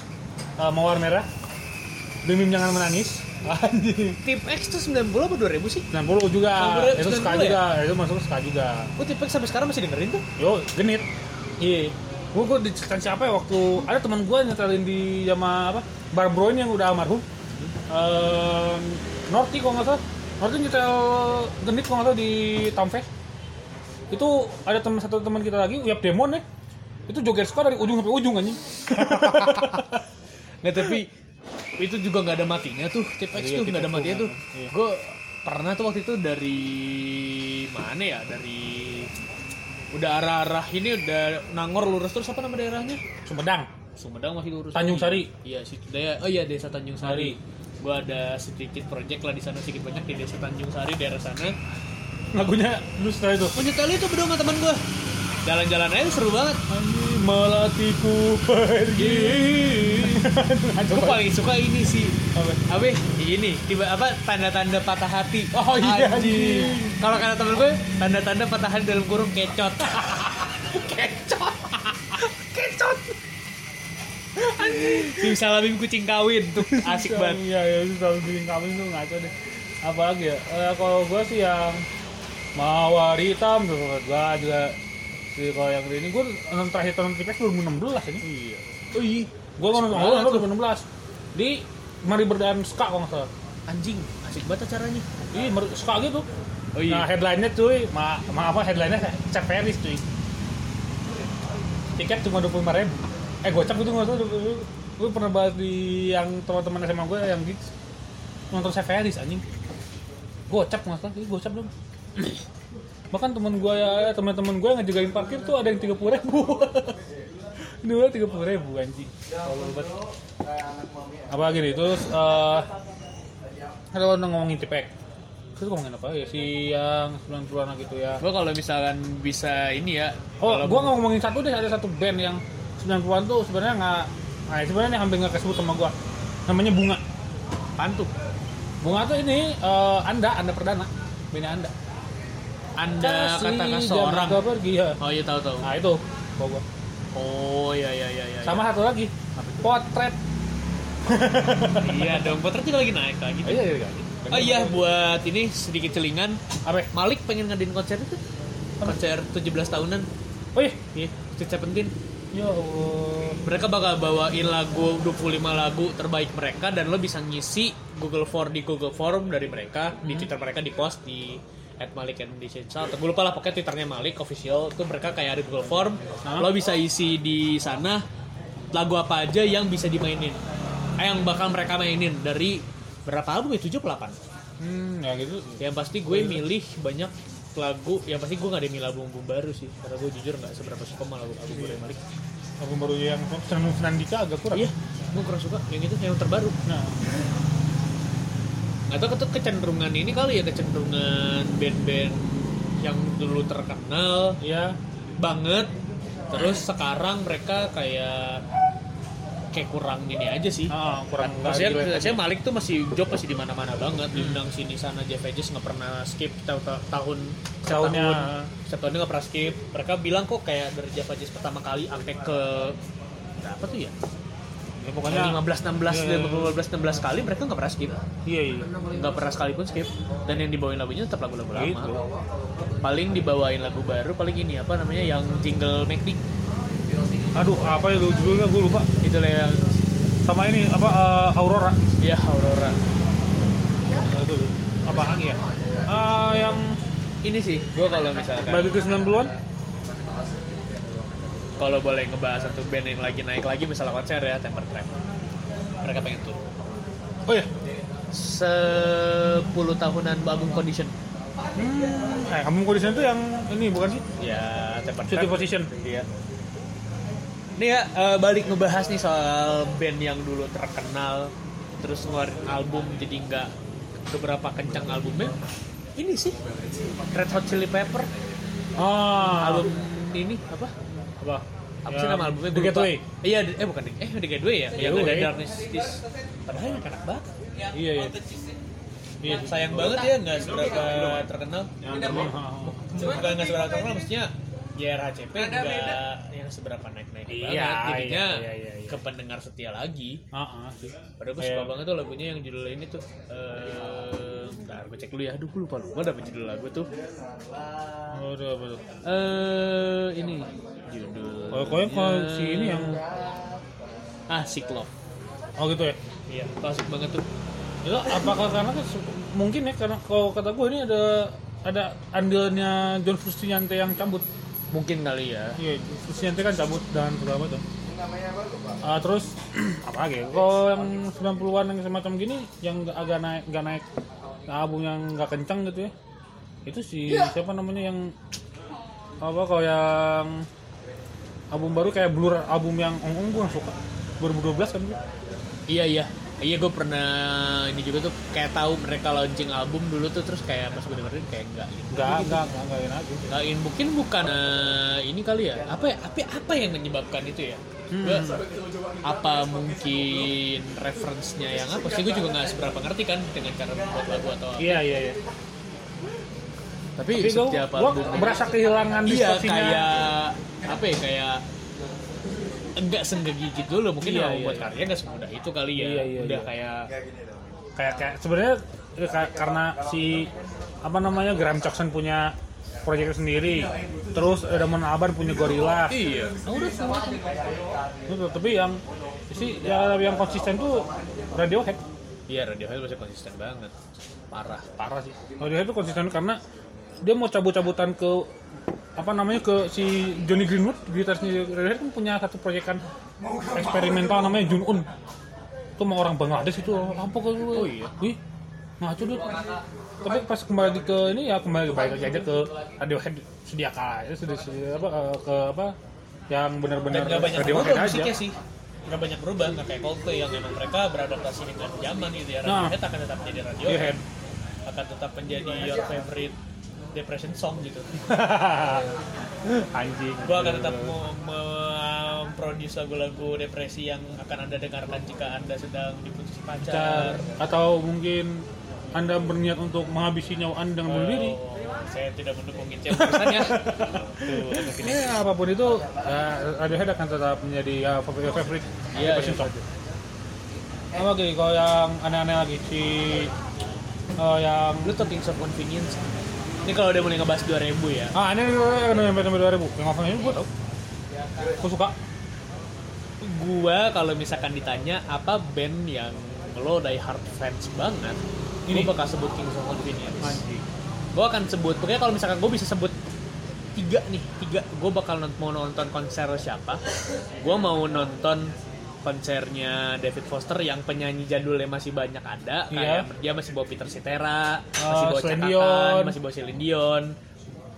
[SPEAKER 1] eh, Mawar Merah. Bimbing jangan menangis. Anjing.
[SPEAKER 3] Tip X tuh 90 apa 2000 sih?
[SPEAKER 1] 90 juga.
[SPEAKER 3] Favorit
[SPEAKER 1] itu suka
[SPEAKER 3] 90 ya?
[SPEAKER 1] juga, itu masuk suka juga.
[SPEAKER 3] Gue Tip X sampai sekarang masih dengerin tuh.
[SPEAKER 1] Yo, genit. Iya. Gue gue diceritain siapa ya waktu ada teman gue nyetelin di sama apa Barbroin yang udah almarhum. Ehm, Norti kalau nggak salah Norti nyetel genit kalau nggak salah di Tamfest itu ada teman satu teman kita lagi Uyap Demon ya itu joget suka dari ujung sampai ujung anjing
[SPEAKER 3] Nggak tapi itu juga nggak ada matinya tuh tip X
[SPEAKER 1] Iya,
[SPEAKER 3] tuh
[SPEAKER 1] tip
[SPEAKER 3] nggak ada
[SPEAKER 1] X tuh,
[SPEAKER 3] matinya
[SPEAKER 1] nggak
[SPEAKER 3] tuh
[SPEAKER 1] ada. Iya.
[SPEAKER 3] gue pernah tuh waktu itu dari mana ya dari udah arah arah ini udah nangor lurus terus apa nama daerahnya
[SPEAKER 1] Sumedang
[SPEAKER 3] Sumedang masih lurus
[SPEAKER 1] Tanjung Sari.
[SPEAKER 3] iya situ daya oh iya desa Tanjung Sari gue ada sedikit project lah di sana sedikit banyak di desa Tanjung Sari daerah sana
[SPEAKER 1] lagunya lu setelah itu
[SPEAKER 3] menyetel itu berdua sama teman gue jalan-jalan aja seru banget
[SPEAKER 1] melatiku pergi
[SPEAKER 3] gue paling suka ini sih Abe, ini tiba apa tanda-tanda patah hati.
[SPEAKER 1] Oh, iya,
[SPEAKER 3] Anjing.
[SPEAKER 1] anjing.
[SPEAKER 3] Kalau kata temen gue, tanda-tanda patah hati dalam kurung kecot. kecot. kecot. Anjing. Salamim kucing kawin tuh asik banget.
[SPEAKER 1] Iya, ya, itu selalu bikin kami tuh ngaco deh. Apalagi ya, eh, kalau gua sih yang mawar hitam tuh menurut gua juga. Jadi kalau yang ini gua nonton terakhir nonton Tipex 2016 ini. Iya.
[SPEAKER 3] Oh iya.
[SPEAKER 1] Gua nonton awal nonton 2016 di Mari Berdaan Ska kalau nggak salah.
[SPEAKER 3] Anjing, asik banget acaranya.
[SPEAKER 1] Iya, Mari- Ska gitu.
[SPEAKER 3] Oh iya.
[SPEAKER 1] Nah, headline-nya cuy, ma ma apa headline-nya Cep Paris cuy. Tiket cuma 25 ribu. Eh, gocap itu nggak salah. Lu, lu pernah bahas di yang teman-teman SMA gue yang di nonton Severis anjing. Gocap nggak salah, Iya, gocap dong. Bahkan teman gue ya, teman-teman gue yang ngejagain parkir tuh ada yang 30 ribu. Ini udah 30 ribu anjing. Tolol banget. Apalagi nih, terus eh kalau ngomongin tipek, terus ngomongin apa ya si yang 90-an gitu ya
[SPEAKER 3] Gue kalau misalkan bisa ini ya.
[SPEAKER 1] Oh,
[SPEAKER 3] kalau
[SPEAKER 1] gua nggak ngomongin satu deh, ada satu band yang 90-an tuh sebenarnya nggak nah, sebenarnya hampir nggak kesebut sama gua. Namanya Bunga.
[SPEAKER 3] pantu.
[SPEAKER 1] Bunga tuh ini eh, Anda, Anda Perdana. Bandnya Anda.
[SPEAKER 3] Anda
[SPEAKER 1] Kasih
[SPEAKER 3] katakan
[SPEAKER 1] zaman
[SPEAKER 3] seorang.
[SPEAKER 1] kau pergi ya.
[SPEAKER 3] Oh iya tahu tahu.
[SPEAKER 1] Nah, itu bawa gua.
[SPEAKER 3] Oh iya iya iya iya.
[SPEAKER 1] Sama satu lagi, Potret.
[SPEAKER 3] Iya dong, potret juga lagi naik lagi.
[SPEAKER 1] Oh, iya, iya, iya.
[SPEAKER 3] Oh iya buat ini sedikit celingan
[SPEAKER 1] Apa?
[SPEAKER 3] Malik pengen ngadain konser itu konser 17 tahunan
[SPEAKER 1] Oh iya.
[SPEAKER 3] iya Sweet Seventeen
[SPEAKER 1] Ya Allah.
[SPEAKER 3] mereka bakal bawain lagu 25 lagu terbaik mereka dan lo bisa ngisi Google Form di Google Form dari mereka di Twitter mereka di post di at Malik and di Sensa atau gue lupa lah pokoknya Twitternya Malik official itu mereka kayak ada Google Form lo bisa isi di sana lagu apa aja yang bisa dimainin eh, yang bakal mereka mainin dari berapa album ya 78
[SPEAKER 1] Hmm, ya gitu.
[SPEAKER 3] yang pasti gue milih banyak lagu yang pasti gue gak ada milih album-album baru sih karena gue jujur nggak seberapa suka sama lagu album baru Malik
[SPEAKER 1] Aku baru yang Senang Senandika agak kurang.
[SPEAKER 3] iya gue kurang suka yang itu yang terbaru
[SPEAKER 1] Nah,
[SPEAKER 3] atau itu kecenderungan ini kali ya kecenderungan band-band yang dulu terkenal
[SPEAKER 1] iya.
[SPEAKER 3] banget terus sekarang mereka kayak kayak kurang ini aja sih
[SPEAKER 1] Ah, kurang
[SPEAKER 3] Maksudnya,
[SPEAKER 1] nggak ya. relate.
[SPEAKER 3] saya Malik tuh masih job masih di mana-mana banget, diundang sini sana Jeff Hedges nggak pernah skip ta- ta- tahun setiap
[SPEAKER 1] Tahunnya.
[SPEAKER 3] tahun setiap tahunnya nggak pernah skip. Mereka bilang kok kayak dari Jeff Hedges pertama kali sampai ke berapa tuh ya?
[SPEAKER 1] Ya, pokoknya
[SPEAKER 3] Pokoknya 15 16
[SPEAKER 1] Iya, iya.
[SPEAKER 3] 15 16 kali mereka nggak pernah skip.
[SPEAKER 1] iya iya.
[SPEAKER 3] Nggak pernah sekalipun skip dan yang dibawain lagunya tetap lagu-lagu lama.
[SPEAKER 1] Gitu.
[SPEAKER 3] Paling dibawain lagu baru paling ini apa namanya yang jingle McD
[SPEAKER 1] Aduh, apa ya lu judulnya gue lupa.
[SPEAKER 3] itu lah yang
[SPEAKER 1] Sama ini apa eh, Aurora.
[SPEAKER 3] ya Aurora.
[SPEAKER 1] Itu apaan ya? Ah, yang
[SPEAKER 3] Ini sih gua kalau misalkan
[SPEAKER 1] balik ke 90-an?
[SPEAKER 3] kalau boleh ngebahas satu band yang lagi naik lagi misalnya konser ya Temper Trap mereka pengen tuh
[SPEAKER 1] Oh iya.
[SPEAKER 3] 10 tahunan album Condition
[SPEAKER 1] Hmm, eh, kamu kondisinya tuh yang ini bukan sih?
[SPEAKER 3] ya Temper
[SPEAKER 1] City
[SPEAKER 3] Trap
[SPEAKER 1] Position.
[SPEAKER 3] iya nih ya eh, balik ngebahas nih soal band yang dulu terkenal terus ngeluarin album jadi nggak seberapa kencang albumnya ini sih Red Hot Chili Pepper
[SPEAKER 1] Ah,
[SPEAKER 3] album ini apa
[SPEAKER 1] apa?
[SPEAKER 3] apa sih nama albumnya
[SPEAKER 1] The
[SPEAKER 3] Gua lupa.
[SPEAKER 1] Getaway.
[SPEAKER 3] iya di- eh bukan di- eh The Gateway ya yang
[SPEAKER 1] Getaway.
[SPEAKER 3] The Darkness Is- padahal enak banget
[SPEAKER 1] Iya, iya.
[SPEAKER 3] Iya, sayang banget ya nggak seberapa terkenal. Bukan nggak seberapa terkenal, maksudnya ya YRHCP nggak yang seberapa naik-naik
[SPEAKER 1] Iya,
[SPEAKER 3] banget. Jadinya
[SPEAKER 1] iya, iya, iya.
[SPEAKER 3] ke pendengar setia lagi.
[SPEAKER 1] Ah, ah, sih.
[SPEAKER 3] Padahal gue suka
[SPEAKER 1] Kayak-
[SPEAKER 3] banget tuh lagunya yang judulnya ini tuh. eh bentar, gue cek dulu ya. Aduh, gue lupa lupa dapet judul lagu tuh.
[SPEAKER 1] Aduh, apa tuh?
[SPEAKER 3] Eh, ini judul.
[SPEAKER 1] Kalau kalau kalau si ini yang
[SPEAKER 3] Ah, Siklop.
[SPEAKER 1] oh gitu ya.
[SPEAKER 3] Iya, klasik banget tuh.
[SPEAKER 1] Ya, apakah karena kan se- mungkin ya karena kalau kata gue ini ada ada andilnya John Frusciante yang cabut.
[SPEAKER 7] Mungkin kali ya.
[SPEAKER 1] Iya, Frusciante kan cabut dan segala macam. Ah, terus apa lagi? Kalau yang 90-an yang semacam gini yang nggak- agak naik nggak naik nah, album yang nggak kencang gitu ya. Itu si siapa namanya yang apa kalau yang album baru kayak Blur album yang Ong Ong gue suka 2012 kan gitu.
[SPEAKER 7] Iya iya. Iya gue pernah ini juga tuh kayak tahu mereka launching album dulu tuh terus kayak pas gue dengerin kayak enggak gitu.
[SPEAKER 1] Enggak, enggak, enggak, enggak enak gitu.
[SPEAKER 7] Nah, ini mungkin bukan eh, ini kali ya. Apa ya? Apa, apa yang menyebabkan itu ya? Gua- apa mungkin referensinya yang apa sih gue juga nggak seberapa ngerti kan dengan cara membuat lagu atau apa.
[SPEAKER 1] Iya, iya, iya.
[SPEAKER 7] Tapi,
[SPEAKER 1] Tapi gue
[SPEAKER 7] setiap
[SPEAKER 1] gua
[SPEAKER 7] album
[SPEAKER 1] berasa kehilangan
[SPEAKER 7] iya
[SPEAKER 1] distorsinya.
[SPEAKER 7] kayak apa ya kayak enggak senggigi gitu loh mungkin
[SPEAKER 1] Iya,
[SPEAKER 7] ya
[SPEAKER 1] iya,
[SPEAKER 7] buat
[SPEAKER 1] iya.
[SPEAKER 7] karya nggak semudah itu kali ya
[SPEAKER 1] Iya, iya,
[SPEAKER 7] udah
[SPEAKER 1] iya.
[SPEAKER 7] kayak
[SPEAKER 1] kayak kayak sebenarnya eh, ka- karena si apa namanya Graham Jackson punya proyek sendiri terus eh, Damon Albarn punya Gorilla
[SPEAKER 7] iya
[SPEAKER 1] Gitu, tapi yang si ya, yang konsisten tuh Radiohead
[SPEAKER 7] iya Radiohead masih konsisten banget parah
[SPEAKER 1] parah sih Radiohead tuh konsisten karena dia mau cabut-cabutan ke apa namanya ke si Johnny Greenwood gitarisnya Radiohead kan punya satu proyek kan eksperimental namanya Junun itu mau orang Bangladesh itu apa kok oh iya wih ngaco deh tapi pas kembali ke ini ya kembali balik lagi aja ke Radiohead sediaka ya sudah sedia- apa eh, ke apa yang benar-benar
[SPEAKER 3] Dan nggak banyak
[SPEAKER 1] Radiohead
[SPEAKER 3] berubah
[SPEAKER 1] aja
[SPEAKER 3] musiknya sih nggak banyak berubah nggak kayak Coldplay yang emang mereka beradaptasi dengan zaman gitu ya
[SPEAKER 1] Nah. Iya.
[SPEAKER 3] Radiohead akan tetap menjadi radio
[SPEAKER 1] Radiohead
[SPEAKER 3] akan tetap menjadi
[SPEAKER 1] Iya.
[SPEAKER 3] your favorite depression song gitu
[SPEAKER 1] anjing
[SPEAKER 3] gua akan tetap
[SPEAKER 1] Iya.
[SPEAKER 3] mau memproduce lagu-lagu depresi yang akan anda dengarkan jika anda sedang diputus
[SPEAKER 1] pacar
[SPEAKER 3] pacar
[SPEAKER 1] atau mungkin anda berniat untuk menghabisi nyawa anda dengan bunuh diri
[SPEAKER 3] Oh, saya tidak mendukung itu yang urusannya tuh
[SPEAKER 1] ya apapun itu eh, Radiohead akan tetap menjadi ya, favorite favorite
[SPEAKER 7] Iya,
[SPEAKER 1] depression
[SPEAKER 7] iya.
[SPEAKER 1] song. apa lagi kalau yang aneh-aneh lagi si eh, yang
[SPEAKER 3] lu tuh things of convenience ini kalau udah mulai ngebahas 2000 ya
[SPEAKER 1] ah aneh sampai sampai dua ribu yang ini gue tau gue suka
[SPEAKER 3] gua kalau misalkan ditanya apa band yang lo die hard fans banget ini
[SPEAKER 1] Ini.
[SPEAKER 3] bakal sebut Kings of Convenience gue akan sebut pokoknya kalau misalkan gue bisa sebut tiga nih tiga gue bakal nont- mau nonton konser siapa gue mau nonton konsernya David Foster yang penyanyi jadulnya masih banyak ada
[SPEAKER 1] Iya.
[SPEAKER 3] kayak dia masih bawa Peter Cetera
[SPEAKER 1] Oh,
[SPEAKER 3] masih bawa
[SPEAKER 1] Celine
[SPEAKER 3] cetakan
[SPEAKER 1] Dion.
[SPEAKER 3] masih bawa Celine Dion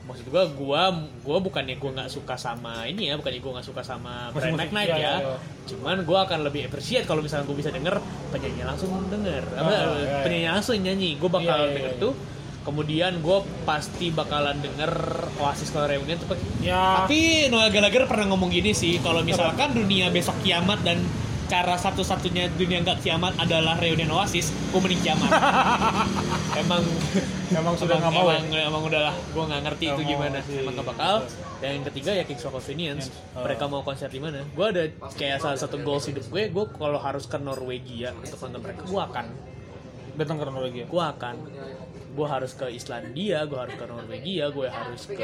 [SPEAKER 3] maksud gue gue gue bukannya gue nggak suka sama ini ya bukannya gue nggak suka sama Brian
[SPEAKER 1] Musik-musik,
[SPEAKER 3] McKnight
[SPEAKER 1] iya,
[SPEAKER 3] ya
[SPEAKER 1] iya, iya.
[SPEAKER 3] cuman gue akan lebih appreciate kalau misalnya gue bisa denger penyanyi langsung denger apa
[SPEAKER 1] Ah, iya, iya.
[SPEAKER 3] penyanyi langsung yang nyanyi gue bakal
[SPEAKER 1] Iya, iya,
[SPEAKER 3] denger
[SPEAKER 1] iya.
[SPEAKER 3] tuh kemudian gue pasti bakalan denger Oasis kalau reunion tuh pakai-
[SPEAKER 1] ya
[SPEAKER 3] tapi Noel Gallagher pernah ngomong gini sih kalau misalkan dunia besok kiamat dan cara satu-satunya dunia nggak kiamat adalah reunion Oasis gue mending kiamat emang
[SPEAKER 1] emang sudah nggak
[SPEAKER 3] emang,
[SPEAKER 1] mau ya?
[SPEAKER 3] emang, emang udahlah gue nggak ngerti
[SPEAKER 1] Nggak mau
[SPEAKER 3] itu gimana
[SPEAKER 1] sih.
[SPEAKER 3] emang nggak bakal dan yang ketiga ya Kings of Convenience
[SPEAKER 1] Oh.
[SPEAKER 3] mereka mau konser di mana gue ada kayak salah satu goals hidup gue gue kalau harus ke Norwegia untuk nonton mereka gue akan
[SPEAKER 1] datang ke Norwegia
[SPEAKER 3] gue akan gue harus ke Islandia gue harus ke Norwegia gue harus ke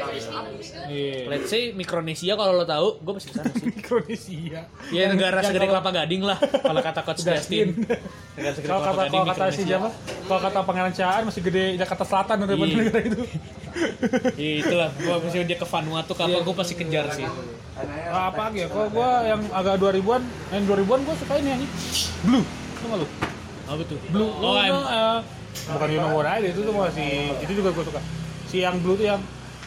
[SPEAKER 1] iya
[SPEAKER 3] let's say Mikronesia kalau lo tahu gue pasti sana sih
[SPEAKER 1] Mikronesia
[SPEAKER 3] ya negara
[SPEAKER 1] Yang
[SPEAKER 3] segede
[SPEAKER 1] kalau-
[SPEAKER 3] kelapa gading lah kalau kata coach Justin negara segede
[SPEAKER 1] kalau
[SPEAKER 3] kelapa
[SPEAKER 1] kata
[SPEAKER 3] gading
[SPEAKER 1] kalau kata si
[SPEAKER 3] Mikronesia.
[SPEAKER 1] siapa kalau kata pangeran Caan masih gede Jakarta Selatan daripada
[SPEAKER 3] Iya.
[SPEAKER 1] negara itu
[SPEAKER 3] Iya, itulah gue mesti dia ke Vanuatu
[SPEAKER 1] Iya.
[SPEAKER 3] kapan gue pasti kejar sih
[SPEAKER 1] Nah, apa lagi ya kalau gua yang agak 2000-an yang 2000-an gua suka ini anjing blue sama lu
[SPEAKER 3] apa tuh
[SPEAKER 1] blue no,
[SPEAKER 3] oh, I'm-
[SPEAKER 1] no, eh, bukan you know what I Do, itu tuh masih itu juga gua suka si yang blue tuh yang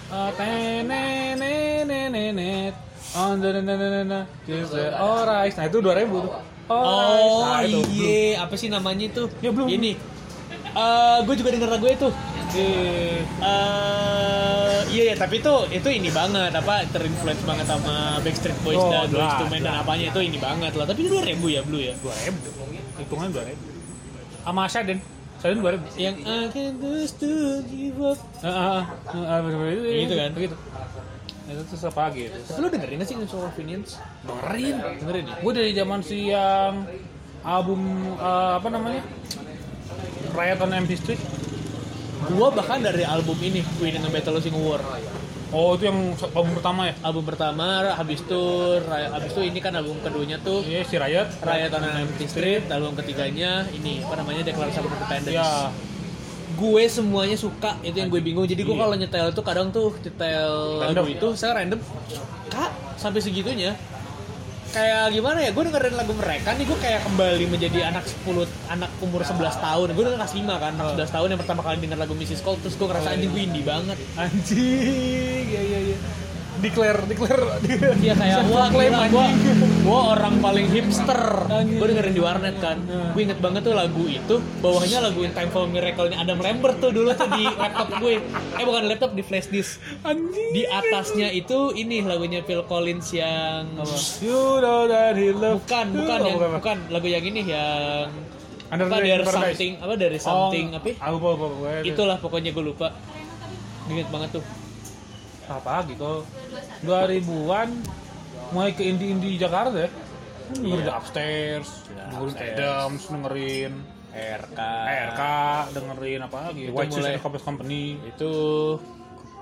[SPEAKER 1] eh, tenenenenenet, on the nenenenena, just the alright. nah itu 2000 tuh Alright.
[SPEAKER 3] Oh
[SPEAKER 1] Nah, itu, Blue.
[SPEAKER 3] iya, apa sih namanya itu?
[SPEAKER 1] Ya, belum.
[SPEAKER 3] Ini. gue juga denger lagu itu.
[SPEAKER 1] Di-
[SPEAKER 3] Iya. Eh, iya ya, tapi itu itu ini banget apa terinfluence banget sama Backstreet Boys
[SPEAKER 1] Oh,
[SPEAKER 3] dan Boyz
[SPEAKER 1] jelas,
[SPEAKER 3] II Men dan apanya itu ini banget lah. Tapi itu 2000 ya, Blue ya.
[SPEAKER 1] 2000 hitungan 2000 sama Shaden Shaden 2000
[SPEAKER 3] Yang I can just to give up.
[SPEAKER 1] Heeh, heeh,
[SPEAKER 3] Gitu kan?
[SPEAKER 1] Begitu. Itu tuh siapa lagi itu?
[SPEAKER 3] Lu dengerin gak sih Kings of Convenience?
[SPEAKER 1] Dengerin, dengerin ya. Gue dari zaman si yang album eh, apa namanya? Riot on MP Street.
[SPEAKER 3] Gua bahkan dari album ini Queen and the Battle Losing War.
[SPEAKER 1] Oh itu yang album pertama ya?
[SPEAKER 3] album pertama habis itu Ra- habis itu ini kan album keduaduanya tuh
[SPEAKER 1] Iya si Riot.
[SPEAKER 3] Riot on an Empty Street album ketiganya ini apa namanya Declaration of Independence
[SPEAKER 1] Ya.
[SPEAKER 3] gue semuanya suka itu yang gue bingung jadi gue kalau nyetel itu kadang tuh nyetel lagu
[SPEAKER 1] Iya. Random.
[SPEAKER 3] itu saya random kak sampai segitunya kayak gimana ya gue dengerin lagu mereka nih gue kayak kembali menjadi anak 10 anak umur 11 tahun gue udah kelas 5 kan anak 11 tahun yang pertama kali denger lagu Mrs. Cole terus gue ngerasa anjing gue indie banget
[SPEAKER 1] Anjing. Ya ya ya. Declare, declare.
[SPEAKER 3] Iya kayak wah
[SPEAKER 1] Klaim,
[SPEAKER 3] gila, gua, gua orang paling hipster.
[SPEAKER 1] Anjing. Nah.
[SPEAKER 3] Gue dengerin di warnet kan. Gue inget banget tuh lagu itu. Bawahnya lagu In Time for Miracle-nya Adam Lambert tuh dulu tuh di laptop gue. Eh bukan laptop di flash disk.
[SPEAKER 1] Anjing.
[SPEAKER 3] Di atasnya itu ini lagunya Phil Collins yang
[SPEAKER 1] You know that he love.
[SPEAKER 3] bukan
[SPEAKER 1] you.
[SPEAKER 3] bukan
[SPEAKER 1] Oh,
[SPEAKER 3] yang
[SPEAKER 1] bukan.
[SPEAKER 3] bukan lagu yang ini yang
[SPEAKER 1] Under
[SPEAKER 3] apa
[SPEAKER 1] the
[SPEAKER 3] dari
[SPEAKER 1] Paradise. Oh,
[SPEAKER 3] something apa dari something apa ya?
[SPEAKER 1] Aku apa apa.
[SPEAKER 3] itulah pokoknya gue lupa inget banget tuh
[SPEAKER 1] apa gitu. 2000-an mulai ke indie-indie Jakarta ya. Dengerin The Ya, upstairs, dengerin Adams, dengerin
[SPEAKER 3] RK
[SPEAKER 1] RK, dengerin apa gitu.
[SPEAKER 3] Itu
[SPEAKER 1] White Shoes
[SPEAKER 3] mulai.
[SPEAKER 1] and the Compass Company.
[SPEAKER 3] itu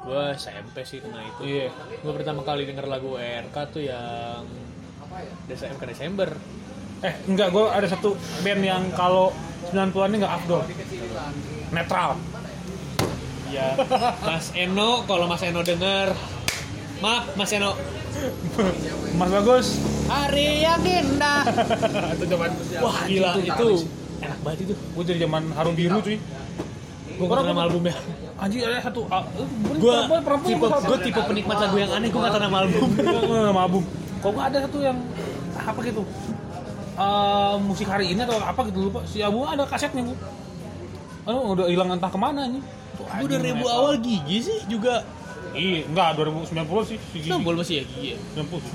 [SPEAKER 3] gue SMP sih kena itu
[SPEAKER 1] Iya.
[SPEAKER 3] Gue pertama kali denger lagu ERK tuh yang Desember Desember.
[SPEAKER 1] Eh, enggak, gue ada satu band yang kalau 90-an ini enggak afdol. Netral.
[SPEAKER 3] Iya. Mas Eno kalau Mas Eno denger Maaf Mas Eno.
[SPEAKER 1] Mas Bagus.
[SPEAKER 3] Hari yang indah.
[SPEAKER 1] itu zaman
[SPEAKER 3] Wah gila itu. Enak banget itu.
[SPEAKER 1] gue dari zaman harum biru cuy.
[SPEAKER 3] Gue nggak tahu nama albumnya.
[SPEAKER 1] Anjir ada satu ah, eh, bener,
[SPEAKER 3] Gue
[SPEAKER 1] perempuan- perempuan
[SPEAKER 3] tipe
[SPEAKER 1] satu.
[SPEAKER 3] gue tipe penikmat lagu yang aneh. Gue nggak tahu nama album.
[SPEAKER 1] Gua sama album. Kok gak ada satu yang apa gitu? Eh, musik hari ini atau apa gitu lupa si album ada kasetnya bu Aduh, udah hilang entah kemana nih
[SPEAKER 3] Gue udah ribu awal gigi sih juga.
[SPEAKER 1] Iya, enggak, 2090 sih si Gigi.
[SPEAKER 3] 90 masih ya gigi ya.
[SPEAKER 1] 90 sih.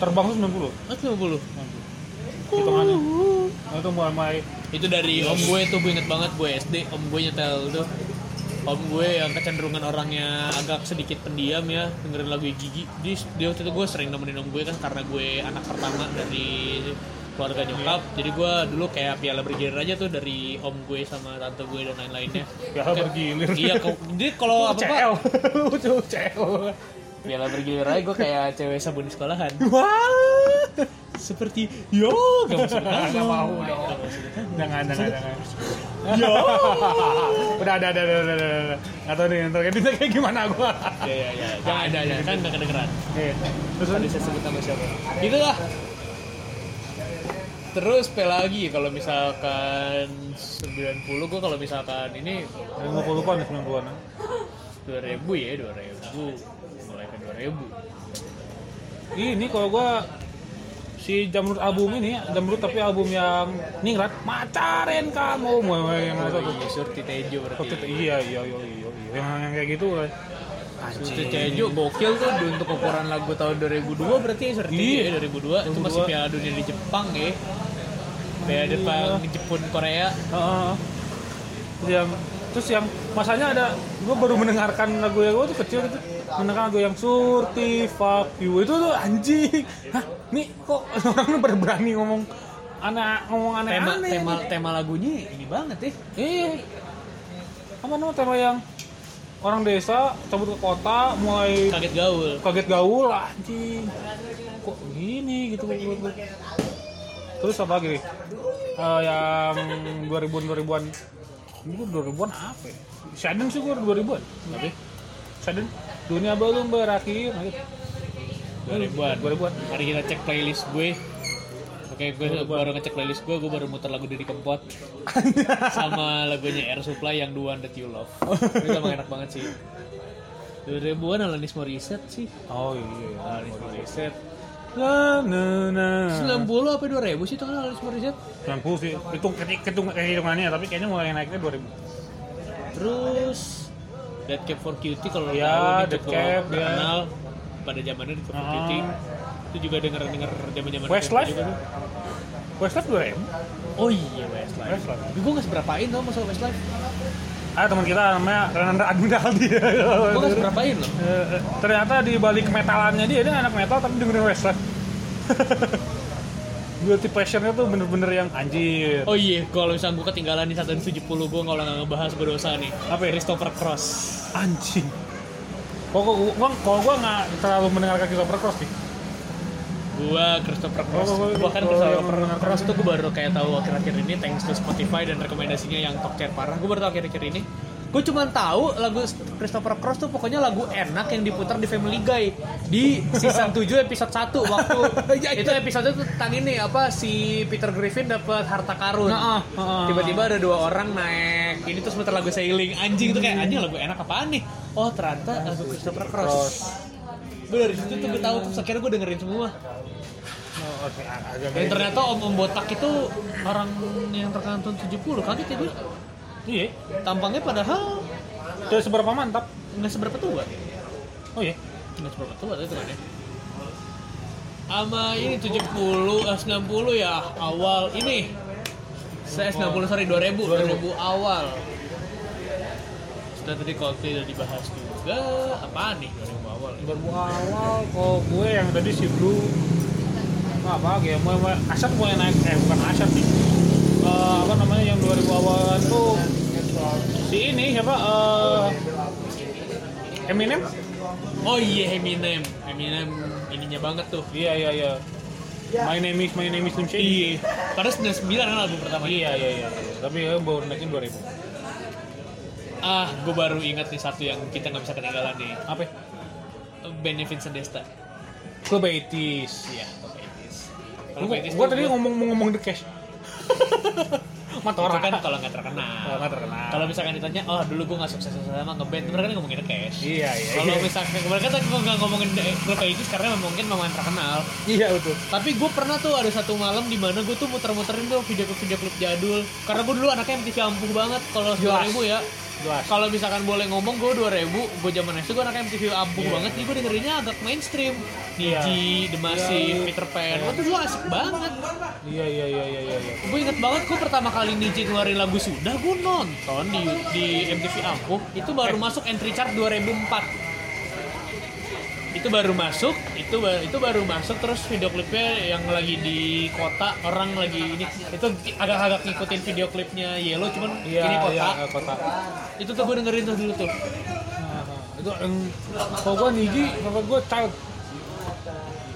[SPEAKER 1] Terbang tuh 90
[SPEAKER 3] Mas 90.
[SPEAKER 1] Hitungannya
[SPEAKER 3] Uhuh.
[SPEAKER 1] Nah, Itu mulai
[SPEAKER 3] itu dari om gue tuh gue inget banget gue SD om gue nyetel tuh om gue yang kecenderungan orangnya agak sedikit pendiam ya dengerin lagu gigi dia, dia waktu itu gue sering nemenin om gue kan karena gue anak pertama dari keluarga nyokap jadi gue dulu kayak piala bergilir aja tuh dari om gue sama tante gue dan lain-lainnya
[SPEAKER 1] Piala bergilir.
[SPEAKER 3] iya kok jadi kalau apa
[SPEAKER 1] UCL Lucu UCL
[SPEAKER 3] piala bergilir aja gue kayak cewek sabun di sekolahan
[SPEAKER 1] Wah
[SPEAKER 3] seperti yo gak mau sebut nama.
[SPEAKER 1] Gak mau dong Jangan, jangan, jangan Yo Udah, udah, udah, udah, udah, udah Atau nih, ntar editnya kayak gimana gua
[SPEAKER 3] ya ya ya
[SPEAKER 1] Ah,
[SPEAKER 3] jangan ada ya kan gak kedengeran
[SPEAKER 1] Iya. Terus
[SPEAKER 3] Tadi saya sebut nama siapa? Itulah. Terus apa lagi kalau misalkan 90 gua kalau misalkan ini
[SPEAKER 1] Dari 50-an ya, 90-an
[SPEAKER 3] 2000 ya 2000 mulai ke 2000
[SPEAKER 1] Ini kalau gua si Jamrut album ini Jamrut tapi album yang ningrat macarin kamu mau mau yang mana tuh
[SPEAKER 3] Iya, Surti Tejo
[SPEAKER 1] Waktu itu-
[SPEAKER 3] berarti
[SPEAKER 1] iya iya iya iya iya. yang yang kayak gitu kan
[SPEAKER 3] Surti Tejo gokil tuh di- untuk ukuran lagu tahun 2002 berarti ya Surti
[SPEAKER 1] Iya.
[SPEAKER 3] ya 2002 itu masih
[SPEAKER 1] 2002.
[SPEAKER 3] Piala Dunia di Jepang ya Piala
[SPEAKER 1] Iya.
[SPEAKER 3] Jepang di Jepun Korea
[SPEAKER 1] Heeh. Terus yang terus yang masanya ada gue baru mendengarkan lagu yang gue tuh kecil gitu mendengarkan lagu yang surti fuck you itu tuh anjing hah nih kok orang pada berani ngomong anak ngomong aneh
[SPEAKER 3] tema
[SPEAKER 1] aneh
[SPEAKER 3] tema tema lagunya ini banget ya
[SPEAKER 1] iya apa namanya tema yang orang desa cabut ke kota mulai
[SPEAKER 3] kaget gaul
[SPEAKER 1] kaget gaul "Ah, anjing kok gini gitu menurut gua. terus apa lagi nih? Eh, yang 2000-an 2000-an Ini gua 2000-an apa ya? Shaden sih gua 2000-an
[SPEAKER 3] tapi
[SPEAKER 1] Shaden dunia belum berakhir Nah, gitu.
[SPEAKER 3] 2000-an
[SPEAKER 1] 2000-an
[SPEAKER 3] Mari kita cek playlist gue. Oke, gue baru ngecek playlist gue, gue baru muter lagu dari Kempot sama lagunya Air Supply yang The One That You Love.
[SPEAKER 1] Oh.
[SPEAKER 3] Itu emang enak banget sih. 2000-an Alanis Morissette sih.
[SPEAKER 1] oh iya
[SPEAKER 3] Alanis Morissette.
[SPEAKER 1] la na na
[SPEAKER 3] 90 apa 2000 sih itu kan Alanis Morissette.
[SPEAKER 1] 90 sih hitung ketik- hitung hitungannya tapi kayaknya mulai naiknya 2000
[SPEAKER 3] Terus Dead Cap for Cutie kalau lo
[SPEAKER 1] Ya,
[SPEAKER 3] tahu
[SPEAKER 1] Dead
[SPEAKER 3] cukup
[SPEAKER 1] Cab, ya.
[SPEAKER 3] terkenal pada zamannya Dead Cap for
[SPEAKER 1] Ah.
[SPEAKER 3] Cutie. Itu juga denger-denger zaman-zaman
[SPEAKER 1] Westlife?
[SPEAKER 3] juga tuh.
[SPEAKER 1] Westlife 2000
[SPEAKER 3] Oh iya Westlife.
[SPEAKER 1] Westlife.
[SPEAKER 3] Tapi gue gak seberapain tau masalah Westlife.
[SPEAKER 1] ada teman kita namanya Renanda Admiraldi
[SPEAKER 3] Gue gak seberapain loh.
[SPEAKER 1] Eh, ternyata di balik metalannya dia dia anak metal tapi dengerin Westlife. Guilty passionnya tuh bener-bener yang anjir.
[SPEAKER 3] Oh iya, kalau misalnya gue ketinggalan di 170 gue kalau nggak ngebahas berdosa nih.
[SPEAKER 1] Apa ya?
[SPEAKER 3] Christopher Cross.
[SPEAKER 1] Anjing. Kok gua, gua kalau gua nggak terlalu mendengarkan Christopher Cross sih.
[SPEAKER 3] gua Christopher Cross
[SPEAKER 1] Oh, oh, oh,
[SPEAKER 3] bahkan
[SPEAKER 1] oh,
[SPEAKER 3] Christopher
[SPEAKER 1] yang-
[SPEAKER 3] Cross tuh gue baru kayak tahu akhir-akhir ini thanks to Spotify dan rekomendasinya yang top tier parah gue baru tahu akhir-akhir ini gue cuma tahu lagu Christopher Cross tuh pokoknya lagu enak yang diputar di Family Guy di season 7 episode 1 waktu itu episode itu tentang ini apa si Peter Griffin dapat harta karun
[SPEAKER 7] Nah, ah, ah, ah.
[SPEAKER 3] tiba-tiba ada dua orang naik ini terus muter lagu sailing anjing tuh kayak anjing lagu enak apaan nih oh ternyata lagu Christopher Cross gue dari situ tuh gue tahu terus akhirnya gue dengerin semua dan ternyata om om botak itu orang yang terkantun 70 kaget ya gue.
[SPEAKER 1] Iya.
[SPEAKER 3] Tampangnya padahal
[SPEAKER 1] Itu seberapa mantap.
[SPEAKER 3] nggak seberapa tua.
[SPEAKER 1] Oh iya.
[SPEAKER 3] Nggak seberapa tua itu kan ya. Sama ini 70, eh, 90 ya awal ini. Saya 90 sorry 2000, 2000 awal. Sudah tadi Coldplay udah dibahas juga. Apaan nih 2000 awal? ya?
[SPEAKER 1] Baru awal kalau gue yang tadi si Blue Nah, apa lagi ya mulai mulai Asad mulai naik eh bukan Asad sih Eh, apa namanya yang 2000 awalan tuh si ini siapa Eh, Eminem
[SPEAKER 3] Oh iya Eminem, Eminem ininya banget tuh.
[SPEAKER 1] iya iya iya My name is my name is Slim Shady
[SPEAKER 3] Iya. Karena 99 kan album pertama.
[SPEAKER 1] iya iya iya iya. tapi eh, baru naikin 2000
[SPEAKER 3] Ah, gue baru ingat nih satu yang kita nggak bisa ketinggalan nih.
[SPEAKER 1] apa ya?
[SPEAKER 3] Bandnya Vincent Desta.
[SPEAKER 1] ke Betis
[SPEAKER 3] Iya, Pop 80s. Kalau
[SPEAKER 1] Gue
[SPEAKER 3] 80s
[SPEAKER 1] gua
[SPEAKER 3] tuh
[SPEAKER 1] tadi ngomong mau ngomong The Cash. Mata
[SPEAKER 3] itu
[SPEAKER 1] orang
[SPEAKER 3] kan kalau nggak terkenal.
[SPEAKER 1] Kalau nggak terkenal.
[SPEAKER 3] Kalau misalkan ditanya, oh dulu gue nggak sukses sama ngeband, mereka kan ngomongin cash.
[SPEAKER 1] Iya, iya,
[SPEAKER 3] Kalau
[SPEAKER 1] iya.
[SPEAKER 3] misalkan mereka tuh nggak ngomongin eh, grup itu karena mungkin memang terkenal.
[SPEAKER 1] Iya betul.
[SPEAKER 3] Tapi gue pernah tuh ada satu malam di mana gue tuh muter-muterin tuh video klip video klip jadul. Karena gue dulu anaknya MTV ampuh banget kalau
[SPEAKER 1] Jelas.
[SPEAKER 3] 2000 ya.
[SPEAKER 1] Jelas.
[SPEAKER 3] Kalau misalkan boleh ngomong gue 2000, gue zaman SD gue anaknya MTV ampuh banget, jadi gue dengerinnya agak mainstream.
[SPEAKER 1] Iya.
[SPEAKER 3] Niji, The Massive,
[SPEAKER 1] Iya.
[SPEAKER 3] Peter Pan, waktu dulu asik banget.
[SPEAKER 1] Iya iya iya iya iya. iya.
[SPEAKER 3] Gue inget banget gue pertama kali Niji ngeluarin lagu Sudah, gue nonton di, di MTV ampuh, itu
[SPEAKER 1] Eh.
[SPEAKER 3] baru masuk entry chart 2004 itu baru masuk itu ba- itu baru masuk terus video klipnya yang lagi di kota orang lagi ini itu agak-agak ngikutin video klipnya Yellow cuman
[SPEAKER 1] Iya
[SPEAKER 3] ini kota
[SPEAKER 1] iya, eh, kota.
[SPEAKER 3] itu tuh gue dengerin tuh dulu tuh
[SPEAKER 1] Nah, itu yang kalau gua Niji, kalau gua Child.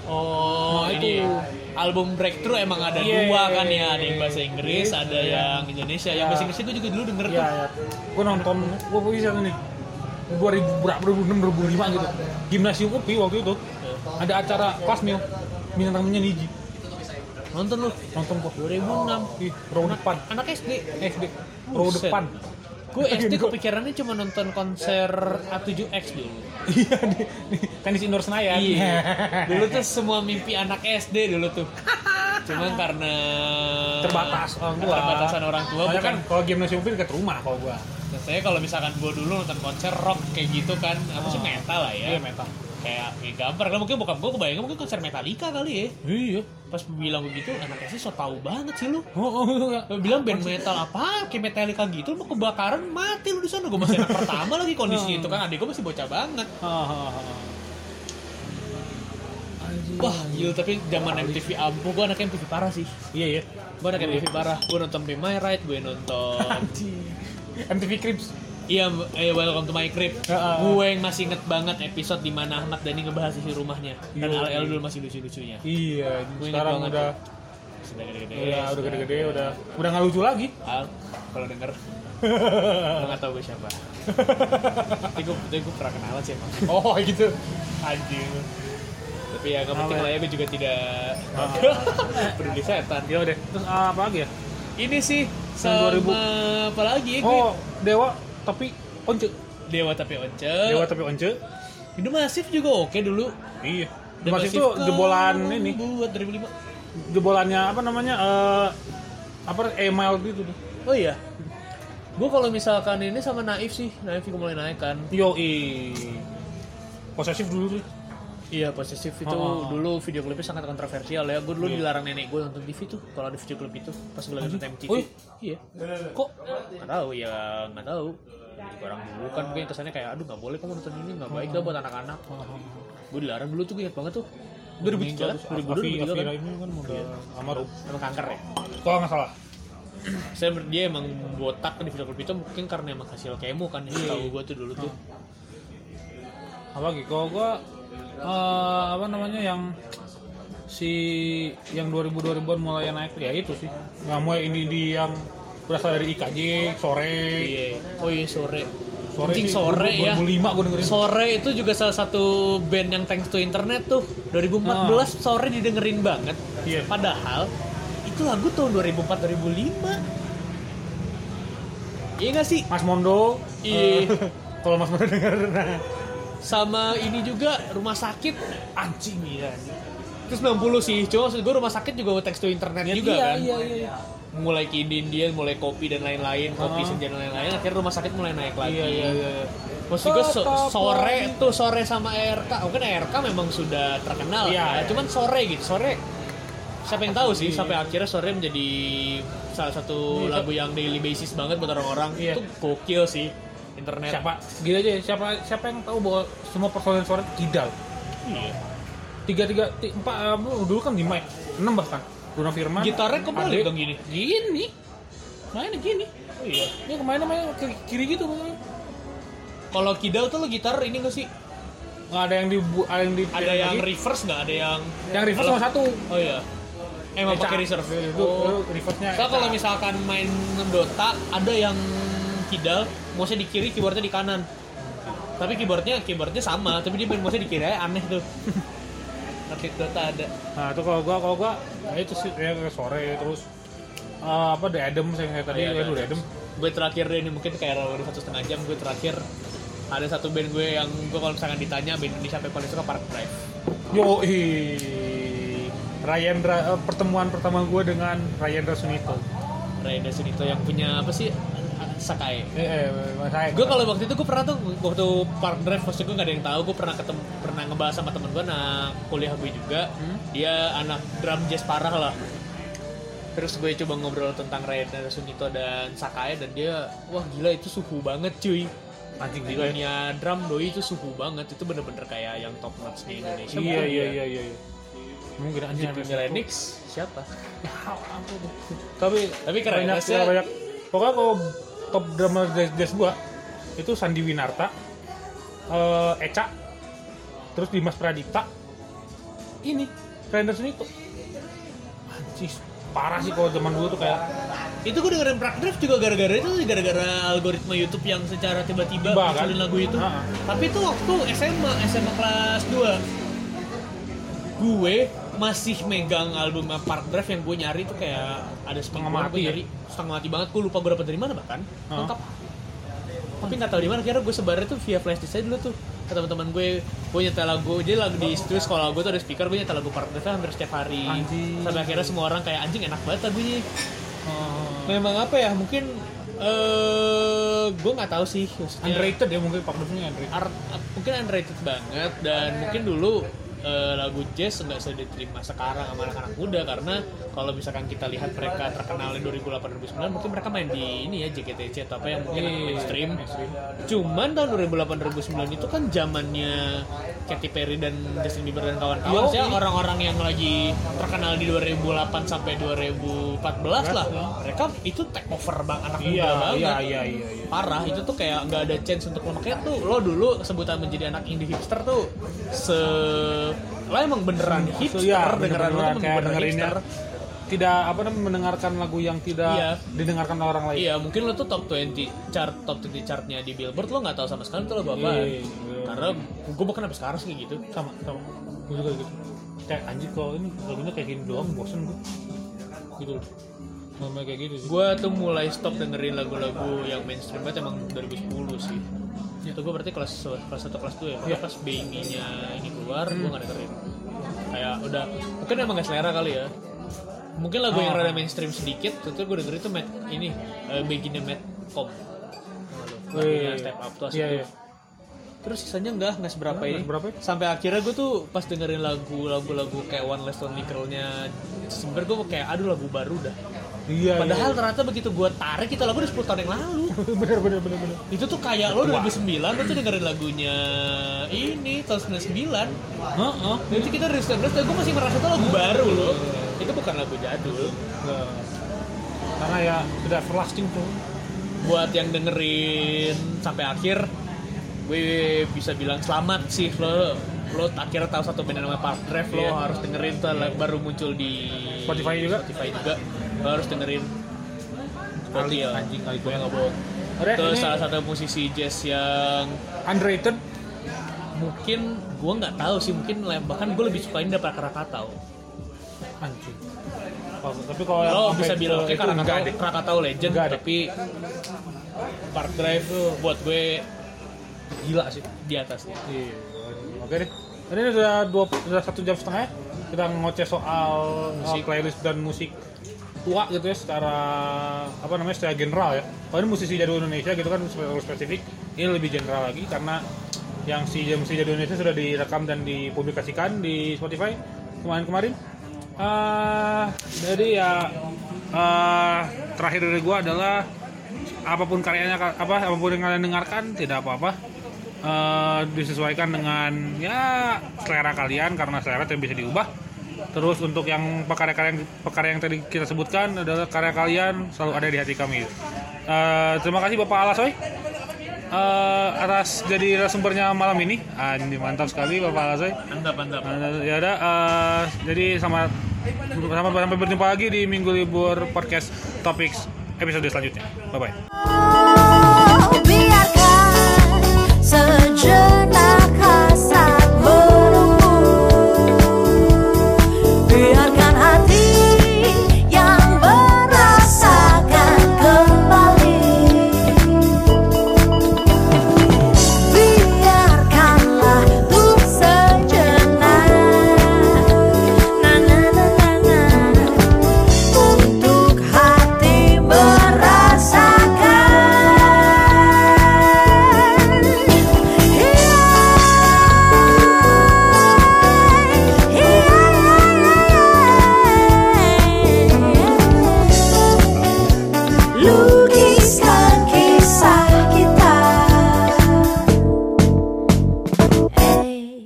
[SPEAKER 3] Oh,
[SPEAKER 1] Nah,
[SPEAKER 3] ini
[SPEAKER 1] itu.
[SPEAKER 3] album Breakthrough emang ada
[SPEAKER 1] Iya,
[SPEAKER 3] dua
[SPEAKER 1] iya,
[SPEAKER 3] kan
[SPEAKER 1] iya,
[SPEAKER 3] ya, ada yang
[SPEAKER 1] iya,
[SPEAKER 3] bahasa
[SPEAKER 1] iya.
[SPEAKER 3] Inggris, ada
[SPEAKER 1] Iya.
[SPEAKER 3] yang Indonesia. Yang
[SPEAKER 1] Iya.
[SPEAKER 3] bahasa Inggris gue juga dulu denger
[SPEAKER 1] Iya
[SPEAKER 3] tuh.
[SPEAKER 1] iya. Gua nonton, gua pergi sana nih. 2000 berapa 2006 2005 gitu. Gimnasium UPI waktu itu ada acara kelas mil bintang tamunya Niji.
[SPEAKER 3] Nonton lu
[SPEAKER 1] Nonton gua
[SPEAKER 3] 2006.
[SPEAKER 1] Ih, row depan.
[SPEAKER 3] Anak SD.
[SPEAKER 1] SD. Row
[SPEAKER 3] Buset.
[SPEAKER 1] depan.
[SPEAKER 3] Gue SD
[SPEAKER 1] Gua-
[SPEAKER 3] kepikirannya cuma nonton konser A7X dulu.
[SPEAKER 1] Iya di, di tenis indoor Senayan.
[SPEAKER 3] Iya. Dulu tuh semua mimpi anak SD dulu tuh. Cuman karena
[SPEAKER 1] terbatas orang tua
[SPEAKER 3] Eh, Keterbatasan orang tua
[SPEAKER 1] Soalnya
[SPEAKER 3] bukan
[SPEAKER 1] kan kalau gimnasium fit dekat rumah kalau gua
[SPEAKER 3] Nah, saya kalau misalkan gue dulu nonton konser rock kayak gitu kan, apa sih metal lah ya?
[SPEAKER 1] Iya, metal.
[SPEAKER 3] Kayak ya, gambar kan mungkin bokap gue kebayangnya mungkin konser Metallica kali ya.
[SPEAKER 1] iya
[SPEAKER 3] Pas bilang begitu, anaknya sih so tau banget sih lu.
[SPEAKER 1] oh, oh, iya.
[SPEAKER 3] Gua Bilang band metal apa, kayak Metallica gitu, mau kebakaran mati lu di sana. Gue masih anak pertama lagi
[SPEAKER 1] Hmm.
[SPEAKER 3] kondisinya itu kan, adik gue masih bocah banget.
[SPEAKER 1] Ah, ah, ah.
[SPEAKER 3] Wah, gila tapi zaman MTV ampuh, gue anaknya MTV parah sih.
[SPEAKER 1] iya iya
[SPEAKER 3] Gue anaknya MTV parah, gue nonton Be My Right, gue nonton
[SPEAKER 1] MTV Cribs
[SPEAKER 3] Iya, eh, welcome to my crib.
[SPEAKER 1] Heeh.
[SPEAKER 3] Gue yang masih inget banget episode di mana Ahmad Dhani ngebahas isi rumahnya dan
[SPEAKER 1] Iya.
[SPEAKER 3] LL dulu masih lucu-lucunya.
[SPEAKER 1] iya
[SPEAKER 3] Gua ingat
[SPEAKER 1] sekarang
[SPEAKER 3] banget
[SPEAKER 1] udah
[SPEAKER 3] Sudah gede-gede. Iya.
[SPEAKER 1] udah Iya, udah gede-gede udah udah nggak lucu lagi
[SPEAKER 3] Al, kalau denger, gue nggak tahu gue siapa. tapi gue, tapi gue pernah kenalan sih emang.
[SPEAKER 1] oh gitu
[SPEAKER 3] Anjir. Tapi ya nggak penting
[SPEAKER 1] Apa?
[SPEAKER 3] lah ya, gue juga tidak
[SPEAKER 1] Ah.
[SPEAKER 3] peduli setan.
[SPEAKER 1] ya udah terus ah, apa lagi ya
[SPEAKER 3] Ini sih sama
[SPEAKER 1] Tahun 2000.
[SPEAKER 3] apa lagi? Gue
[SPEAKER 1] oh Dewa tapi once
[SPEAKER 3] ya, Dewa tapi once.
[SPEAKER 1] Dewa tapi once
[SPEAKER 3] Indo Masif juga oke dulu.
[SPEAKER 1] iya
[SPEAKER 3] The
[SPEAKER 1] masih itu
[SPEAKER 3] kan
[SPEAKER 1] jebolan ini
[SPEAKER 3] Buat 2005.
[SPEAKER 1] jebolannya apa namanya eh apa email gitu tuh
[SPEAKER 3] Oh iya. Gue kalau misalkan ini sama Naif sih, Naif juga mulai naik kan.
[SPEAKER 1] yo posesif dulu tuh
[SPEAKER 3] Iya, posesif itu
[SPEAKER 1] Oh.
[SPEAKER 3] dulu video klipnya sangat kontroversial ya. Gue dulu
[SPEAKER 1] Iya.
[SPEAKER 3] dilarang nenek gue nonton TV tuh kalau ada video klip itu pas gue lagi nonton MTV.
[SPEAKER 1] Oh,
[SPEAKER 3] iya.
[SPEAKER 1] kok
[SPEAKER 3] Nggak tahu ya, nggak tahu. Jadi Orang dulu kan gue kesannya kayak aduh nggak boleh kamu nonton ini nggak baik lah buat anak-anak. Gue dilarang dulu tuh gue ingat banget tuh. 2003 kan? 2002, 2003 kan?
[SPEAKER 1] Afira ini kan udah almarhum.
[SPEAKER 3] Emang kanker ya?
[SPEAKER 1] Kalau nggak salah.
[SPEAKER 3] Saya ber- dia emang kan, botak di video klip itu mungkin karena emang hasil kemo kan yang tahu gue tuh dulu tuh.
[SPEAKER 1] apa gitu kalau gua eh, apa namanya yang si yang 2000 2000-an mulai naik ya itu sih nggak mulai ini di yang berasal dari IKJ sore
[SPEAKER 3] Oh iya sore.
[SPEAKER 1] sore
[SPEAKER 3] Anjing
[SPEAKER 1] sih,
[SPEAKER 3] sore
[SPEAKER 1] gua-
[SPEAKER 3] ya.
[SPEAKER 1] 2005 gua dengerin
[SPEAKER 3] Sore itu juga salah satu band yang thanks to internet tuh. 2014
[SPEAKER 1] Ah.
[SPEAKER 3] sore didengerin banget.
[SPEAKER 1] Iya.
[SPEAKER 3] Padahal itu lagu tahun 2004 2005. Iya gak sih?
[SPEAKER 1] Mas Mondo eh,
[SPEAKER 3] Iya.
[SPEAKER 1] kalau Mas Mondo denger nah,
[SPEAKER 3] Sama ini juga rumah sakit iya.
[SPEAKER 1] anjing ya
[SPEAKER 3] terus 60 sih. Cuma maksud gue rumah sakit juga thanks to internet juga
[SPEAKER 1] iya,
[SPEAKER 3] kan.
[SPEAKER 1] iya iya iya
[SPEAKER 3] Mulai ke Indian, mulai kopi dan lain-lain, kopi
[SPEAKER 1] Ah.
[SPEAKER 3] senja dan lain-lain. Akhirnya rumah sakit mulai naik lagi.
[SPEAKER 1] iya iya iya
[SPEAKER 3] Maksud gue so-
[SPEAKER 1] Tetap
[SPEAKER 3] sore
[SPEAKER 1] lagi.
[SPEAKER 3] tuh sore sama Oh, ARK, mungkin ARK kan memang sudah terkenal
[SPEAKER 1] Iya,
[SPEAKER 3] ya,
[SPEAKER 1] iya.
[SPEAKER 3] cuman sore gitu sore. Siapa yang tahu sih sampai akhirnya sore menjadi salah satu
[SPEAKER 1] Iya.
[SPEAKER 3] lagu yang daily basis banget buat orang-orang
[SPEAKER 1] Iya.
[SPEAKER 3] itu gokil sih internet.
[SPEAKER 1] siapa gini aja ya, siapa siapa yang tahu bahwa semua personil sore tidak Iya. tiga tiga ti- empat eh, dulu- dulu kan lima ya enam bahkan Bruno Firman
[SPEAKER 3] Gitarnya kebalik
[SPEAKER 1] Adit.
[SPEAKER 3] dong gini.
[SPEAKER 1] gini mainnya gini iya ini kemarin main ke kiri gitu pokoknya.
[SPEAKER 3] Kalau kidal tuh lo gitar ini gak sih?
[SPEAKER 1] nggak ada yang di ada yang di
[SPEAKER 3] Ada yang
[SPEAKER 1] lagi.
[SPEAKER 3] reverse nggak? Ada yang
[SPEAKER 1] yang reverse sama satu
[SPEAKER 3] Oh iya. Emang
[SPEAKER 1] Eca.
[SPEAKER 3] pakai reserve.
[SPEAKER 1] itu
[SPEAKER 3] Oh.
[SPEAKER 1] reverse nya
[SPEAKER 3] So kalau misalkan main Dota ada yang kidal, mouse di kiri, keyboardnya di kanan. Tapi keyboardnya keyboardnya sama, tapi dia main mouse di kiri aja aneh tuh. Atlet Dota ada.
[SPEAKER 1] nah itu kalau gua kalau gua nah itu sih ya, sore terus eh, apa The Adam yang kayak tadi
[SPEAKER 3] Iya,
[SPEAKER 1] ya,
[SPEAKER 3] The
[SPEAKER 1] The Adam
[SPEAKER 3] Gue terakhir deh ini mungkin kayak udah satu setengah jam gue terakhir ada satu band gue yang gue kalau misalkan ditanya band Indonesia apa yang paling suka Park Drive.
[SPEAKER 1] yo Ryan eh, pertemuan pertama gua dengan Ryan Sunito
[SPEAKER 3] Ray Sunito yang punya apa sih Sakai.
[SPEAKER 1] eh, eh saya
[SPEAKER 3] Gue kalau waktu itu gue pernah tuh waktu Park Drive maksud gue gak ada yang tahu gue pernah ketemu pernah ngebahas sama temen gue anak kuliah gue juga
[SPEAKER 1] Hmm?
[SPEAKER 3] dia anak drum jazz parah lah terus gue coba ngobrol tentang Raiden Sunito dan Sakai dan dia wah gila itu suhu banget cuy
[SPEAKER 1] anjing
[SPEAKER 3] di dunia drum doi itu suhu banget itu bener-bener kayak yang top notch di Indonesia
[SPEAKER 1] iya iya iya iya iya mungkin
[SPEAKER 3] di
[SPEAKER 1] anjing ada
[SPEAKER 3] dunia
[SPEAKER 1] satu.
[SPEAKER 3] Linux siapa
[SPEAKER 1] tapi
[SPEAKER 3] Tapi keren,
[SPEAKER 1] Ya, banyak, ya,
[SPEAKER 3] maksudnya-
[SPEAKER 1] banyak, banyak pokoknya kalau top drummer jazz, jazz gua itu Sandi Winarta eh, Eca terus Dimas Pradipta ini Ryan Sunito anjing parah sih kalau zaman dulu tuh kayak
[SPEAKER 3] itu gue dengerin Park Drive juga gara-gara itu gara-gara algoritma YouTube yang secara tiba-tiba
[SPEAKER 1] Tiba,
[SPEAKER 3] munculin
[SPEAKER 1] kan?
[SPEAKER 3] lagu itu.
[SPEAKER 1] Ha-ha.
[SPEAKER 3] Tapi itu waktu SMA, SMA kelas 2. Gue masih megang album Park Drive yang gue nyari tuh kayak ada
[SPEAKER 1] Setengah
[SPEAKER 3] setengah
[SPEAKER 1] mati
[SPEAKER 3] gue
[SPEAKER 1] ya?
[SPEAKER 3] nyari setengah mati banget gue lupa gue dapet dari mana bahkan
[SPEAKER 1] Ha-ha.
[SPEAKER 3] lengkap tapi nggak tahu di mana kira gue sebarnya tuh via flash disk aja dulu tuh ke teman-teman gue gue nyetel lagu jadi lagu di situ sekolah gue tuh ada speaker gue nyetel lagu Park Drive hampir setiap hari
[SPEAKER 1] Anjing.
[SPEAKER 3] sampai akhirnya semua orang kayak anjing enak banget lagunya
[SPEAKER 1] eh,
[SPEAKER 3] memang apa ya mungkin eh gue nggak tahu sih maksudnya
[SPEAKER 1] underrated ya mungkin Pak Dusnya underrated
[SPEAKER 3] art, mungkin underrated banget dan mungkin dulu eh, lagu jazz nggak bisa diterima sekarang sama anak-anak muda karena kalau misalkan kita lihat mereka terkenal di 2008 2009 mungkin mereka main di ini ya JKTC atau apa yang mungkin
[SPEAKER 1] Iya,
[SPEAKER 3] mainstream
[SPEAKER 1] mainstream.
[SPEAKER 3] cuman tahun 2008 2009 itu kan zamannya Katy Perry dan Justin Bieber dan kawan-kawan
[SPEAKER 1] Yoi.
[SPEAKER 3] ya orang-orang yang lagi terkenal di 2008 sampai 2014 lah mereka itu take over bang anak
[SPEAKER 1] Iya,
[SPEAKER 3] muda banget
[SPEAKER 1] iya, iya, iya, iya.
[SPEAKER 3] parah itu tuh kayak nggak ada chance untuk lo makanya tuh lo dulu sebutan menjadi anak indie hipster tuh se lo emang beneran hipster
[SPEAKER 1] Iya,
[SPEAKER 3] beneran
[SPEAKER 1] bener-bener kayak ya.
[SPEAKER 3] lo tuh beneran
[SPEAKER 1] dengerinnya
[SPEAKER 3] hipster
[SPEAKER 1] tidak apa namanya mendengarkan lagu yang tidak
[SPEAKER 3] Iya.
[SPEAKER 1] didengarkan oleh orang lain
[SPEAKER 3] Iya, mungkin lo tuh top 20 chart top 20 chartnya di Billboard lo nggak tahu sama sekali tuh lo bapak.
[SPEAKER 1] Iya, iya.
[SPEAKER 3] Karena gue bahkan sampai sekarang sih kayak gitu.
[SPEAKER 1] sama sama gue juga gitu kayak anjir kalau ini lagunya kayak gini doang bosen gue gitu loh Ngomongnya kayak gitu sih
[SPEAKER 3] Gue tuh mulai stop dengerin lagu-lagu yang mainstream banget emang 2010 sih. Itu gue berarti kelas kelas satu kelas 2 ya. Makanya
[SPEAKER 1] Iya. Hmm.
[SPEAKER 3] pas Baby-nya ini keluar, gue nggak dengerin. Kayak udah mungkin emang gak selera kali ya. Mungkin lagu yang
[SPEAKER 1] Ah.
[SPEAKER 3] rada mainstream sedikit, tentu gue dengerin tuh Matt, ini uh, Begini Matt Com. Lagunya Step Up tuh asli
[SPEAKER 1] iya,
[SPEAKER 3] tuh.
[SPEAKER 1] iya.
[SPEAKER 3] Terus sisanya enggak, enggak seberapa
[SPEAKER 1] Enggak,
[SPEAKER 3] ini.
[SPEAKER 1] enggak seberapa ya.
[SPEAKER 3] Sampai akhirnya gue tuh pas dengerin lagu lagu-lagu kayak One Less Lonely Girl-nya sebenernya gue kayak aduh lagu baru dah.
[SPEAKER 1] iya
[SPEAKER 3] Padahal ternyata begitu gue tarik itu lagu udah 10 tahun yang lalu.
[SPEAKER 1] iya. bener bener bener bener
[SPEAKER 3] Itu tuh kayak lo 2009 lo tuh dengerin lagunya ini tahun 99.
[SPEAKER 1] Heeh.
[SPEAKER 3] Nanti kita rilis dan gue masih merasa itu
[SPEAKER 1] Iya.
[SPEAKER 3] lagu baru loh. Itu bukan lagu jadul.
[SPEAKER 1] Nah, karena ya tidak everlasting tuh
[SPEAKER 3] Buat yang dengerin sampai akhir gue bisa bilang selamat sih lo lo akhirnya tahu satu band nama Park Drive lo harus dengerin tuh lah, baru muncul di
[SPEAKER 1] Iya. Spotify juga.
[SPEAKER 3] Spotify juga lo harus dengerin Spotify ya. anjing kali gue nggak bohong
[SPEAKER 1] Udah,
[SPEAKER 3] terus
[SPEAKER 1] ini-
[SPEAKER 3] salah satu musisi jazz yang
[SPEAKER 1] Underrated.
[SPEAKER 3] mungkin gue nggak tahu sih mungkin le- bahkan gue lebih sukain daripada Krakatau
[SPEAKER 1] Anjing. Oh, tapi kalau yang
[SPEAKER 3] lo
[SPEAKER 1] sampai
[SPEAKER 3] bisa bilang
[SPEAKER 1] ke-
[SPEAKER 3] kayak
[SPEAKER 1] itu enggak
[SPEAKER 3] Krakatau
[SPEAKER 1] deh.
[SPEAKER 3] Krakatau legend
[SPEAKER 1] Enggak deh.
[SPEAKER 3] tapi Park Drive tuh buat gue gila sih di atasnya
[SPEAKER 1] Iya. Oke deh. Ini udah dua, udah satu jam setengah ya. kita ngoceh soal musik.
[SPEAKER 3] Musik.
[SPEAKER 1] playlist dan musik tua gitu ya secara apa namanya secara general ya. Kalau ini musisi jadul Indonesia gitu kan terlalu spesifik. Ini lebih general lagi karena yang si musisi jadul Indonesia sudah direkam dan dipublikasikan di Spotify kemarin-kemarin. ah jadi ya ah, terakhir dari gua adalah apapun karyanya apa apapun yang kalian dengarkan tidak apa-apa eh, disesuaikan dengan ya selera kalian karena selera tidak bisa diubah. Terus untuk yang pekarya-karya yang, pekarya yang tadi kita sebutkan adalah karya kalian selalu ada di hati kami. Eh, terima kasih Bapak Alasoy eh, atas jadi sumbernya malam ini. Anjing mantap sekali Bapak Alasoy.
[SPEAKER 3] mantap mantap
[SPEAKER 1] Eh, ya udah eh, jadi selamat selamat sampai berjumpa lagi di minggu libur podcast Topics episode selanjutnya. Bye bye.
[SPEAKER 8] biarkan